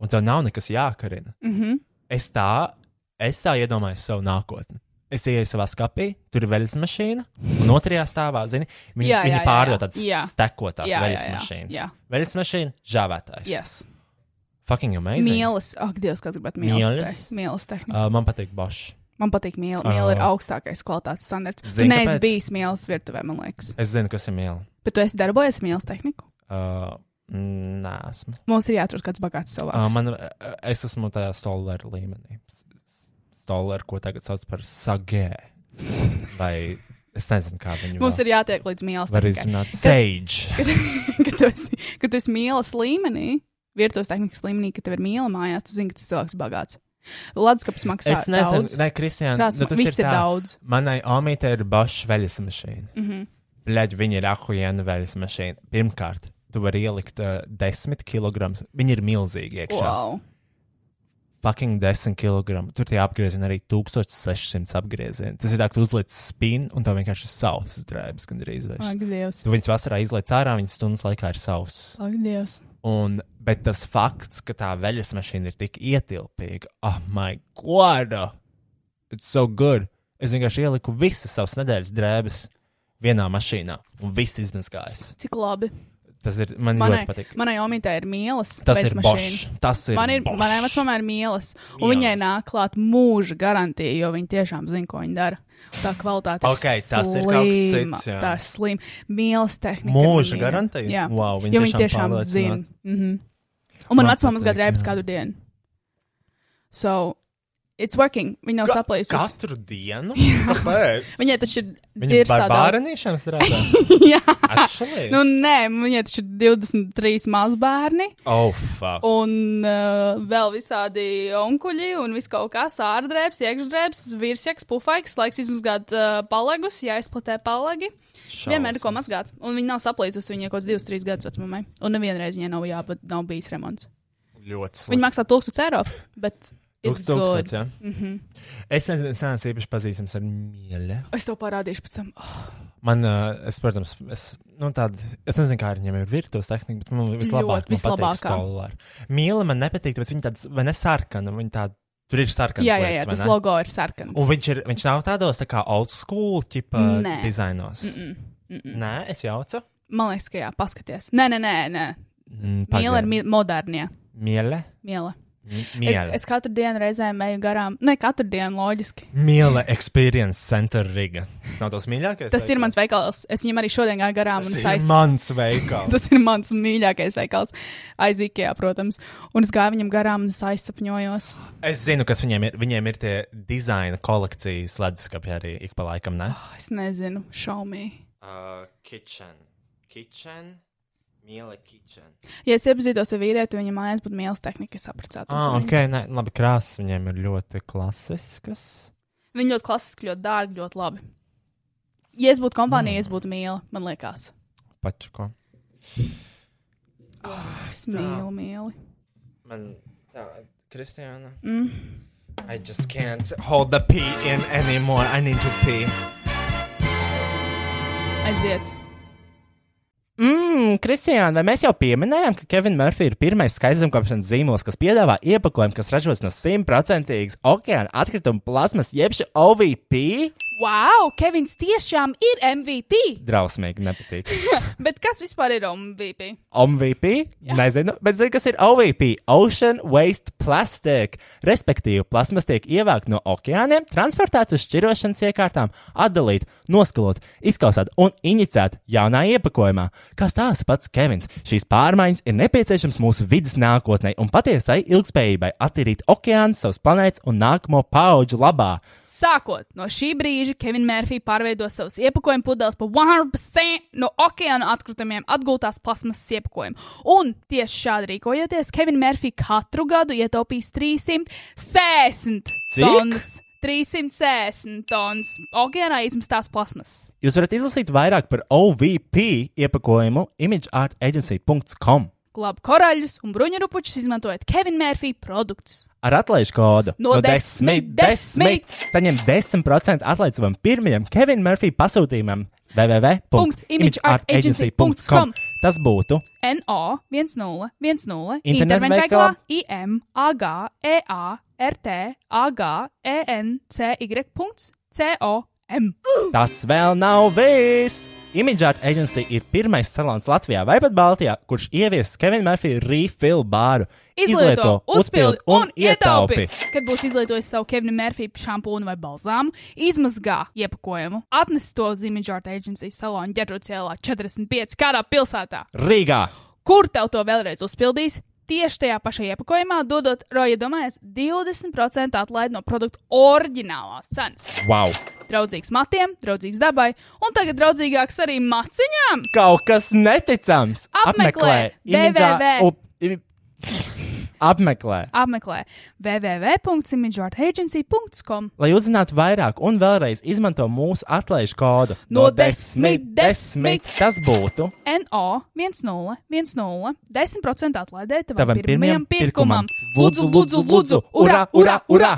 un tev nav nekas jākarina. Mm -hmm. Mhm. Es tā, es tā iedomājos savu nākotni. Es ienāku savā skapī, tur ir veļas mašīna, un otrajā stāvā, zini, viņi, Jā, jā, viņi jā, pārdod jā. tādas Jā. stekotās Jā, jā, veļas jā, mašīnas. jā. Veļas mašīna, žāvētājs. Yes. Fucking amazing. Mielas. Ak, Dievs, kāds gribētu mielas. Mielas? te- Mielas tehnika. Uh, man patīk Bosch. Man patīk miela. Miela ir Oh. augstākais kvalitātes standarts. Tu Zini, neesi kāpēc? bijis mielas virtuvē, man liekas. Es zinu, kas ir miela. Bet tu esi darbojies mielas tehniku. Uh, Nē, esmu. Mums ir jāatrod kāds bagāts cilvēks. Uh, man, uh, es esmu tajā stolera līmenī. S- s- Stolera, ko tagad sauc par sagē. Vai es nezinu, kā viņu Mums ir jātiek līdz mielas Var tehnikai. izrunāt sage. kad, kad, tu esi, kad tu esi mīlas līmenī, virtuves tehnikas līmenī, kad tev ir mīla mājās, tu zini, ka tas cilvēks bagāts. Leduskapis maksā Es nezinu, daudz. ne, Kristiāna, Prāts nu, ma- tas viss ir tā. daudz. Mhm. Manai omītei ir baša veļas mašīna. Mm -hmm. Bļaģ, viņa ir ahujena veļas mašīna. Pirmkārt, tu vari ielikt uh, desmit kilogramus. Viņi ir milzīgi iekšā. Wow. fucking 10 kg. Tur tie apgriezieni arī 1600 apgriezieni. Tas ir tā, ka tu uzliec spīnu un tev vienkārši ir sausas drēbes, gandrīz vai Ak, ne. Dievs. Tu viņas vasarā izlaiž ārā, viņas stundas laikā ir sausas. Ak, Dievs. Un, bet tas fakts, ka tā veļas mašīna ir tik ietilpīga, ah, oh my god! It's so good! Es vienkārši ieliku visas savas nedēļas drēbes vienā mašīnā, un viss izmazgājās. Cik labi. Tas ir man Manai, ļoti patīk. manai omītei ir mīlas. Tas veļas ir mašīna. bošs. Tas ir. Man ir, Bosch. manai vecmāmai ir mīlas, un Mīlas. viņai nāk klāt mūža garantija, jo viņa tiešām zina, ko viņa dara. Un Tā kvalitāte ir Ok, tas ir slima. kaut kas cits, jā. Tā ir slima. Mīlas tehnika. Mūža mīla. garantija? Jā, Wow, viņa jo viņa tiešām tiešām pārliecināta. zina. Mm -hmm. Un man Man vecmāmai patīk, gada drēbes jā. kādu dienu. So, it's working. Viņa nav Ka- saplēsusi. Katru dienu? Kāpēc? Viņai tas ir Viņa ir ir tā par daudz- bērniem strādā. Jā. Actually? Nu, nē, viņai tas ir 23 mazbērni. oh, fuck. Un uh, vēl visādi onkuļi un viss kaut kas - ārdrēbs, iekšdrēbs, virsjaks, pufaiks, laiks izmazgāt uh, palagus, jāizplatē palagi. Šaus. Vienmēr ir ko mazgāt. Un viņa nav saplīsusi, viņa ir kaut kāds 2-3 gadus vecumai. Un nevienreiz viņai nav, jā, nav bijis remonts. Ļoti Viņa maksā 1000 eiro, bet it's Tūkstots, good. ja? mm -hmm. Mhm. Es nezinu, es neesmu īpaši pazīstams ar mīļu. Es to parādīšu pēc tam. Oh, Man, uh, es, protams, es, nu, tād, es nezinu, kā ar viņiem ir virtuves tehnika, bet man vislabāk Ļoti, man patīk vislabākā. stolāra. Mīļa man nepatīk, bet viņa tāda, vai ne sarkana, viņa tāda, tur ir sarkana. jā, jā, jā, tas logo ir sarkans. Un viņš, ir, viņš nav tādos tā kā old school tipa Nē. dizainos. Mm -mm. Nē, es jaucu. Man liekas, ka jā, paskaties. Nē, nē, nē, nē. Mm, Miela pagaidi. ir mi modernie. Miele. Miela. Es, Miele. es katru dienu reizēm eju garām. Ne katru dienu, loģiski. Miela Experience Center Riga. Tas nav tas mīļākais. Tas ir mans veikals. Es viņam arī šodien gāju garām un veikals. Tas ir aizsācu. mans veikals. Tas ir mans mīļākais veikals. Aizīkajā, protams. Un es gāju viņam garām un es aizsapņojos. es zinu, kas viņiem ir. Viņiem ir tie dizaina kolekcijas leduskapi arī ik pa laikam, ne? Oh, es nezinu, šaumīgi. Uh, kitchen. Kitchen. Miela Kitchen. Ja es iepazītos ar vīrieti, viņa mājās būtu mīlestības tehnika, es sapratu. Ah, ok, nē, labi, krāsas viņiem ir ļoti klasiskas. Viņa ļoti klasiski, ļoti dārga, ļoti labi. Ja es būtu kompānija, mm. es būtu mīla, man liekas. Pačko. Es mīlu, mīlu. Man, tā, Kristiāna. Mm. I just can't hold the pee in anymore. I need to pee. Aiziet. Mmm, Kristija, vai mēs jau pieminējām, ka Kevins Murphy ir pirmais skaistumkopšanas zīmols, kas piedāvā iepakojumu, kas ražots no simtprocentīgas okeāna atkrituma plasmas, jeb šī OVP? Wow, Kevins tiešām ir MVP! Drausmīgi nepatīk. Bet kas vispār ir MVP? OVP? Nezinu, bet zinu, kas ir OVP - Ocean Waste Plastic. Respektīvi, plasmas tiek ievākt no okeāniem, transportēta uz šķirošanas iekārtām, atdalīta, noskalot, izkausēta un inicēta jaunā iepakojumā. Kā stāsta pats Kevins, šīs pārmaiņas ir nepieciešamas mūsu vidas nākotnē un patiesai ilgspējībai attīrīt okeānu savas planētas un nākamo pauģu labā. Sākot no šī brīža, Kevins Mārfijs pārveido savus iepakojumu pudeles par 100% no okeāna atkritumiem atgūtās plasmasas iepakojumu. Un tieši šādi rīkojoties, Kevins Mārfijs katru gadu ietaupīs 360 Cik? tonnas. 360 tonnas okeānā izmestās plasmasas. Jūs varat izlasīt vairāk par OVP iepakojumu imageartagency.com Glāb korāļus un bruņurupučus izmantojot Kevina Mārfija produktus. ar atlaižu kodu. No desmit, desmit. Saņem 10% atlaidi savam pirmajam Kevina Murphy pasūtījumam. www.imageartagency.com www.imageartagency.com. Tas būtu NO 1010 Internetveikalā internetveikalā IM AG EA RT AG E ENCY.com. Tas vēl nav viss! Image Art Agency ir pirmais salons Latvijā vai pat Baltijā, kurš ievies Kevina Murphy refill bāru. Izlieto, uzpildi un ietaupi. Kad būs izlietojis savu Kevina Mārfija šampūnu vai balzāmu, izmazgā iepakojumu, atnes to uz Image Art Agency salonu ģerbtuves ielā 45. kādā pilsētā. Rīgā! Kur tev to vēlreiz uzpildīs? Tieši tajā pašā iepakojumā, dodot Roja domājas 20% atlaidi no produkta oriģinālās cenas. Wow! Draudzīgs matiem, draudzīgs dabai, un tagad draudzīgāks arī maciņām. Kaut kas neticams! Apmeklē www. www. Apmeklē! Apmeklē www.imageartagency.com. Lai uzzinātu vairāk, un vēlreiz izmanto mūsu atlaižu kodu No desmit, desmit. Tas būtu NO 1010 10% atlaidē tavam tavam pirmajam pirmajam pirkumam. Lūdzu, lūdzu, lūdzu! Ura, ura, ura!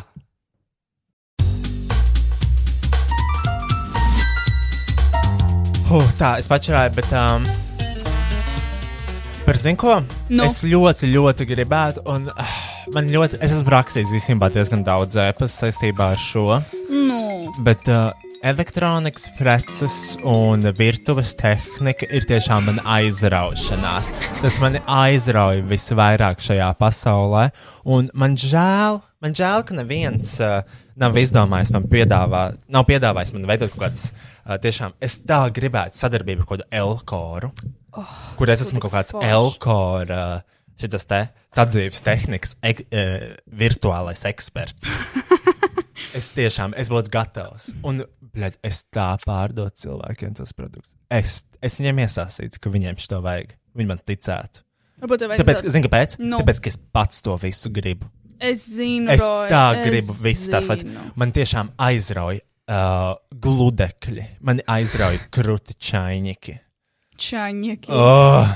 Huh, tā, es pačurāju, bet. Um, par zinu, ko? Nu? Es ļoti, ļoti gribētu, un uh, man ļoti. Es esmu rakstījis īstenībā diezgan daudz ēpas saistībā ar šo. Nu, Bet uh, elektronikas preces un virtuves tehnika ir tiešām mana aizraušanās. Tas mani aizrauja visvairāk šajā pasaulē. Un man žēl, man žēl ka neviens uh, nav izdomājis man piedāvāt, nav piedāvājis man veidot kaut kādas uh, tiešām. Es tā gribētu sadarbību ar kādu Elkoru, oh, kur es esmu super kaut kāds forši. Elkora. Uh, Šis te sadzīves tehnikas, ek, e, virtuālais eksperts. Es tiešām es būtu gatavs. Un, blядь, es tā pārdodu cilvēkiem tos produktus. Es, es viņiem iesāsītu, ka viņiem šo vajag. Viņi man ticētu. varbūt tev Tāpēc, vajadzētu- zini, kāpēc? Nu. Tāpēc, ka es pats to visu gribu. es zinu, Es Roy, tā es gribu visas tās zinu. lietas. Man tiešām aizrauja uh, gludekļi, man aizrauja kruti čaņķi, Čaņieki. oh,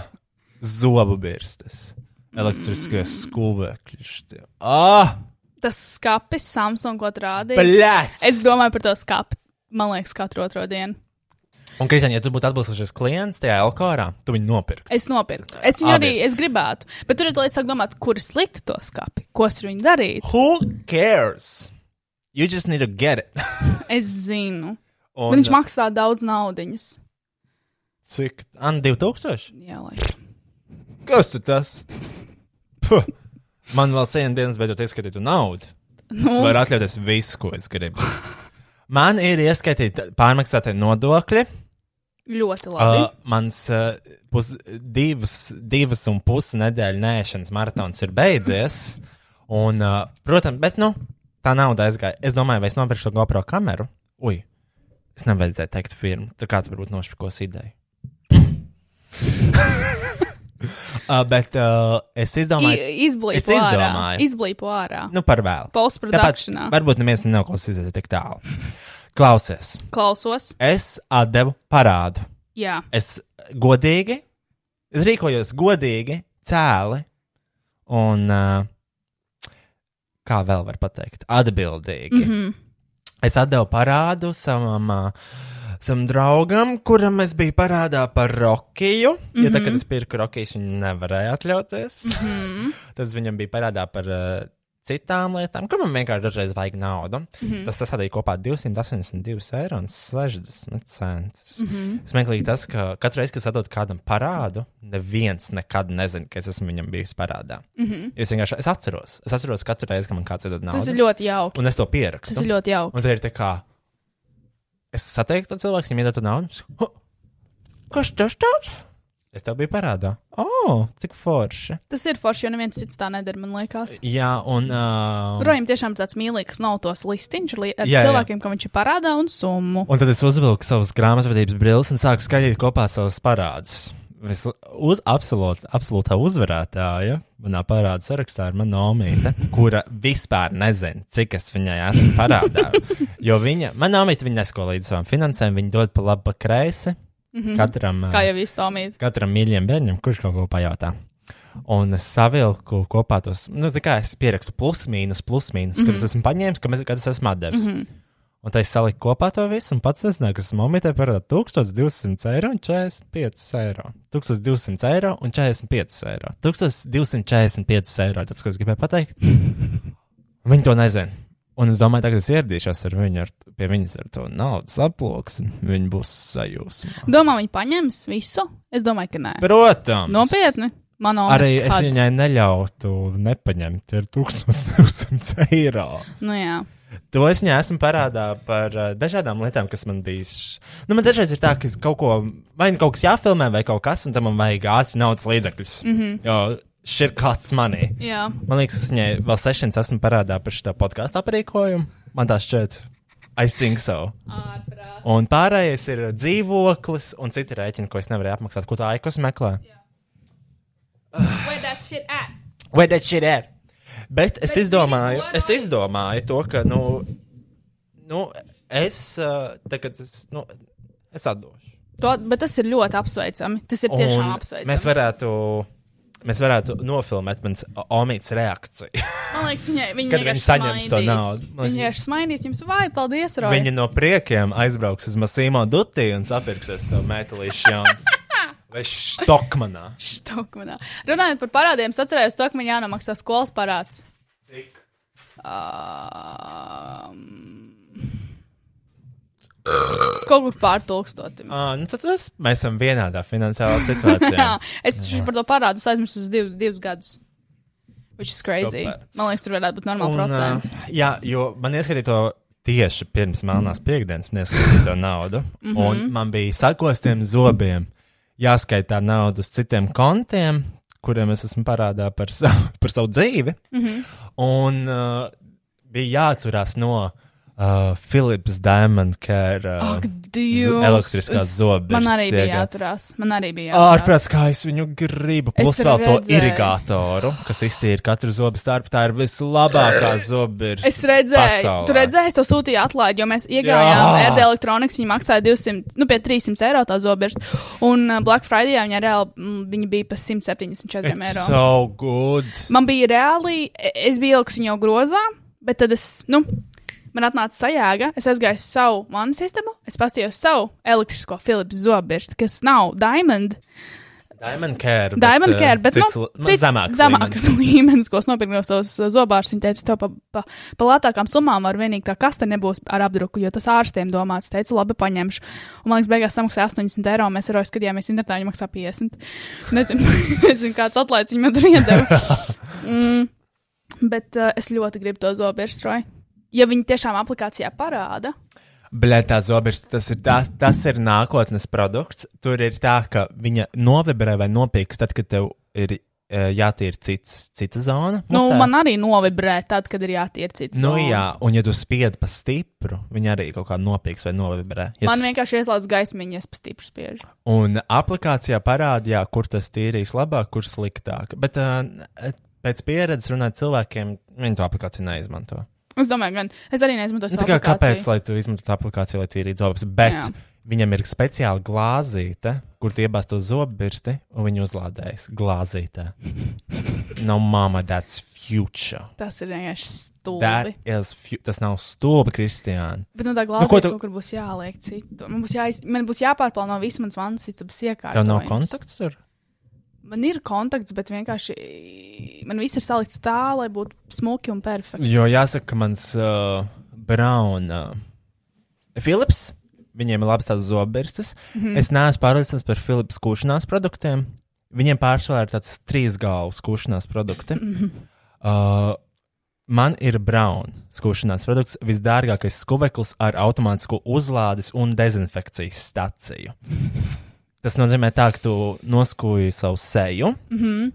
zobu birstes, elektriskie skūvekļi. šitie. Ah, Tas skats, Samsung, ko rādīja. Es blēts! domāju par to skatu. Man liekas, katru otro dienu. Un, Kristian, ja tu būtu atbilstošs klients tajā Elkorā, tu viņu nopirktu. Es nopirku. Es viņu arī Abies. es gribētu. Bet tur ir tā līnija, sāk domāt, kur es liktu to skati, ko es ar viņu darītu. Who cares? You just need to get it. Es zinu. Un, Un, viņš maksā daudz naudas. Cik? An 2000? Jā, laikam. Kas tu tas? Puh. Man vēl sen dienas beidzot ieskaitītu naudu. Nu. Es varu atļauties visu, ko es gribu. Man ir ieskaitīti pārmaksātie nodokļi. ļoti labi. Uh, mans uh, pus, divas, divas un pusi nedēļas nēšanas maratons ir beidzies. Un, uh, protams, bet nu, tā nauda aizgāja. Es domāju, vai es nopirkšu to GoPro kameru. Ui, es nevajadzēju teikt firmu. Tur kāds varbūt nošpikos ideju. uh, bet uh, es izdomāju, I- Izblīvo Es ārā. izdomāju. Izblīvo ārā. nu, par vēlu. Tāpēc Postprodukcijā. varbūt neviens nenoklausīsies tik tālu. Klausies, Klausos. es atdevu parādu. Jā, es godīgi, es rīkojos godīgi, cēli un, ā, kā vēl var pateikt, atbildīgi. Mm -hmm. Es atdevu parādu savam ā, Sam draugam, kuram es biju parādā par Rokiju, mm -hmm. jo tad, kad es pirku Rokijas, viņu nevarēja atļauties. Mm -hmm. tad es viņam bija parādā par uh, citām lietām, kur man vienkārši dažreiz vajag naudu. Mm Mhm. -hmm. Tas sasādīja kopā 282 eiro un 60 centus. Mm Mhm. -hmm. Smieklīgi tas, ka katru reizi, kad es atdodu kādam parādu, neviens nekad nezina, ka es esmu viņam bijis parādā. Mm -hmm. Es vienkārši es atceros, es atceros katru reizi, kad man kāds iedod naudu. Mhm. Tas ir ļoti jauki. Un nu- es to pierakstu. Tas ir ļoti jauki. Un tad ir tā kā, es satieku to cilvēku, viņam iedotu naudu. es saku, "Ho, Kas tas tāds? Es tev biju parādā. O, oh, cik forši. Tas ir forši, jo neviens cits tā nedara, man liekas. Jā, un. Uh, Rojam tiešām ir tāds mīlīgs, nav tos listiņš ar, li ar Jā, jā. jā, cilvēkiem, jā. ka viņš ir parādā un summu. Un tad es uzvilku savus grāmatvedības brilles un sāku skaitīt kopā savus parādus. Es uz absolūt, absolūtā uzvarētāja manā parādu sarakstā ir mana nomīte, kura vispār nezina, cik es viņai esmu parādā. Jo viņa, mana nomīte, viņa nesko līdz savām finansēm, viņa dod pa labi pa kreisi katram, Kā ā, jau izdomīt. katram mīļam bērnam, kurš kaut ko pajautā. Un es savilku kopā tos, nu, tā kā es pierakstu plus, mīnus, plus, mīnus, mm -hmm. kad es esmu paņēmis, kad es- kad es esmu atdevis. Mm -hmm. Un tā es saliku kopā to visu, un pats es nezinu, kas momentā parāda 1200 eiro un 45 eiro. 1200 eiro un 45 eiro. 1245 eiro, tas, ko es gribēju pateikt. Viņi to nezina. Un es domāju, tagad es ieradīšos ar viņu, ar, pie viņas ar to naudas aploksni. Viņa būs sajūsmā. Domā, viņi paņems visu? Es domāju, ka nē. Protams, Nopietni. Man nav Arī es nekad. viņai neļautu nepaņemt, ir 1200 eiro. Nu, jā. To es viņai esmu parādā par uh, dažādām lietām, kas man bija. š- Nu, man dažreiz ir tā, ka es kaut ko, vai nu kaut kas jāfilmē, vai kaut kas, un tam man vajag ātri naudas līdzekļus. Mm -hmm. Jo šis ir kāds manī. jā. Man liekas, es viņai vēl sešas esmu parādā par šo podkāstu aprīkojumu. Man tā šķiet, I think so. Un pārējais ir dzīvoklis un citi rēķini, ko es nevarēju apmaksāt. Ko tā aikos meklē? Where that shit at? Bet es izdomāju, es izdomāju to, ka, nu, nu es, uh, tagad es, nu, es atdošu. To, bet tas ir ļoti apsveicami. Tas ir tiešām Un apsveicami. Mēs varētu, mēs varētu nofilmēt manas omītas reakciju. Man liekas, viņai, viņa Kad viņi vienkārši saņems to smaidīs. naudu. Man liekas, Viņa vienkārši smaidīs jums, vai paldies, Roja. Viņa no priekiem aizbrauks uz Masīmo Dutī un sapirksies savu metālīšu jaunu. Vai Stokmanā? Stokmanā. Runājot par parādiem, es atceros, to, ka man jānomaksā skolas parāds. Cik? Um, kaut kur pār tūkstotim. Ah, nu tad tas, mēs esam vienādā finansiālā situācijā. Jā, es taču par to parādu es aizmirsu uz divus, divus gadus. Which is crazy. Super. Man liekas, tur varētu būt normāli ā, procenti. jā, jo man ieskatīja to tieši pirms melnās Mm. piekdienas, man ieskatīja to naudu. Mm Mhm. -hmm. Un man bija sakostiem zobiem jāskaitā naudu uz citiem kontiem, kuriem es esmu parādā par savu, par savu dzīvi. Mm Mhm. -hmm. Un uh, bija jāatturās no uh, Philips Diamond Care. Uh, Ak, Dievs! Elektriskās Es- zobes Man arī bija iegāja. jāturās. Man arī bija jāturās. Ārprāts, kā es viņu gribu. Es Plus vēl to redzēju. irigātoru, kas izsīra katru zobu starp. Tā ir vislabākā zobe. Es redzēju, pasaulē. tu redzēji, es to sūtīju atlaidi, jo mēs iegājām Jā. RD elektronikas, viņa maksāja 200, nu, pie 300 eiro tā zobirsta, un uh, Black Friday viņa reāli, mm, viņa bija pa 174 It's eiro. So good. Man bija reāli, e, es biju ieliks viņu jau grozā, bet tad es, nu, man atnāca sajēga. Es aizgāju uz savu monētas istabu, es paskatījos savu elektrisko Philips zobirstu, kas nav Diamond. Diamond Care. bet, Diamond uh, Care, bet cits nu, l- nu, cits- zemāks. zemāks līmenis. līmenis, ko es nopirku no savas uh, zobārs. Viņa teica, to pa, pa, pa lētākām summām var vienīgi tā kaste nebūs ar apdruku, jo tas ārstiem domāts. Es teicu, labi, paņemšu. Un man liekas, beigās samaksāja 80 eiro, un mēs ar viņu skatījāmies internetā, viņa maksā 50. Nezinu, nezinu kāds atlaids viņam tur iedeva. Mm, bet uh, es ļoti gribu to zobārstroju. Ja viņi tiešām aplikācijā parāda, Blē, tā zobrs, tas ir, tā, tas ir nākotnes produkts. Tur ir tā, ka viņa novibrē vai nopīks tad, kad tev ir eh, jātīra cits, cita zona. nu, mutē. man arī novibrē tad, kad ir jātiek cits. Nu jā, un ja tu spied pa stipru, viņa arī kaut kā nopīks vai novibrē. Ja Man tu- vienkārši ieslēdz gaismiņas, pastīpšu spiež. Un aplikācijā parādīja, kur tas tīrīs labāk, kur sliktāk. Bet uh, pēc pieredzes runāt cilvēkiem, viņi to aplikāciju neizmanto. Es domāju, gan es arī neizmantoju Nu, savu tā kā kāpēc, aplikāciju. lai tu izmantotu aplikāciju, lai tīrītu zobus? Bet, Jā. Jā. Viņam ir speciāla glāzīte, kur tie iebāz to zobbirsti, un viņi uzlādējas glāzītē. no mama, that's future. Tas ir vienkārši That stulbi. is fu tas nav stulbi, Kristiāna. Bet no tā Nu, ko glāzē tu- nu, kaut kur būs jāliek citu. Man būs, jāiz... man būs jāpārplāno viss mans vannas istabas iekārtojums. Tev nav kontakts tur? Man ir kontakts, bet vienkārši man viss ir salikts tā, lai būtu smuki un perfekti. Jo jāsaka, ka mans uh, Brown uh, Philips, viņiem ir labs tās zobirstas. Mm -hmm. Es neesmu pārliecināts par Philips kūšanās produktiem. Viņiem pārsvarā ir tāds trīs galvas kūšanās produkti. Mm -hmm. uh, man ir Brown skūšanās produkts, visdārgākais skuveklis ar automātisku uzlādes un dezinfekcijas staciju. Tas nozīmē, tā, ka tu noskūji savu seju. Mm -hmm.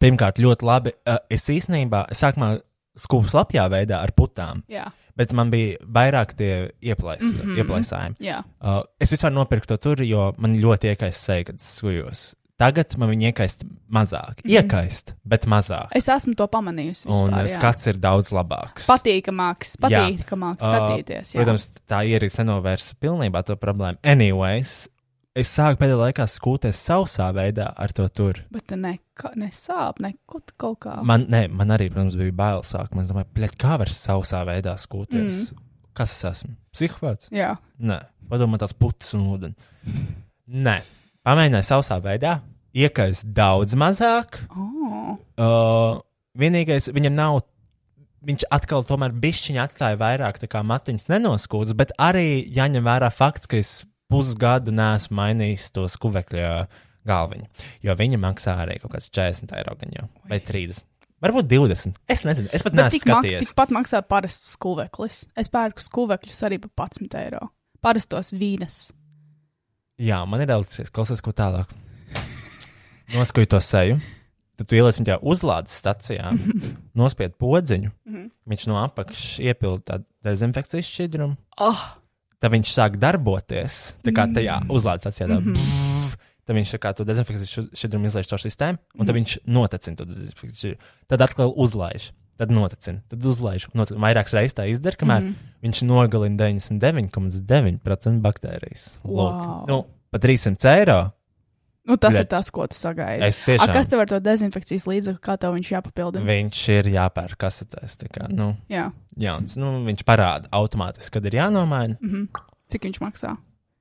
Pirmkārt, ļoti labi. Uh, es īstenībā sākumā skūpstu lapjā veidā ar putām, Jā, bet man bija vairāk tie ieplais, mm Mhm. -hmm. ieplaisājumi. jā. Uh, es vispār nopirku to tur, jo man ļoti iekaist seja, kad es skujos. Tagad man viņa iekaist mazāk. Mm -hmm. Iekaist, bet mazāk. Es esmu to pamanījusi. Un Mhm. Vispār, uh, jā. skats ir daudz labāks. Patīkamāks, Jā. patīkamāks Uh, skatīties. Jā. Protams, tā ierīce nenovērsa pilnībā to problēmu. Anyways, es sāku pēdējā laikā skūties sausā veidā ar to tur. Bet ne, nesāp, neko tu kaut kā. Man... Man, ne, man arī, protams, bija bail sākumā. Es domāju, "Bļaļ, kā var sausā veidā skūties? Mm. Kas es esmu? Psihopāts? Jā, Nē, padomā tās putas un ūdeni. Nē, pamēģināju sausā veidā, iekais daudz mazāk. oh, Uh, vienīgais, viņam nav. Viņš atkal tomēr bišķiņā atstāja vairāk tā kā matiņas nenoskūts, bet arī jāņem vērā fakts, ka es pusgadu nesmu mainījis to skuvekļa galviņu. Jo viņa maksā arī kaut kāds 40 eiro gan jau, vai 30. Varbūt 20. Es nezinu, es pat bet neesmu tik mak, skatījies. tikpat maksā parasts skuveklis. Es pērku skuvekļus arī par 11 eiro. Parastos vīnas. Jā, man ir eliksies, klausies, ko tālāk. Noskuju to seju, tad tu ieliec viņu uzlādes stācijā, nospied podziņu, Mhm. viņš no apakšas iepild tādu dezinfekcijas šķidrumu. Oh, Tad viņš sāk darboties, tā kā tajā uzlādes stācijā. tā pff, Tad viņš tā kā to dezinfekcijas šu- šķidrumu izlaiž caur sistēmu, un tad viņš notecina to dezinfekcijas šķidrumu. Tad atkal uzlaiž, tad notecina, tad uzlaiž. Notecina. Vairākas reizes tā izdara, kamēr viņš nogalina 99,9% baktērijas. Wow. Lūk, nu, pat 300 eiro. nu tas Bet- ir tas, ko tu sagaidi. Es tiešām- A, kas tev ar to dezinfekcijas līdzekli, kā tev viņš jāpapildina? Viņš ir jāpērk kasetēs. tā Kā, nu, Jā, jauns, nu, viņš parāda automātiski, kad ir jānomaina. Mm. mhm. cik viņš maksā?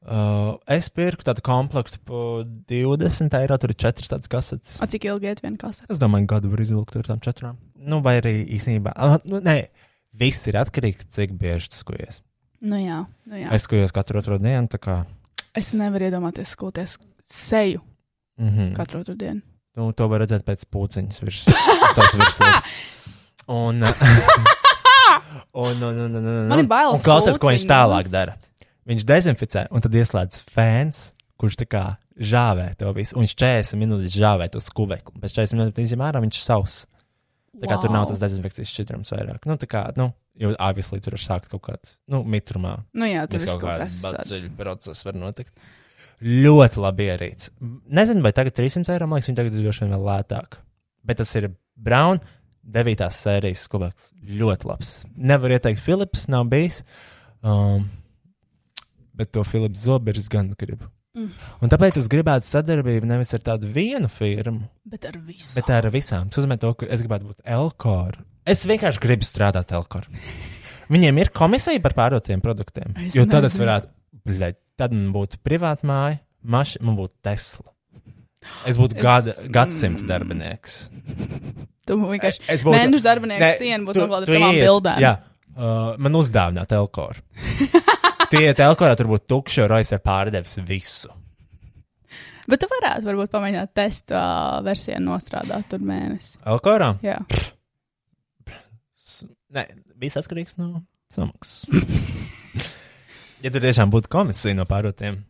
Uh, es pirku tādu komplektu par 20 eiro. Tur ir četras tādas kasetes. A, cik ilgi iet viena kasa? Es domāju, gadu var izvilkt ar tām četrām. Nu, vai arī īstenībā. ah, Nu, nē, viss ir atkarīgs no tā, cik bieži tas skojies. Nu jā, nu jā. Es, Es skojos katru otro dienu. tā Kā, es nevaru iedomāties skoties seju mm -hmm. katru otru dienu. Nu, to var redzēt pēc puciņas virs tās virsmas. Un, uh, un, un, un, un, un, Man ir bailes Un klausies, ko pūciņu viņš tālāk mest. dara. Viņš dezinficē, un tad ieslēdz fēns, kurš tā kā žāvē to visu. Un viņš 40 minūtes žāvē to skuvekli. Pēc 40 minūtēm izņem ārā, viņš savs. Tā kā wow. tur nav tas dezinfekcijas šķidrums vairāk. Nu, tā kā, nu, jo obviously tur ir sākt kaut kāds, nu, mitrumā. Nu jā, tur Tas viss kaut kaut kāds kas tāds. baciļu process var notikt. Ļoti labi ierīts. Nezinu, vai tagad 300 eiro, man liekas, viņi tagad ir droši vien vēl lētāk. Bet tas ir Brown 9. sērijas skubaks. Ļoti labs. Nevar ieteikt, Philips nav bijis. Um, bet to Philips Zobers gan gribu. Mm. Un tāpēc es gribētu sadarbību nevis ar tādu vienu firmu, Bet ar visu. bet ar visām. Tas nozīmē, to, ka es gribētu būt Elkor. Es vienkārši gribu strādāt Elkor. Viņiem ir komisija par pārdotiem produktiem. Es jo tad es nezinu. varētu, bļaļ, tad man būtu privāta māja, maša, man būtu Tesla. Es būtu Es- gada, gadsimta darbinieks. Tu vienkārši Es Eh, būtu- mēnešu darbinieku Nē, sienu tu- būtu nogalda tu ar tavām iet, bildēm. Jā, uh, man uzdāvināt Elkor. Tie ir Elkorā, tur būtu tukšs, jo Rojas ir pārdevis visu. Bet tu varētu varbūt pamēģināt testa ā, versiju nostrādāt tur mēnesi. Elkorā? Jā. S- Nē, viss atkarīgs no samaksas. ja tur tiešām būtu komisija no pārdotiem,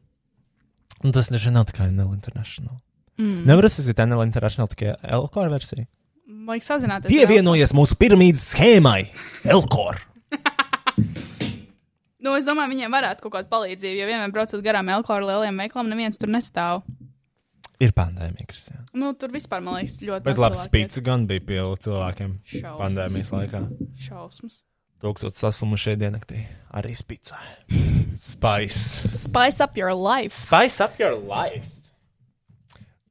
nu, tas taču nav tikai NL International. Mm. Nevar uzsākt NL International tikai LKR versiju. Vajag sazināties. Pievienojies mūsu piramīdas schēmai, LKR. Nu, es domāju, viņiem varētu kaut kāda palīdzība, jo vienmēr braucot garām Elkoru lieliem veiklam, neviens tur nestāv. Ir pandēmija, Kristija. Nu, tur vispār, man liekas, ļoti. Bet daudz labi, cilvēku iet. spīts gan bija pie cilvēkiem Šausmas. pandēmijas laikā. Šausmas. Tūkstots saslimušie diennaktī. Arī spīdzē. Spice. Spice up your life. Spice up your life.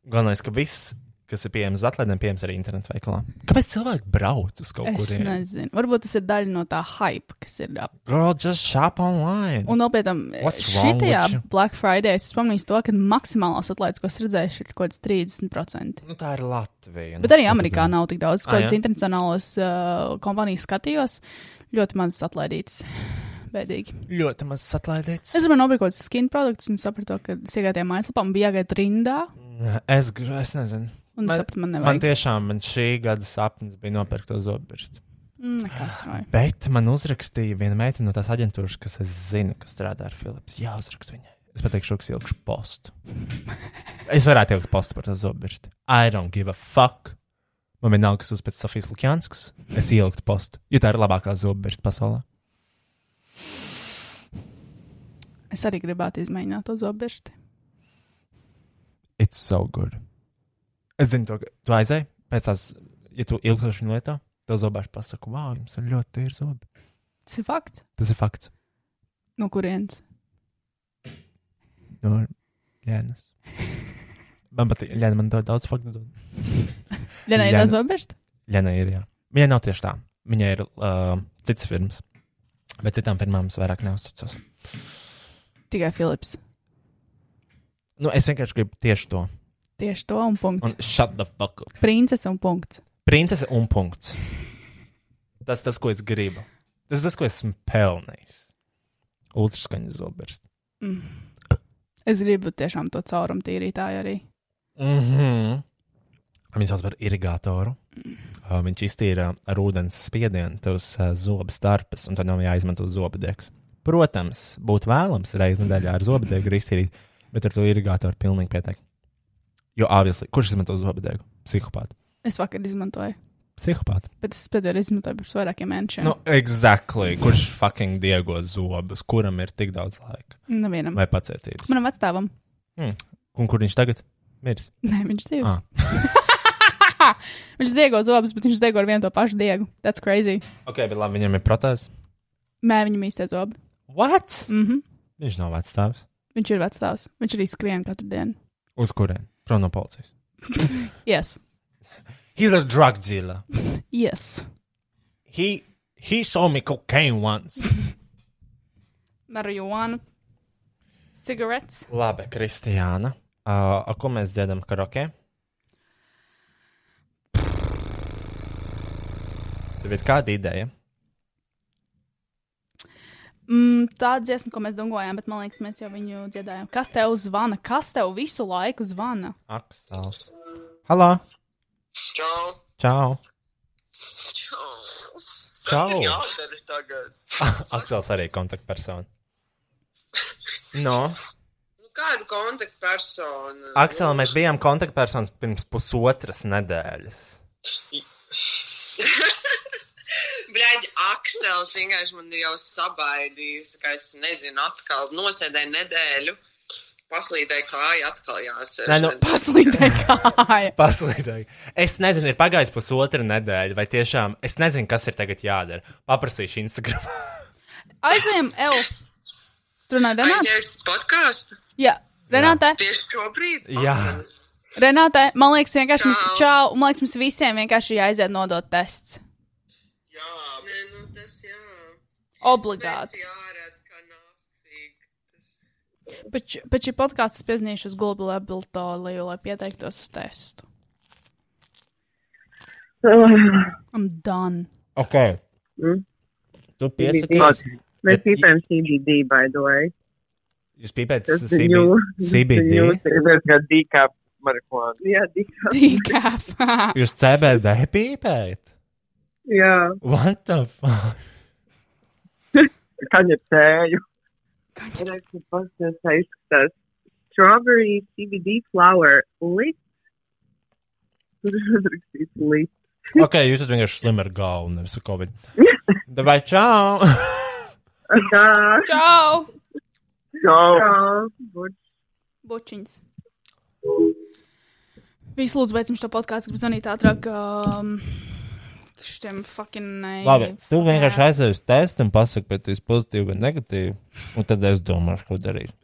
Galvenais, ka viss, kas ir pieejams uz atlaidēm, pieejams arī internetu veikalā. Kāpēc cilvēki brauc uz kaut Es kuriem? nezinu. Varbūt tas ir daļa no tā hype, kas ir ap Girl, just shop online. Un nopietnām, What's wrong with you? šitajā Black Friday es pamanīju to, ka maksimālās atlaides, ko es redzēju, ir kaut kāds 30%. Nu, tā ir Latvija. Bet arī Amerikā nav tik daudz. Es Ah, Kaut kādas jā? internacionālas uh, kompānijas skatījos, ļoti mazas atlaidītas. Bēdīgi. ļoti maz atlaidīts. Es domāju, nopirku kaut kādus skin produktus un sapratu, ka siegātajā mājaslapā man bija jāgaida rindā. Es, gr- es nezinu. Un es sapratu, man nevajag. man tiešām man šī gada sapnis bija nopirkt to zobirstu. Mm, nekas nav. Bet man uzrakstīja viena meitene no tās aģentūras, kas es zinu, kas strādā ar Philips. Jā, uzrakst viņai. Es pateikšu, ka es ilgšu postu. es varētu ilgt postu par to zobirstu. I don't give a fuck. Man vienalga, kas uzpēc Sofijas Lukjanskas. Es ielgtu postu, jo tā ir labākā zobirsta pasaulē. Es arī gribētu izmēģināt to zobirsti. It's so good. Es zinu, to, ka tu aizēji pēc tās, ja tu ilgstoši viņu lieto, tev zobārs pasaka, wow, jums ir ļoti tīri zobi. Tas ir fakts. Tas ir fakts. No kurienes? No Lēnas. Nu, Man patīk, Lēna man dod daudz faktu. dod. Vienai ir Jā, nu- zobirsti? Lēna ir, jā. Viņai nav tieši tā. Viņai ir uh, cits firmas. Bet citām firmām es vairāk neuzticos. Tikai Philips. Nu, es vienkārši gribu tieši to. Tieši to un punkts. Un shut the fuck up. Un... Princese un punkts. Princese un punkts. Tas tas, ko es gribu. Tas tas, ko esmu pelnījis. Ultraskaņas zobers. Es gribu tiešām to caurumu tīrītāju arī. Mhm. Viņu sauc par irigatoru. Uh, viņš iztīra ar ūdens spiedienu tavas uh, zobu starpes, un tad nav jāizmanto zobadēks. Protams, būtu vēlams reizes nedēļā ar zobadēku arī iztīrīt, bet ar to irigatoru pilnīgi pietiek. Jo obviously, kurš izmanto zobadēku? Psihopāti. Es vakar izmantoju, Psihopāti. bet es pēdējo reizi izmantoju pirms vairākiem mēnešiem. Nu, exactly. Kurš fucking diego zobus, kuram ir tik daudz laika Nevienam. Nu, vai pacietības? Manam vecstāvam. Un kur viņš tagad mirs? Nē, viņš dzīvs. Ah. viņš diego zobus, bet viņš diego ar vienu to pašu diegu. That's crazy. Ok, bet labi, viņam ir protēzs. Mē, viņam īstais zobi. What? Mm -hmm. Viņš nav vecstāvs. Viņš ir vecstāvs. Viņš arī skrien katru dienu. Uz kurien? Prom no policijas. Yes. He's a drug dealer. Yes. He he saw me cocaine once. Marijuana. Cigarettes. Labi, Kristiāna. Uh, a ko mēs dziedam karaoke? Tev ir kāda ideja? Mm, tā dziesma, ko mēs domājām, bet man liekas, mēs jau viņu dziedājām. Kas tev zvana? Kas tev visu laiku zvana? Aksels. Halo! Čau! Čau! Čau! Oh. Čau! Jādara tagad! Aksels arī kontaktpersona. No. Nu, kāda kontaktpersona? Aksel, mēs bijām kontaktpersonas pirms pusotras nedēļas. Bļaigi, Aksels vienkārši man ir jau sabaidījis, ka es nezinu, atkal nosēdēju nedēļu, paslīdēju kāju, atkal jāsēž. Nē, nu, Paslīdē kāja. Paslīdēji. Es nezinu, ir pagājis pusotra nedēļa, vai tiešām es nezinu, kas ir tagad jādara. Paprasīšu Instagram. Aizējām, Elu. Tur nē, Mēs Renāte. ierakstām podkāstu Jā, Renāte. tieši šobrīd. Jā. Renāte, man liekas, vienkārši mums, Čau. čau, un man liekas, mums visiem vienkārši jāaiziet nodot tests. Jā, nē, nu tas jā. Tas Obligāti. jārāda, ka nafīgi. Pēc pēc šī podkāsta es piezīmēšu uz Global Abilitāti, lai pieteiktos uz testu. I'm done. Ok. Mm. Tu piesakies? Mēs Bet- pīpējam CBD, by the way. Jūs pīpējat Tas ir CB... jū- CBD. jū- Tas kā dīkā marihuāna. Jā, dikā. Dīkāp. Jūs CBD pīpējat? Jā, What the fuck? Kaņa tēju. un es esmu pasties aizskatās. Strawberry CBD flower lit. Tur ir uzrakstīts lit. Ok, jūs esat vienkārši slim ar galvu, nevis ar covid. Davai, čau! Tā, Čau! Čau! tā, būtu. Bučiņas. Viss, lūdzu, beidzam šo podkāstu. Gribu zvanīt ātrāk. Um, Šitiem fucking nē. Labi, tu vienkārši aizies uz testu un pasaki, vai tu esi pozitīvi vai negatīvi. Un tad es domāšu, ko darīt.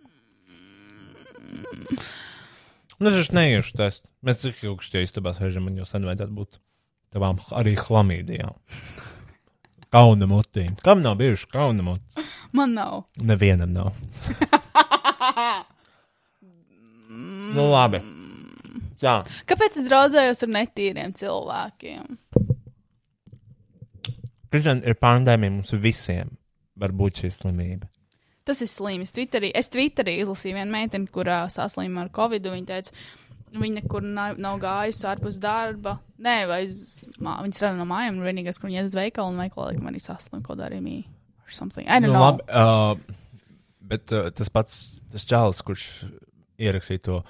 Nu, es taču neiešu testu. Mēs cik ilgi šajā istabā sēžam, man jau sen vajadzētu būt tavām h- arī chlamīdijām. Kauna mutīm. Kam nav bijuši kauna mutīm? Man nav. Nevienam nav. nu, labi. Jā, Kāpēc es draudzējos ar netīriem cilvēkiem? Kristian, ir pandēmija mums visiem. Varbūt šī slimība. Tas ir slimi. Es Twitterī, es Twitterī izlasīju vienu meiteni, kurā saslima ar covid. Viņa teica, viņa nekur na- nav gājusi ārpus darba. Nē, vai uz, mā, viņa strādā no mājām. un Vienīgais, kur viņa iet uz veikalu un veikalā, laikam arī saslima kaut kādā rīmī. Nu, No, labi, uh, bet uh, tas pats tas čalis, kurš ierakstīja to,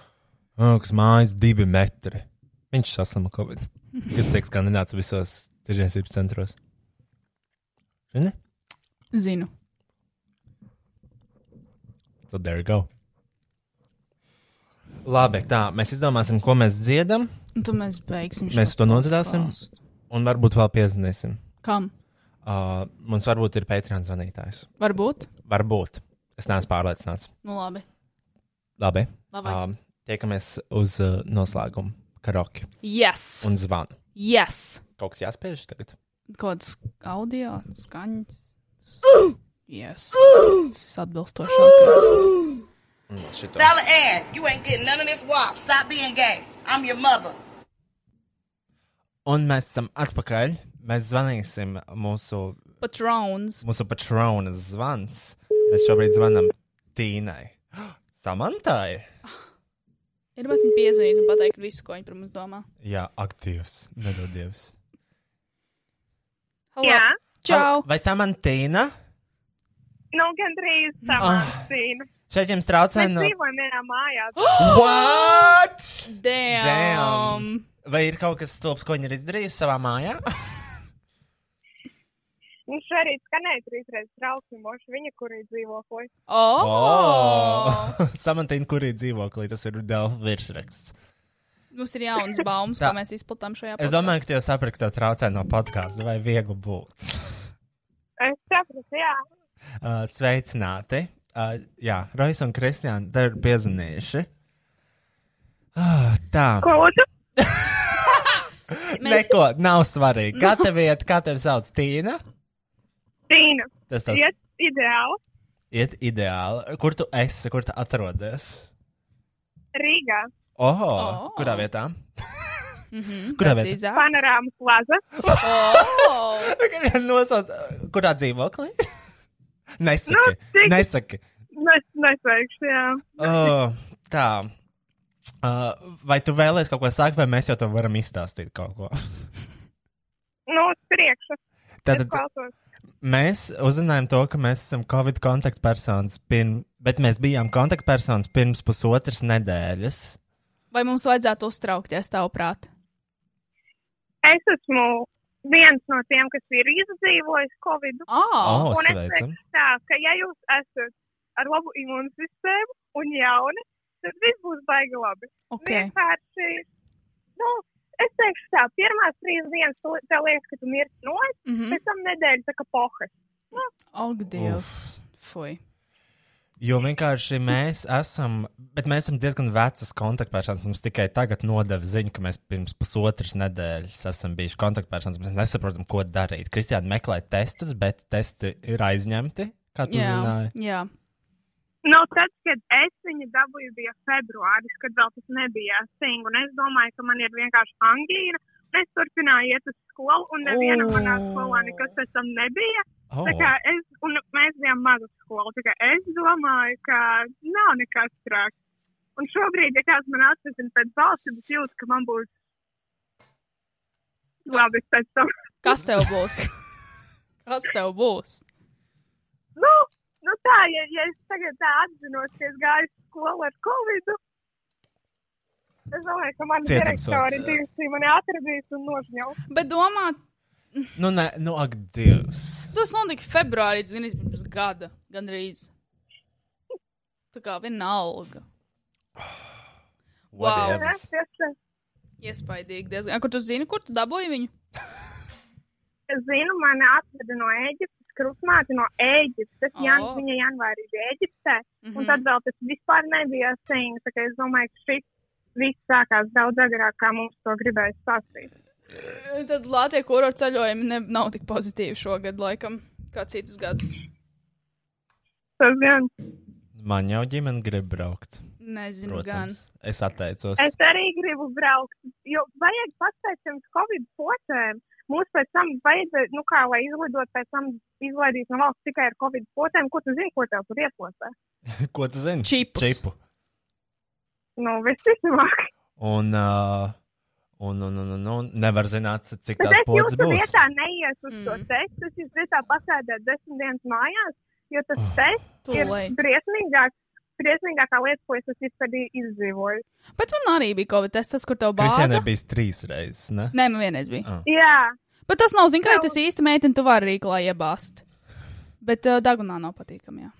uh, kas mājas divi metri. Viņš saslima Covid. Viņš teiks, ka nenāca visos tirdzniecības centros. Zini? Zinu. So there you go. Labi, tā mēs izdomāsim, ko mēs dziedam, Un tad mēs beigsim šo Mēs to nodziedāsim? podcastu. un varbūt vēl piezīmēsim. Kam? Uh, mums varbūt ir Patreon zvanītājs. Varbūt. Varbūt. Es neesmu pārliecināts. Nu, labi. Labi. labi. Um, tiekamies uz uh, noslēgumu karaoke Yes! un zvanu. Yes! Kaut kas jāspēj tagad. Kāds audio skaņas. Yes. Tas ir atbilstošākais. Šito. Dollar ad, you ain't getting none of this wop. Stop being gay. I'm your mother. Un mēs esam atpakaļ. Mēs zvanīsim mūsu, Patrons. mūsu patrona zvans. Mēs šobrīd zvanām Tīnai. Samantai? Ir mazs viņa piezvanīt un pateikt visu, ko viņa par mums domā. Jā, aktīvs. Nedod Dievs. Hello. Jā. Čau! Vai Samantīna? Nu, gandrīz tā, Ah. Martīna. Šeit jums traucē Mēs no. dzīvojam vienā mājā. What? Damn! Damn. Vai ir kaut kas stulbs, ko viņa ir izdarījusi savā mājā? Viņš arī skanēja trīs reizes trauksmoši viņa, kur ir dzīvo. ko es- Oh! Samantīna, kur ir dzīvoklī, tas ir Delfa virsraksts. Mums ir jauns baumas, Tā. ko mēs izplatām šajā Es domāju, ka tev sapratu, ka tev traucē no podkāsta, vai viegli būt. Es sapratu, jā. Uh, sveicināti. Uh, jā, Rojas un Kristiāna, te ir piezinījuši. Uh, tā. Ko tu? Mēs... Neko, nav svarīgi. Kā tev iet, kā tev sauc Tīna? Tīna. Tas tas Iet ideāli. iet ideāli. Kur tu esi, kur tu atrodies? Rīgā. Oho, oh. Oh. kurā vietā? Mm -hmm. Mhm, Kurā Panorāmas plaza. Oh! Nosauc, uh, kurā dzīvoklī? Nesaki, Nu, cik- nesaki. Nu, es nesveikšu, jā. Oh, tā. Uh, vai tu vēlēsies kaut ko sākt, vai mēs jau tev varam izstāstīt kaut ko? Nu, uz priekšu. Tad Es klausos. mēs uzzinājām to, ka mēs esam Covid kontaktpersonas, pirm... bet mēs bijām kontaktpersonas pirms pusotras nedēļas. Vai mums vajadzētu uztraukties, tavuprāt? Es esmu viens no tiem, kas ir izdzīvojis Covid. Oh! Oh, Un es sveicam! teikšu tā, ka ja jūs esat ar labu imūnsistēmu un jauni, tad viss būs baigi labi. Ok. vienkārši. Nu, es teikšu, tā pirmās trīs dienas tu- tev liekas, ka tu mirsti no aizsardzības, Mm -hmm. pēc tam nedēļa tā kā pohas. Oh, Dievs! Fui! Jo vienkārši mēs esam, bet mēs esam diezgan vecas kontaktpersonas. Mums tikai tagad nodeva ziņu, ka mēs pirms pusotras nedēļas esam bijuši kontaktpersonas. Mēs nesaprotam, ko darīt. Kristiāna meklē testus, bet testi ir aizņemti. Kā tu yeah. zināji? Jā, jā. Nu, tad, kad es viņu dabūju, bija februāris, kad vēl tas nebija sting, un es domāju, ka man ir vienkārši angīna. un Es turpināju iet uz skolu, un nevienam Oh. manā skolā nekas pēc tam nebija. Oh. Tā kā es, un mēs bijām maza skola, tā kā es domāju, ka nav nekas traks. Un šobrīd, ja kāds man atzīst pēc balss, tad es jūtu, ka man būs labi pēc tam. Kas tev būs? Kas tev būs? Nu, nu tā, ja, ja es tagad tā atzinos, ka es gāju uz skolu ar covid, es domāju, ka man Cietumsots. direktori divi mani atradīs un nožņaus. Bet domā, Nu, nē, nu, ak, Dievs. tas notika februārī, zinās, pirms gada gandrīz. Tā kā vienalga. Wow. Whatevs. Es, es, Iespaidīgi diezgan. A, Kur tu zini, kur tu dabūji viņu? es zinu, mani atveda no Ēģiptes, krusmāte no O. Ēģiptes. Oh. Jan, viņa janvārī bija Ēģiptē, mm -hmm. un tad vēl tas vispār nebija sings. Tā kā es domāju, ka šis viss sākās daudz agrāk, kā mums to gribēja stāstīt. E, Tad Latvijas kurorta ceļojumi ne, nav tik pozitīvi šogad, laikam, kā citus gadus. Tas gan. Man jau ģimene grib braukt. Nezinu, Protams, Protams. es atteicos. Es arī gribu braukt, jo vajag pateikt pirms Covid potēm. Mums pēc tam vajadzēja, nu kā, lai izlidot, pēc tam izlaidīs no valsts tikai ar Covid potēm. Ko tu zini, ko tev tur ieposē? Ko tu zini? Čipus. Čipu. Nu, visticamāk. Un, uh, un, un, un, un, un nevar zināt, cik Bet tāds es pods jūsu būs. vietā neiešu uz mm. to Mm. testu. Es jūs vietā pasēdēju desmit dienas mājās, jo tas Ah. oh. tests gan ir tūlīt. briesmīgāk, briesmīgākā lieta, ko es esmu vispār izdzīvojis. Bet man arī bija Covid tests, tas, kur tev bāza. Kristiāna bija trīs reizes, Nu, ne? Nē, man vienreiz bija. Jā, Bet tas nav, zinu, kā Nav. tas īsti meitene, tu vari rīklā iebāzt. Bet uh, Dagunā nav patīkami. Jā.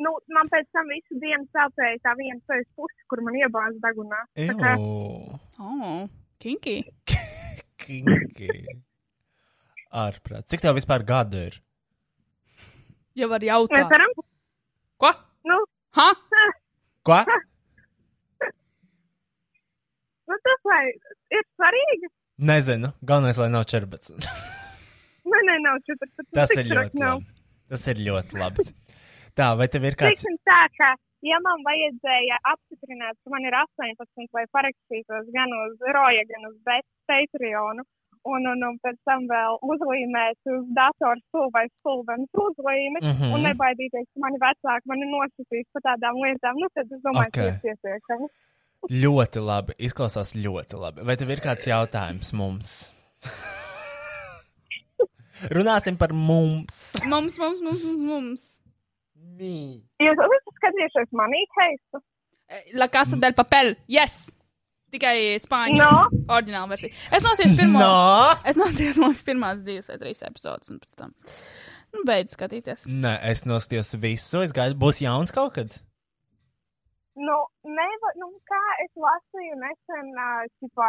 nu, man pēc tam visu dienu sāpēja tā viena sevis puse, kur man iebāz dagunā. Tā kā- Jū, Oh, kinky. kinki. Ārprāt. Cik tev vispār gadu ir? Ja var Mēs jautāt. varam, Ko? nu, Ha? Ko? nu tas vai ir svarīgi. Nezinu. Galvenais, lai nav čerbats. Man ne, nav 14. Tas Tik ir traki ļoti nav. labi. Tas ir ļoti labi. Tā, vai tev ir kāds? Teiksim tā, ka, ja man vajadzēja apstiprināt, ka man ir 18, lai parakstītos gan uz Roja, gan uz Bet- Patreonu, un, un, un pēc tam vēl uzlīmēt uz datoru stūlu vai stūlvenes uzlīmi, Mhm. un nebaidīties, ka mani vecāki mani nosacīs par tādām lietām, nu tad es domāju, Ok. ka tas ir pietiekami. Ļoti labi. Izklausās ļoti labi. Vai tev ir kāds jautājums mums? Runāsim par mums. Mums, mums, mums, mums. mums. Ja es skatīšos manī teistu, Eh, La casa del papel. Yes! Tikai spāņu. No. Ordināla versija. Es nosīju pirmo. No! Es nosīju, man liekas, pirmās divas vai trīs epizodes, un pēc tam. Nu, beidz skatīties. Nē, es nostījos visu. Es gaidu, būs jauns kaut kad. nu, neva, nu, kā es lasīju nesen ā, tipā,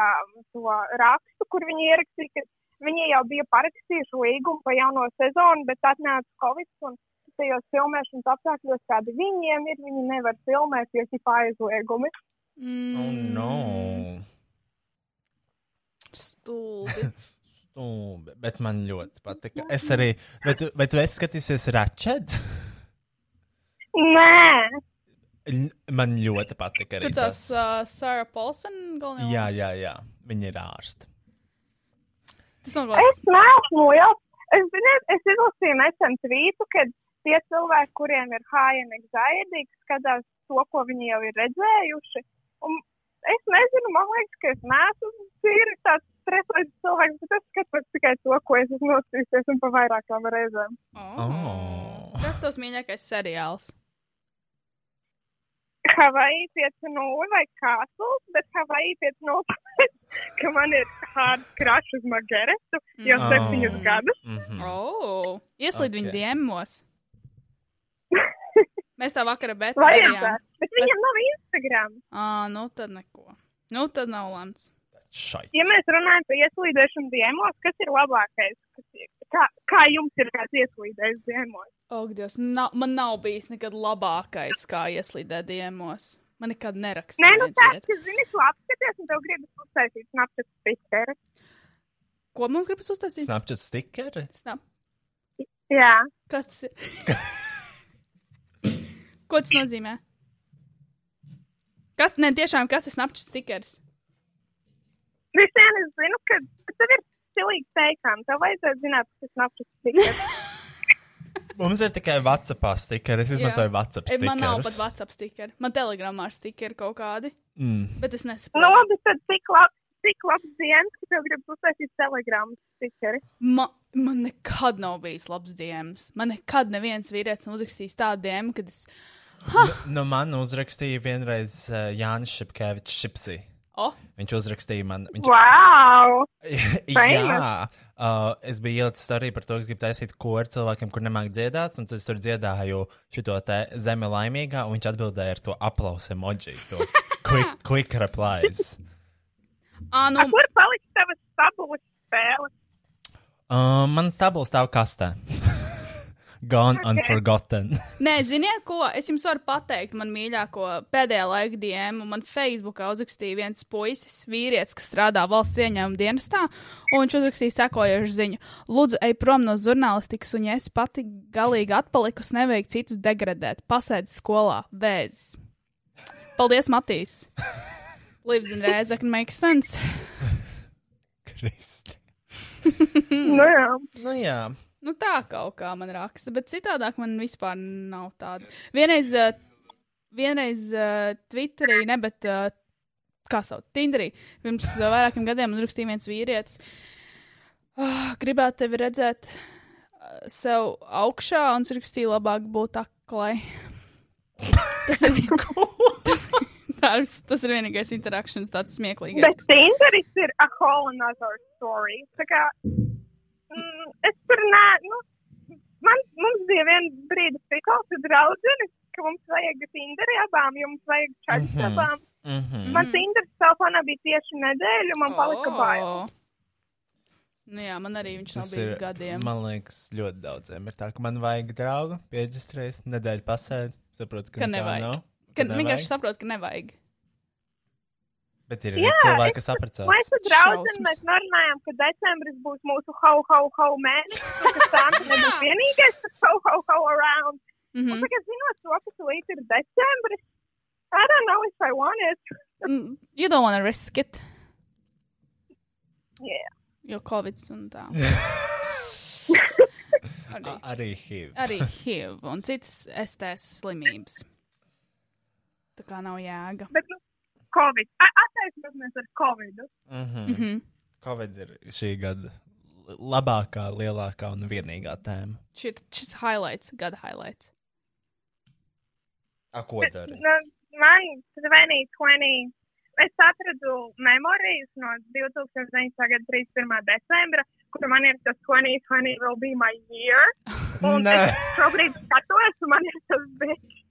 to rakstu, kur viņi ierakstīja, ka viņi jau bija parakstījuši līgumu par jauno sezonu, bet atnāca Covid. Un... Tajos filmēšanas apstākļos, kādi viņiem ir, viņi nevar filmēt, jo ir aizliegumi. Mm, Oh, no. Stulbi. Stūbi, bet man ļoti patika. Es arī. Bet, tu- bet tu esi skatījusies Ratchet? Nē, L- Man ļoti patika arī. Tur tas tas. uh, Sara Paulsen galvenais. Jā, jā, jā. Viņa ir ārsta. Tas nav es gals. neesmu liels. Es, ziniet, es izlasīju nesen tvītu, ka tie cilvēki, kuriem ir high-end anxiety, skatās to, ko viņi jau ir redzējuši. Un es nezinu, man liekas, ka es neesmu tīri tāds stresošs cilvēks, bet es skatos tikai to, ko es esmu nostrīsies un pa vairākām reizēm. Oh. Kas tavs mīļākais seriāls? Havaji 5.0 vai Kāsls, bet Havaji 5.0, ka man ir hard crush uz Margaretu jau Mm. septiņus Oh. gadus. Mm. Mhm. Oh, ieslīd okay. viņa Ok. diemos. Mēs tā vakara bet. Vajadzētu, bet viņam nav Instagram. Ah, nu tad neko. Nu tad nav lemts. Šai. Ja mēs runājam par ieslīdēšanu diemos, kas ir labākais? Kas ir, kā, kā jums ir kāds ieslīdējis diemos? Ak, Dievs, nav, man nav bijis nekad labākais, kā ieslīdēt diemos. Man nekad nerakstīja. Nē, nu tāds, ka zini, tu apskaties, un tev gribas uztaisīt snapchat stickeri. Ko mums gribas uztaisīt? Snapchat stikeri? Snap. Jā, Kas tas ir? Ko tas nozīmē? Kas, nē, tiešām, kas tas napčs stikers? visiem es zinu, ka tev ir silīgs teikām. Tev vajadzētu zināt, kas ir snapchat stickeri. Mums ir tikai WhatsApp stikeri. Es izmantoju WhatsApp E, stikeri. Man nav pat WhatsApp stikeri. Man telegramā ir stikeri kaut kādi, Mm. bet es nu, nesaprotu. labi, tad tik labs, tik labs dienas, ka tev gribas uztaisīt telegramu stickeri. Ma, man nekad nav bijis labs diems. Man nekad neviens vīrietis nav uzrakstījis tādu diemu, kad es. Nu, man uzrakstīja vienreiz uh, Jānis Šepkevičs Šipsi. Oh, Viņš uzrakstīja man. Viņš... Wow! Jā, uh, es biju ielicis stāstījis par to, ka gribu taisīt koru cilvēkiem, kur nemāķi dziedāt, un tad es tur dziedāju šo zemi laimīgā, un viņš atbildēja ar to aplausu emoji, to quick, quick replies. ah, nu, Kur paliks tavas stabulas spēles? Um, man stabils stāv kastē. Gone okay. unforgotten. Nē, ziniet, ko es jums varu pateikt. Man mīļāko pēdējā laika dienu man Facebookā uzrakstīja viens puisis, vīrietis, kas strādā valsts ieņēmuma dienestā, un viņš uzrakstīja sekojošu ziņu: Lūdzu, ej prom no žurnālistikas, un ja es pati galīgi atpalikusi, nevajag citus degradēt. Pasēdi skolā, vēzis. Paldies, Matīs! Lives in Reizekne makes sense. Kristi. Nu, jā. Nu jā. Nu, tā kaut kā man raksta, bet citādāk man vispār nav tāda. Vienreiz, eh, vienreiz eh, Twitterī, ne, bet eh, kā sauc, Tinderī, pirms eh, vairākiem gadiem man rakstīja viens vīrietis. "Ah, Gribētu tevi redzēt eh, sev augšā, un viņš rakstīja, labāk būt aklai. Tas ir Tas, tas ir vienīgais interakcijas, tāds smieklīgs. Bet Tinderis ir a whole another story. Tā kā, mm, es tur nē, nu, man, mums bija viena brīdi pikols ar draudzeni, ka mums vajag Tinderi abām, jo mums vajag čaļus Mhm. abām. Mhm. Man Tinderis telefonā bija tieši nedēļu, Oh. man palika bail. Nu jā, man arī viņš nav Tas bijis ir, gadiem. man liekas, ļoti daudziem ir tā, ka man vajag draugu, pieģis reizes, nedēļu pasēdi, saprotu, ka, Ka nekā nevajag. Nav, Kad nevajag. vienkārši saprotu, ka nevajag. Bet ir Jā, arī cilvēki, es- kas apprecās. Mēs ar draugiem Šausmas. mēs norunājām, ka decembris būs mūsu hau, hau, hau mēnesis, un ka Santa nebūs vienīgais, kas hau, hau, hau around. Mhm. Un tagad zinot to, kas līdz ir decembris, I don't know if I want it. Mm, You don't want to risk it. Yeah. Jo Covid un tā. arī, A- Arī HIV. arī HIV un citas STS slimības. Tā kā nav jēga. Bet, nu, Covid. A- Attaisnosimies ar Covid. Mhm. Mhm. Covid ir šī gada labākā, lielākā un vienīgā tēma. Šis, šis highlights, gada highlights. A, ko dari? Nu, man 2020. Es atradu memorijas no 2009. gada 31. decembra, kur man ir tas 2020 will be my year. Un Nē. es šobrīd skatos, un man ir tas bitch.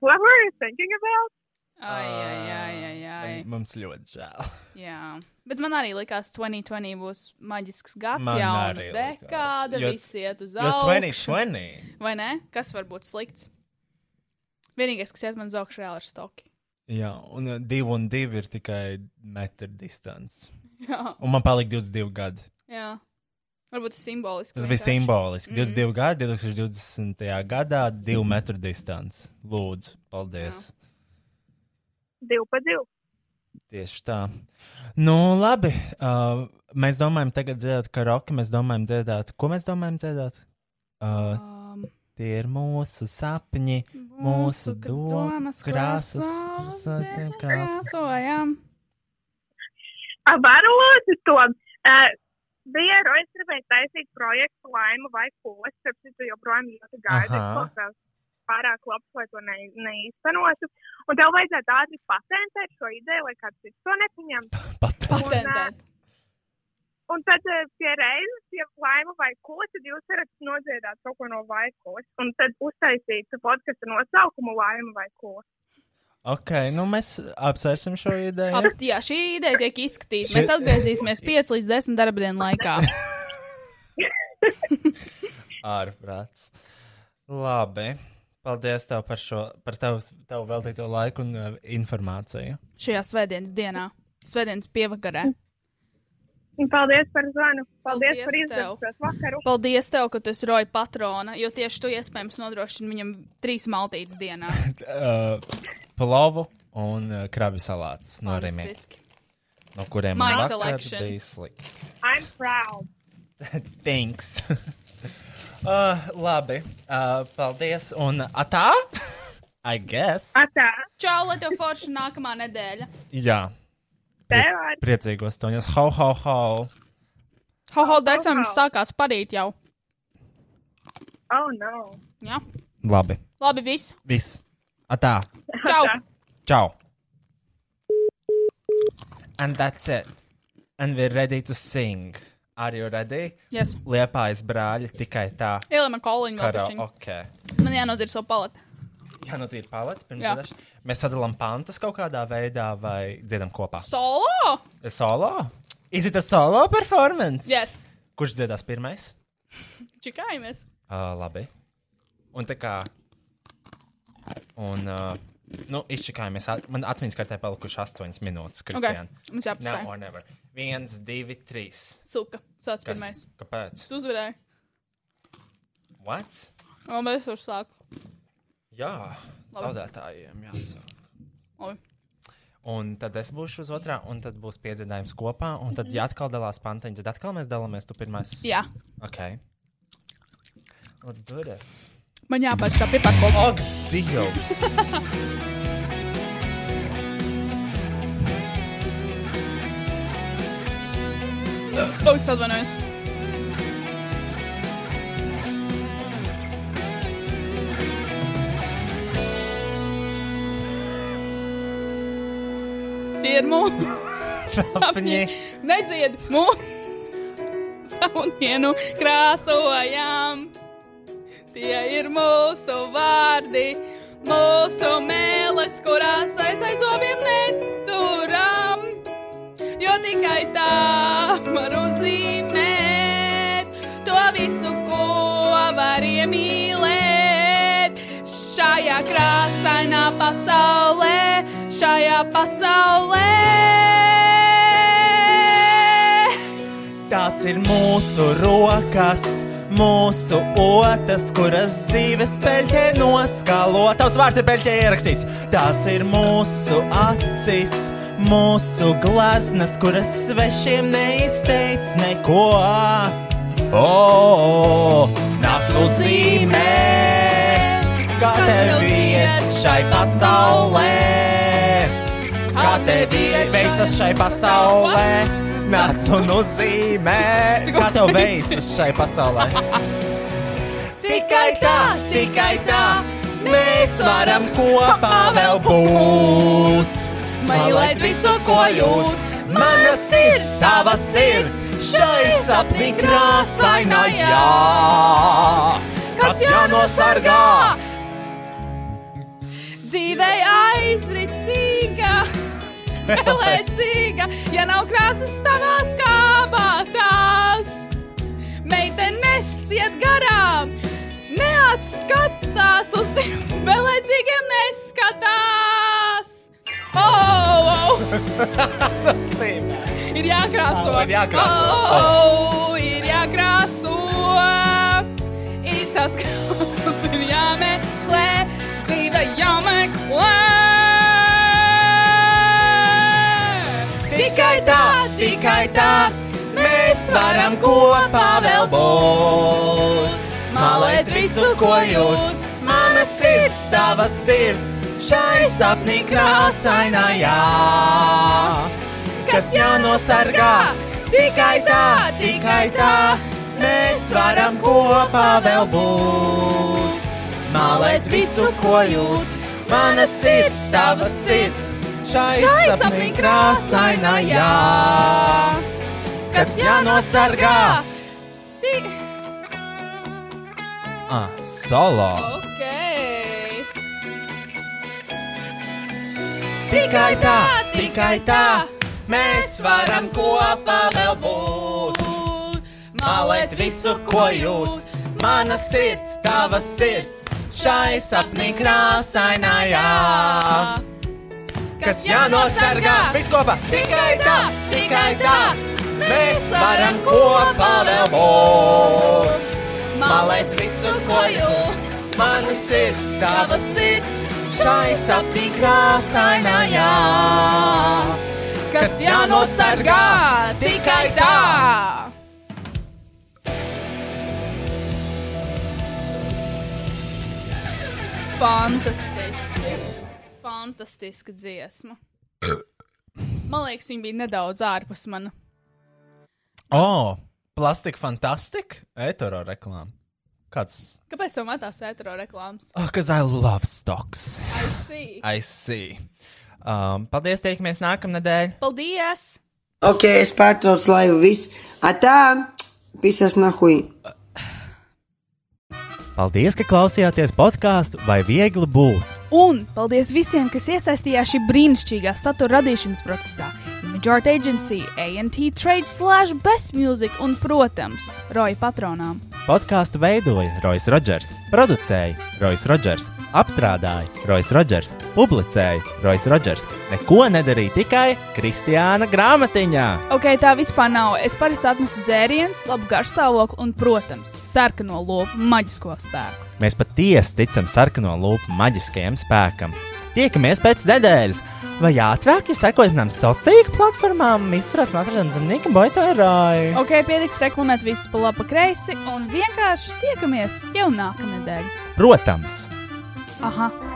What were you thinking about? Ai, ai, Ah, ai, ai, ai. Man- Mums ļoti žēl. Jā. Bet man arī likās, ka 2020 būs maģisks gads, Man jau arī tāda likās. dekāda, Jo- viss iet uz Jo augšu. 2020. Vai ne? Kas var būt slikts? Vienīgais, kas iet man uz augšu, reāli ir stoki. Jā, un 2 un 2 ir tikai metru distance. Jā, Un man palika 22 gadi. jā. varbūt tas simboliski. Tas bija vienkārši. simboliski. 22 gadi, 2020. gadā, 2 metru distance. Lūdzu, paldies. Jā. Divu pa divu. Tieši tā. Nu, labi. Uh, mēs domājam, tagad dzirdēt karaoke. Mēs domājam, dzirdēt, ko mēs domājam dzirdēt. Uh, Um, tie ir mūsu sapņi, mūsu mūsu kad domas, domas krāsas, krāsās, sasien krāsas. krāsojām. A, Varu lūdzu Ah, to. Uh, bija Rojas gribēja taisīt projektu laima vai kulis, starp citu joprojām ļoti gaida. Aha. kaut kas Pārāk labs, lai to ne, neīstenotu. Un tev vajadzētu ātri patentēt šo ideju, lai kāds cits to nepaņem. Pat Patentēt. Un tad eh, pie reizes, ja laima vai kulis, tad jūs varat nodziedāt kaut ko no vai kulis. Un tad uztaisīt podkastu nosaukumu laima vai kulis. ok, nu mēs apsvērsim šo Ah, ideju. bet Jā, šī ideja tiek izskatīta. Šie- Mēs atgriezīsimies 5 līdz 10 darba dienu laikā. Ārprāts. Labi. Paldies tev par šo, par tavu, tavu veltīto laiku un uh, informāciju. Šajā svētdienas dienā, svētdienas pievakarē. Un paldies par zvanu. Paldies, Paldies paldies par tev. izdevumu vakaru. Paldies tev, ka tu esi roja patrona, jo tieši tu iespējams nodrošini viņam trīs maltītes dienā. T- Uh, Plovu un uh, krabi salāts no rīmiem, Fantastiski. no kuriem My man vakar selection. bija slikti. I'm proud. Thanks. uh, labi. Uh, paldies. Un atā? I guess. Atā, Čau, lai tev forša nākamā nedēļa. Jā. tev ar. Priecīgos toņos. Hau, hau, hau. Ho, ho, decembris sākās parīt jau. Oh, no. Ja? Labi. Labi, viss. Viss. Atā. Čau! Ciao. And that's it. And we're ready to sing. Are you ready? Yes. Liepājas brāļi tikai tā. Ielēma koliņu vēl Karaoke. pišķiņu. Okay. Man jānodir savu paleti. Jā, nu tīri paleti. pirms Jā. dziedāš- Mēs sadalām pantus kaut kādā veidā vai dziedam kopā. Solo! A Solo? Is it a solo performance? Yes. Kurš dziedās pirmais? Čikājamies. Uh, labi. Un tā kā. Un, uh, nu, izčakājamies. At- Man atmiņas kartē palikuši 8 minūtes. Kristiāna. mums jāpaspēj. Now or never. 1, 2, 3. Suka, sāc pirmais. Kāpēc? Tu uzvarēji. What? Un mēs varam sākt. Jā, Labi. zaudētājiem jāsaka. Labi. Un tad es būšu uz otrā, un tad būs piedzīvājums kopā. Un tad, ja atkal dalās pantiņa, tad atkal mēs dalāmies. Tu pirmais. Mhm. Jā. Ok. Let's do this. Man jāpārš tā piepakot. Ak, Dievs! Lūdzu, atvainojos. Tie ir mūsu Sapņi! nedzied mūsu saunienu krāsojām. Tie ir mūsu vārdi, mūsu mēlis, kurās aiz aizobiem neturam. Jo tikai tā var uzzīmēt to visu, ko var iemīlēt. Šajā krāsainā pasaulē, šajā pasaulē. Tās ir mūsu rokas, mūsu otras, kuras dzīves peļķē noskalo. Tavs vārds ir peļķē ierakstīts. Tās ir mūsu acis, mūsu glaznas, kuras svešiem neizteic neko. O, nāc uzzīmē, kā tev iet šai pasaulē kā tev veicas šai pasaulē. Nāc un uzzīmē, kā tev veicas šai pasaulē. Tikai tā, tikai tā, mēs varam kopā vēl būt. Mīlēt visu, ko jūt, mana sirds, tava sirds, šai sapnī krāsainā jā. kas jānosargā. Dzīvē aizricīga, pelēcīga, ja nav krāsas tavā skābātās. Meitenes iet garām, neatskatās uz tiem pelēcīgiem, neskatās. Oh, oh, ir jākrāso, Ir jākrāso. Oh, oh, ir jākrāso. Īstās krāsas ir jāmeklē, dzīve jāmeklē. Tikai tā, tikai tā, mēs varam kopā vēl būt. Malēt visu, ko jūt, mana sirds, tava sirds, šai sapnī krāsainajā, kas jānosargā. Tikai tā, tikai tā, mēs varam kopā vēl būt. Malēt visu, ko jūt, mana sirds, tava sirds, šai šai sapnī sapnī krāsainajā, krāsainajā. kas jānosargā. Tik... Ah, solo! Ok. Tikai tā, tikai tā, mēs varam kopā vēl būt. Malēt visu, ko jūt, mana sirds, tava sirds, šai sapnī krāsainajā, kas jānosargā viskopā. Tikai tā, tikai tā, mēs varam kopā vēl būt. Malēt visu, ko jūt, mana sirds, tava Tava sirds. sirds, Šai sapnī krāsainajā, kas jānosargā tikai tā. Fantastiski. Fantastiska dziesma. Man liekas, viņa bija nedaudz ārpus manas. O, oh, plastika fantastika, etoro reklāma. Kāds? Kāpēc man tā sēta reklāmas? Oh, cause I love stocks. I see. I see. Um, paldies, tiekamies nākamnedēļ. Paldies! Ok, es pārtraucu laivu viss. Atā, pisas nahui. Paldies, ka klausījāties podkāstu vai viegli būt. Un paldies visiem, kas iesaistījās šī brīnišķīgā satura radīšanas procesā. Ja Jort Agency, ANT Trade slash Best Music un, protams, Roja patronām. Podkāstu veidoja Roisas Rodžers, producēja Roisas Rodžers, apstrādāja Roisas Rodžers, publicēja Roisas Rodžers. Neko nedarīja tikai Kristiāna grāmatiņā. Ok, tā vispār nav. Es parasti atnesu dzērienus, labu garšstāvokli un, protams, sarkano lopu maģisko spēku. Mēs patiesi ticam sarkano lupu maģiskajam spēkam. Tiekamies pēc nedēļas, vai ātrāk, ja sekojat mums sociālajām tīkla platformām, visurās matradienas zemnieka boitārāja. Ok, pietiks reklamēt visus pa labi, pa kreisi un vienkārši tiekamies jau nākamnedēļ. Protams! Aha!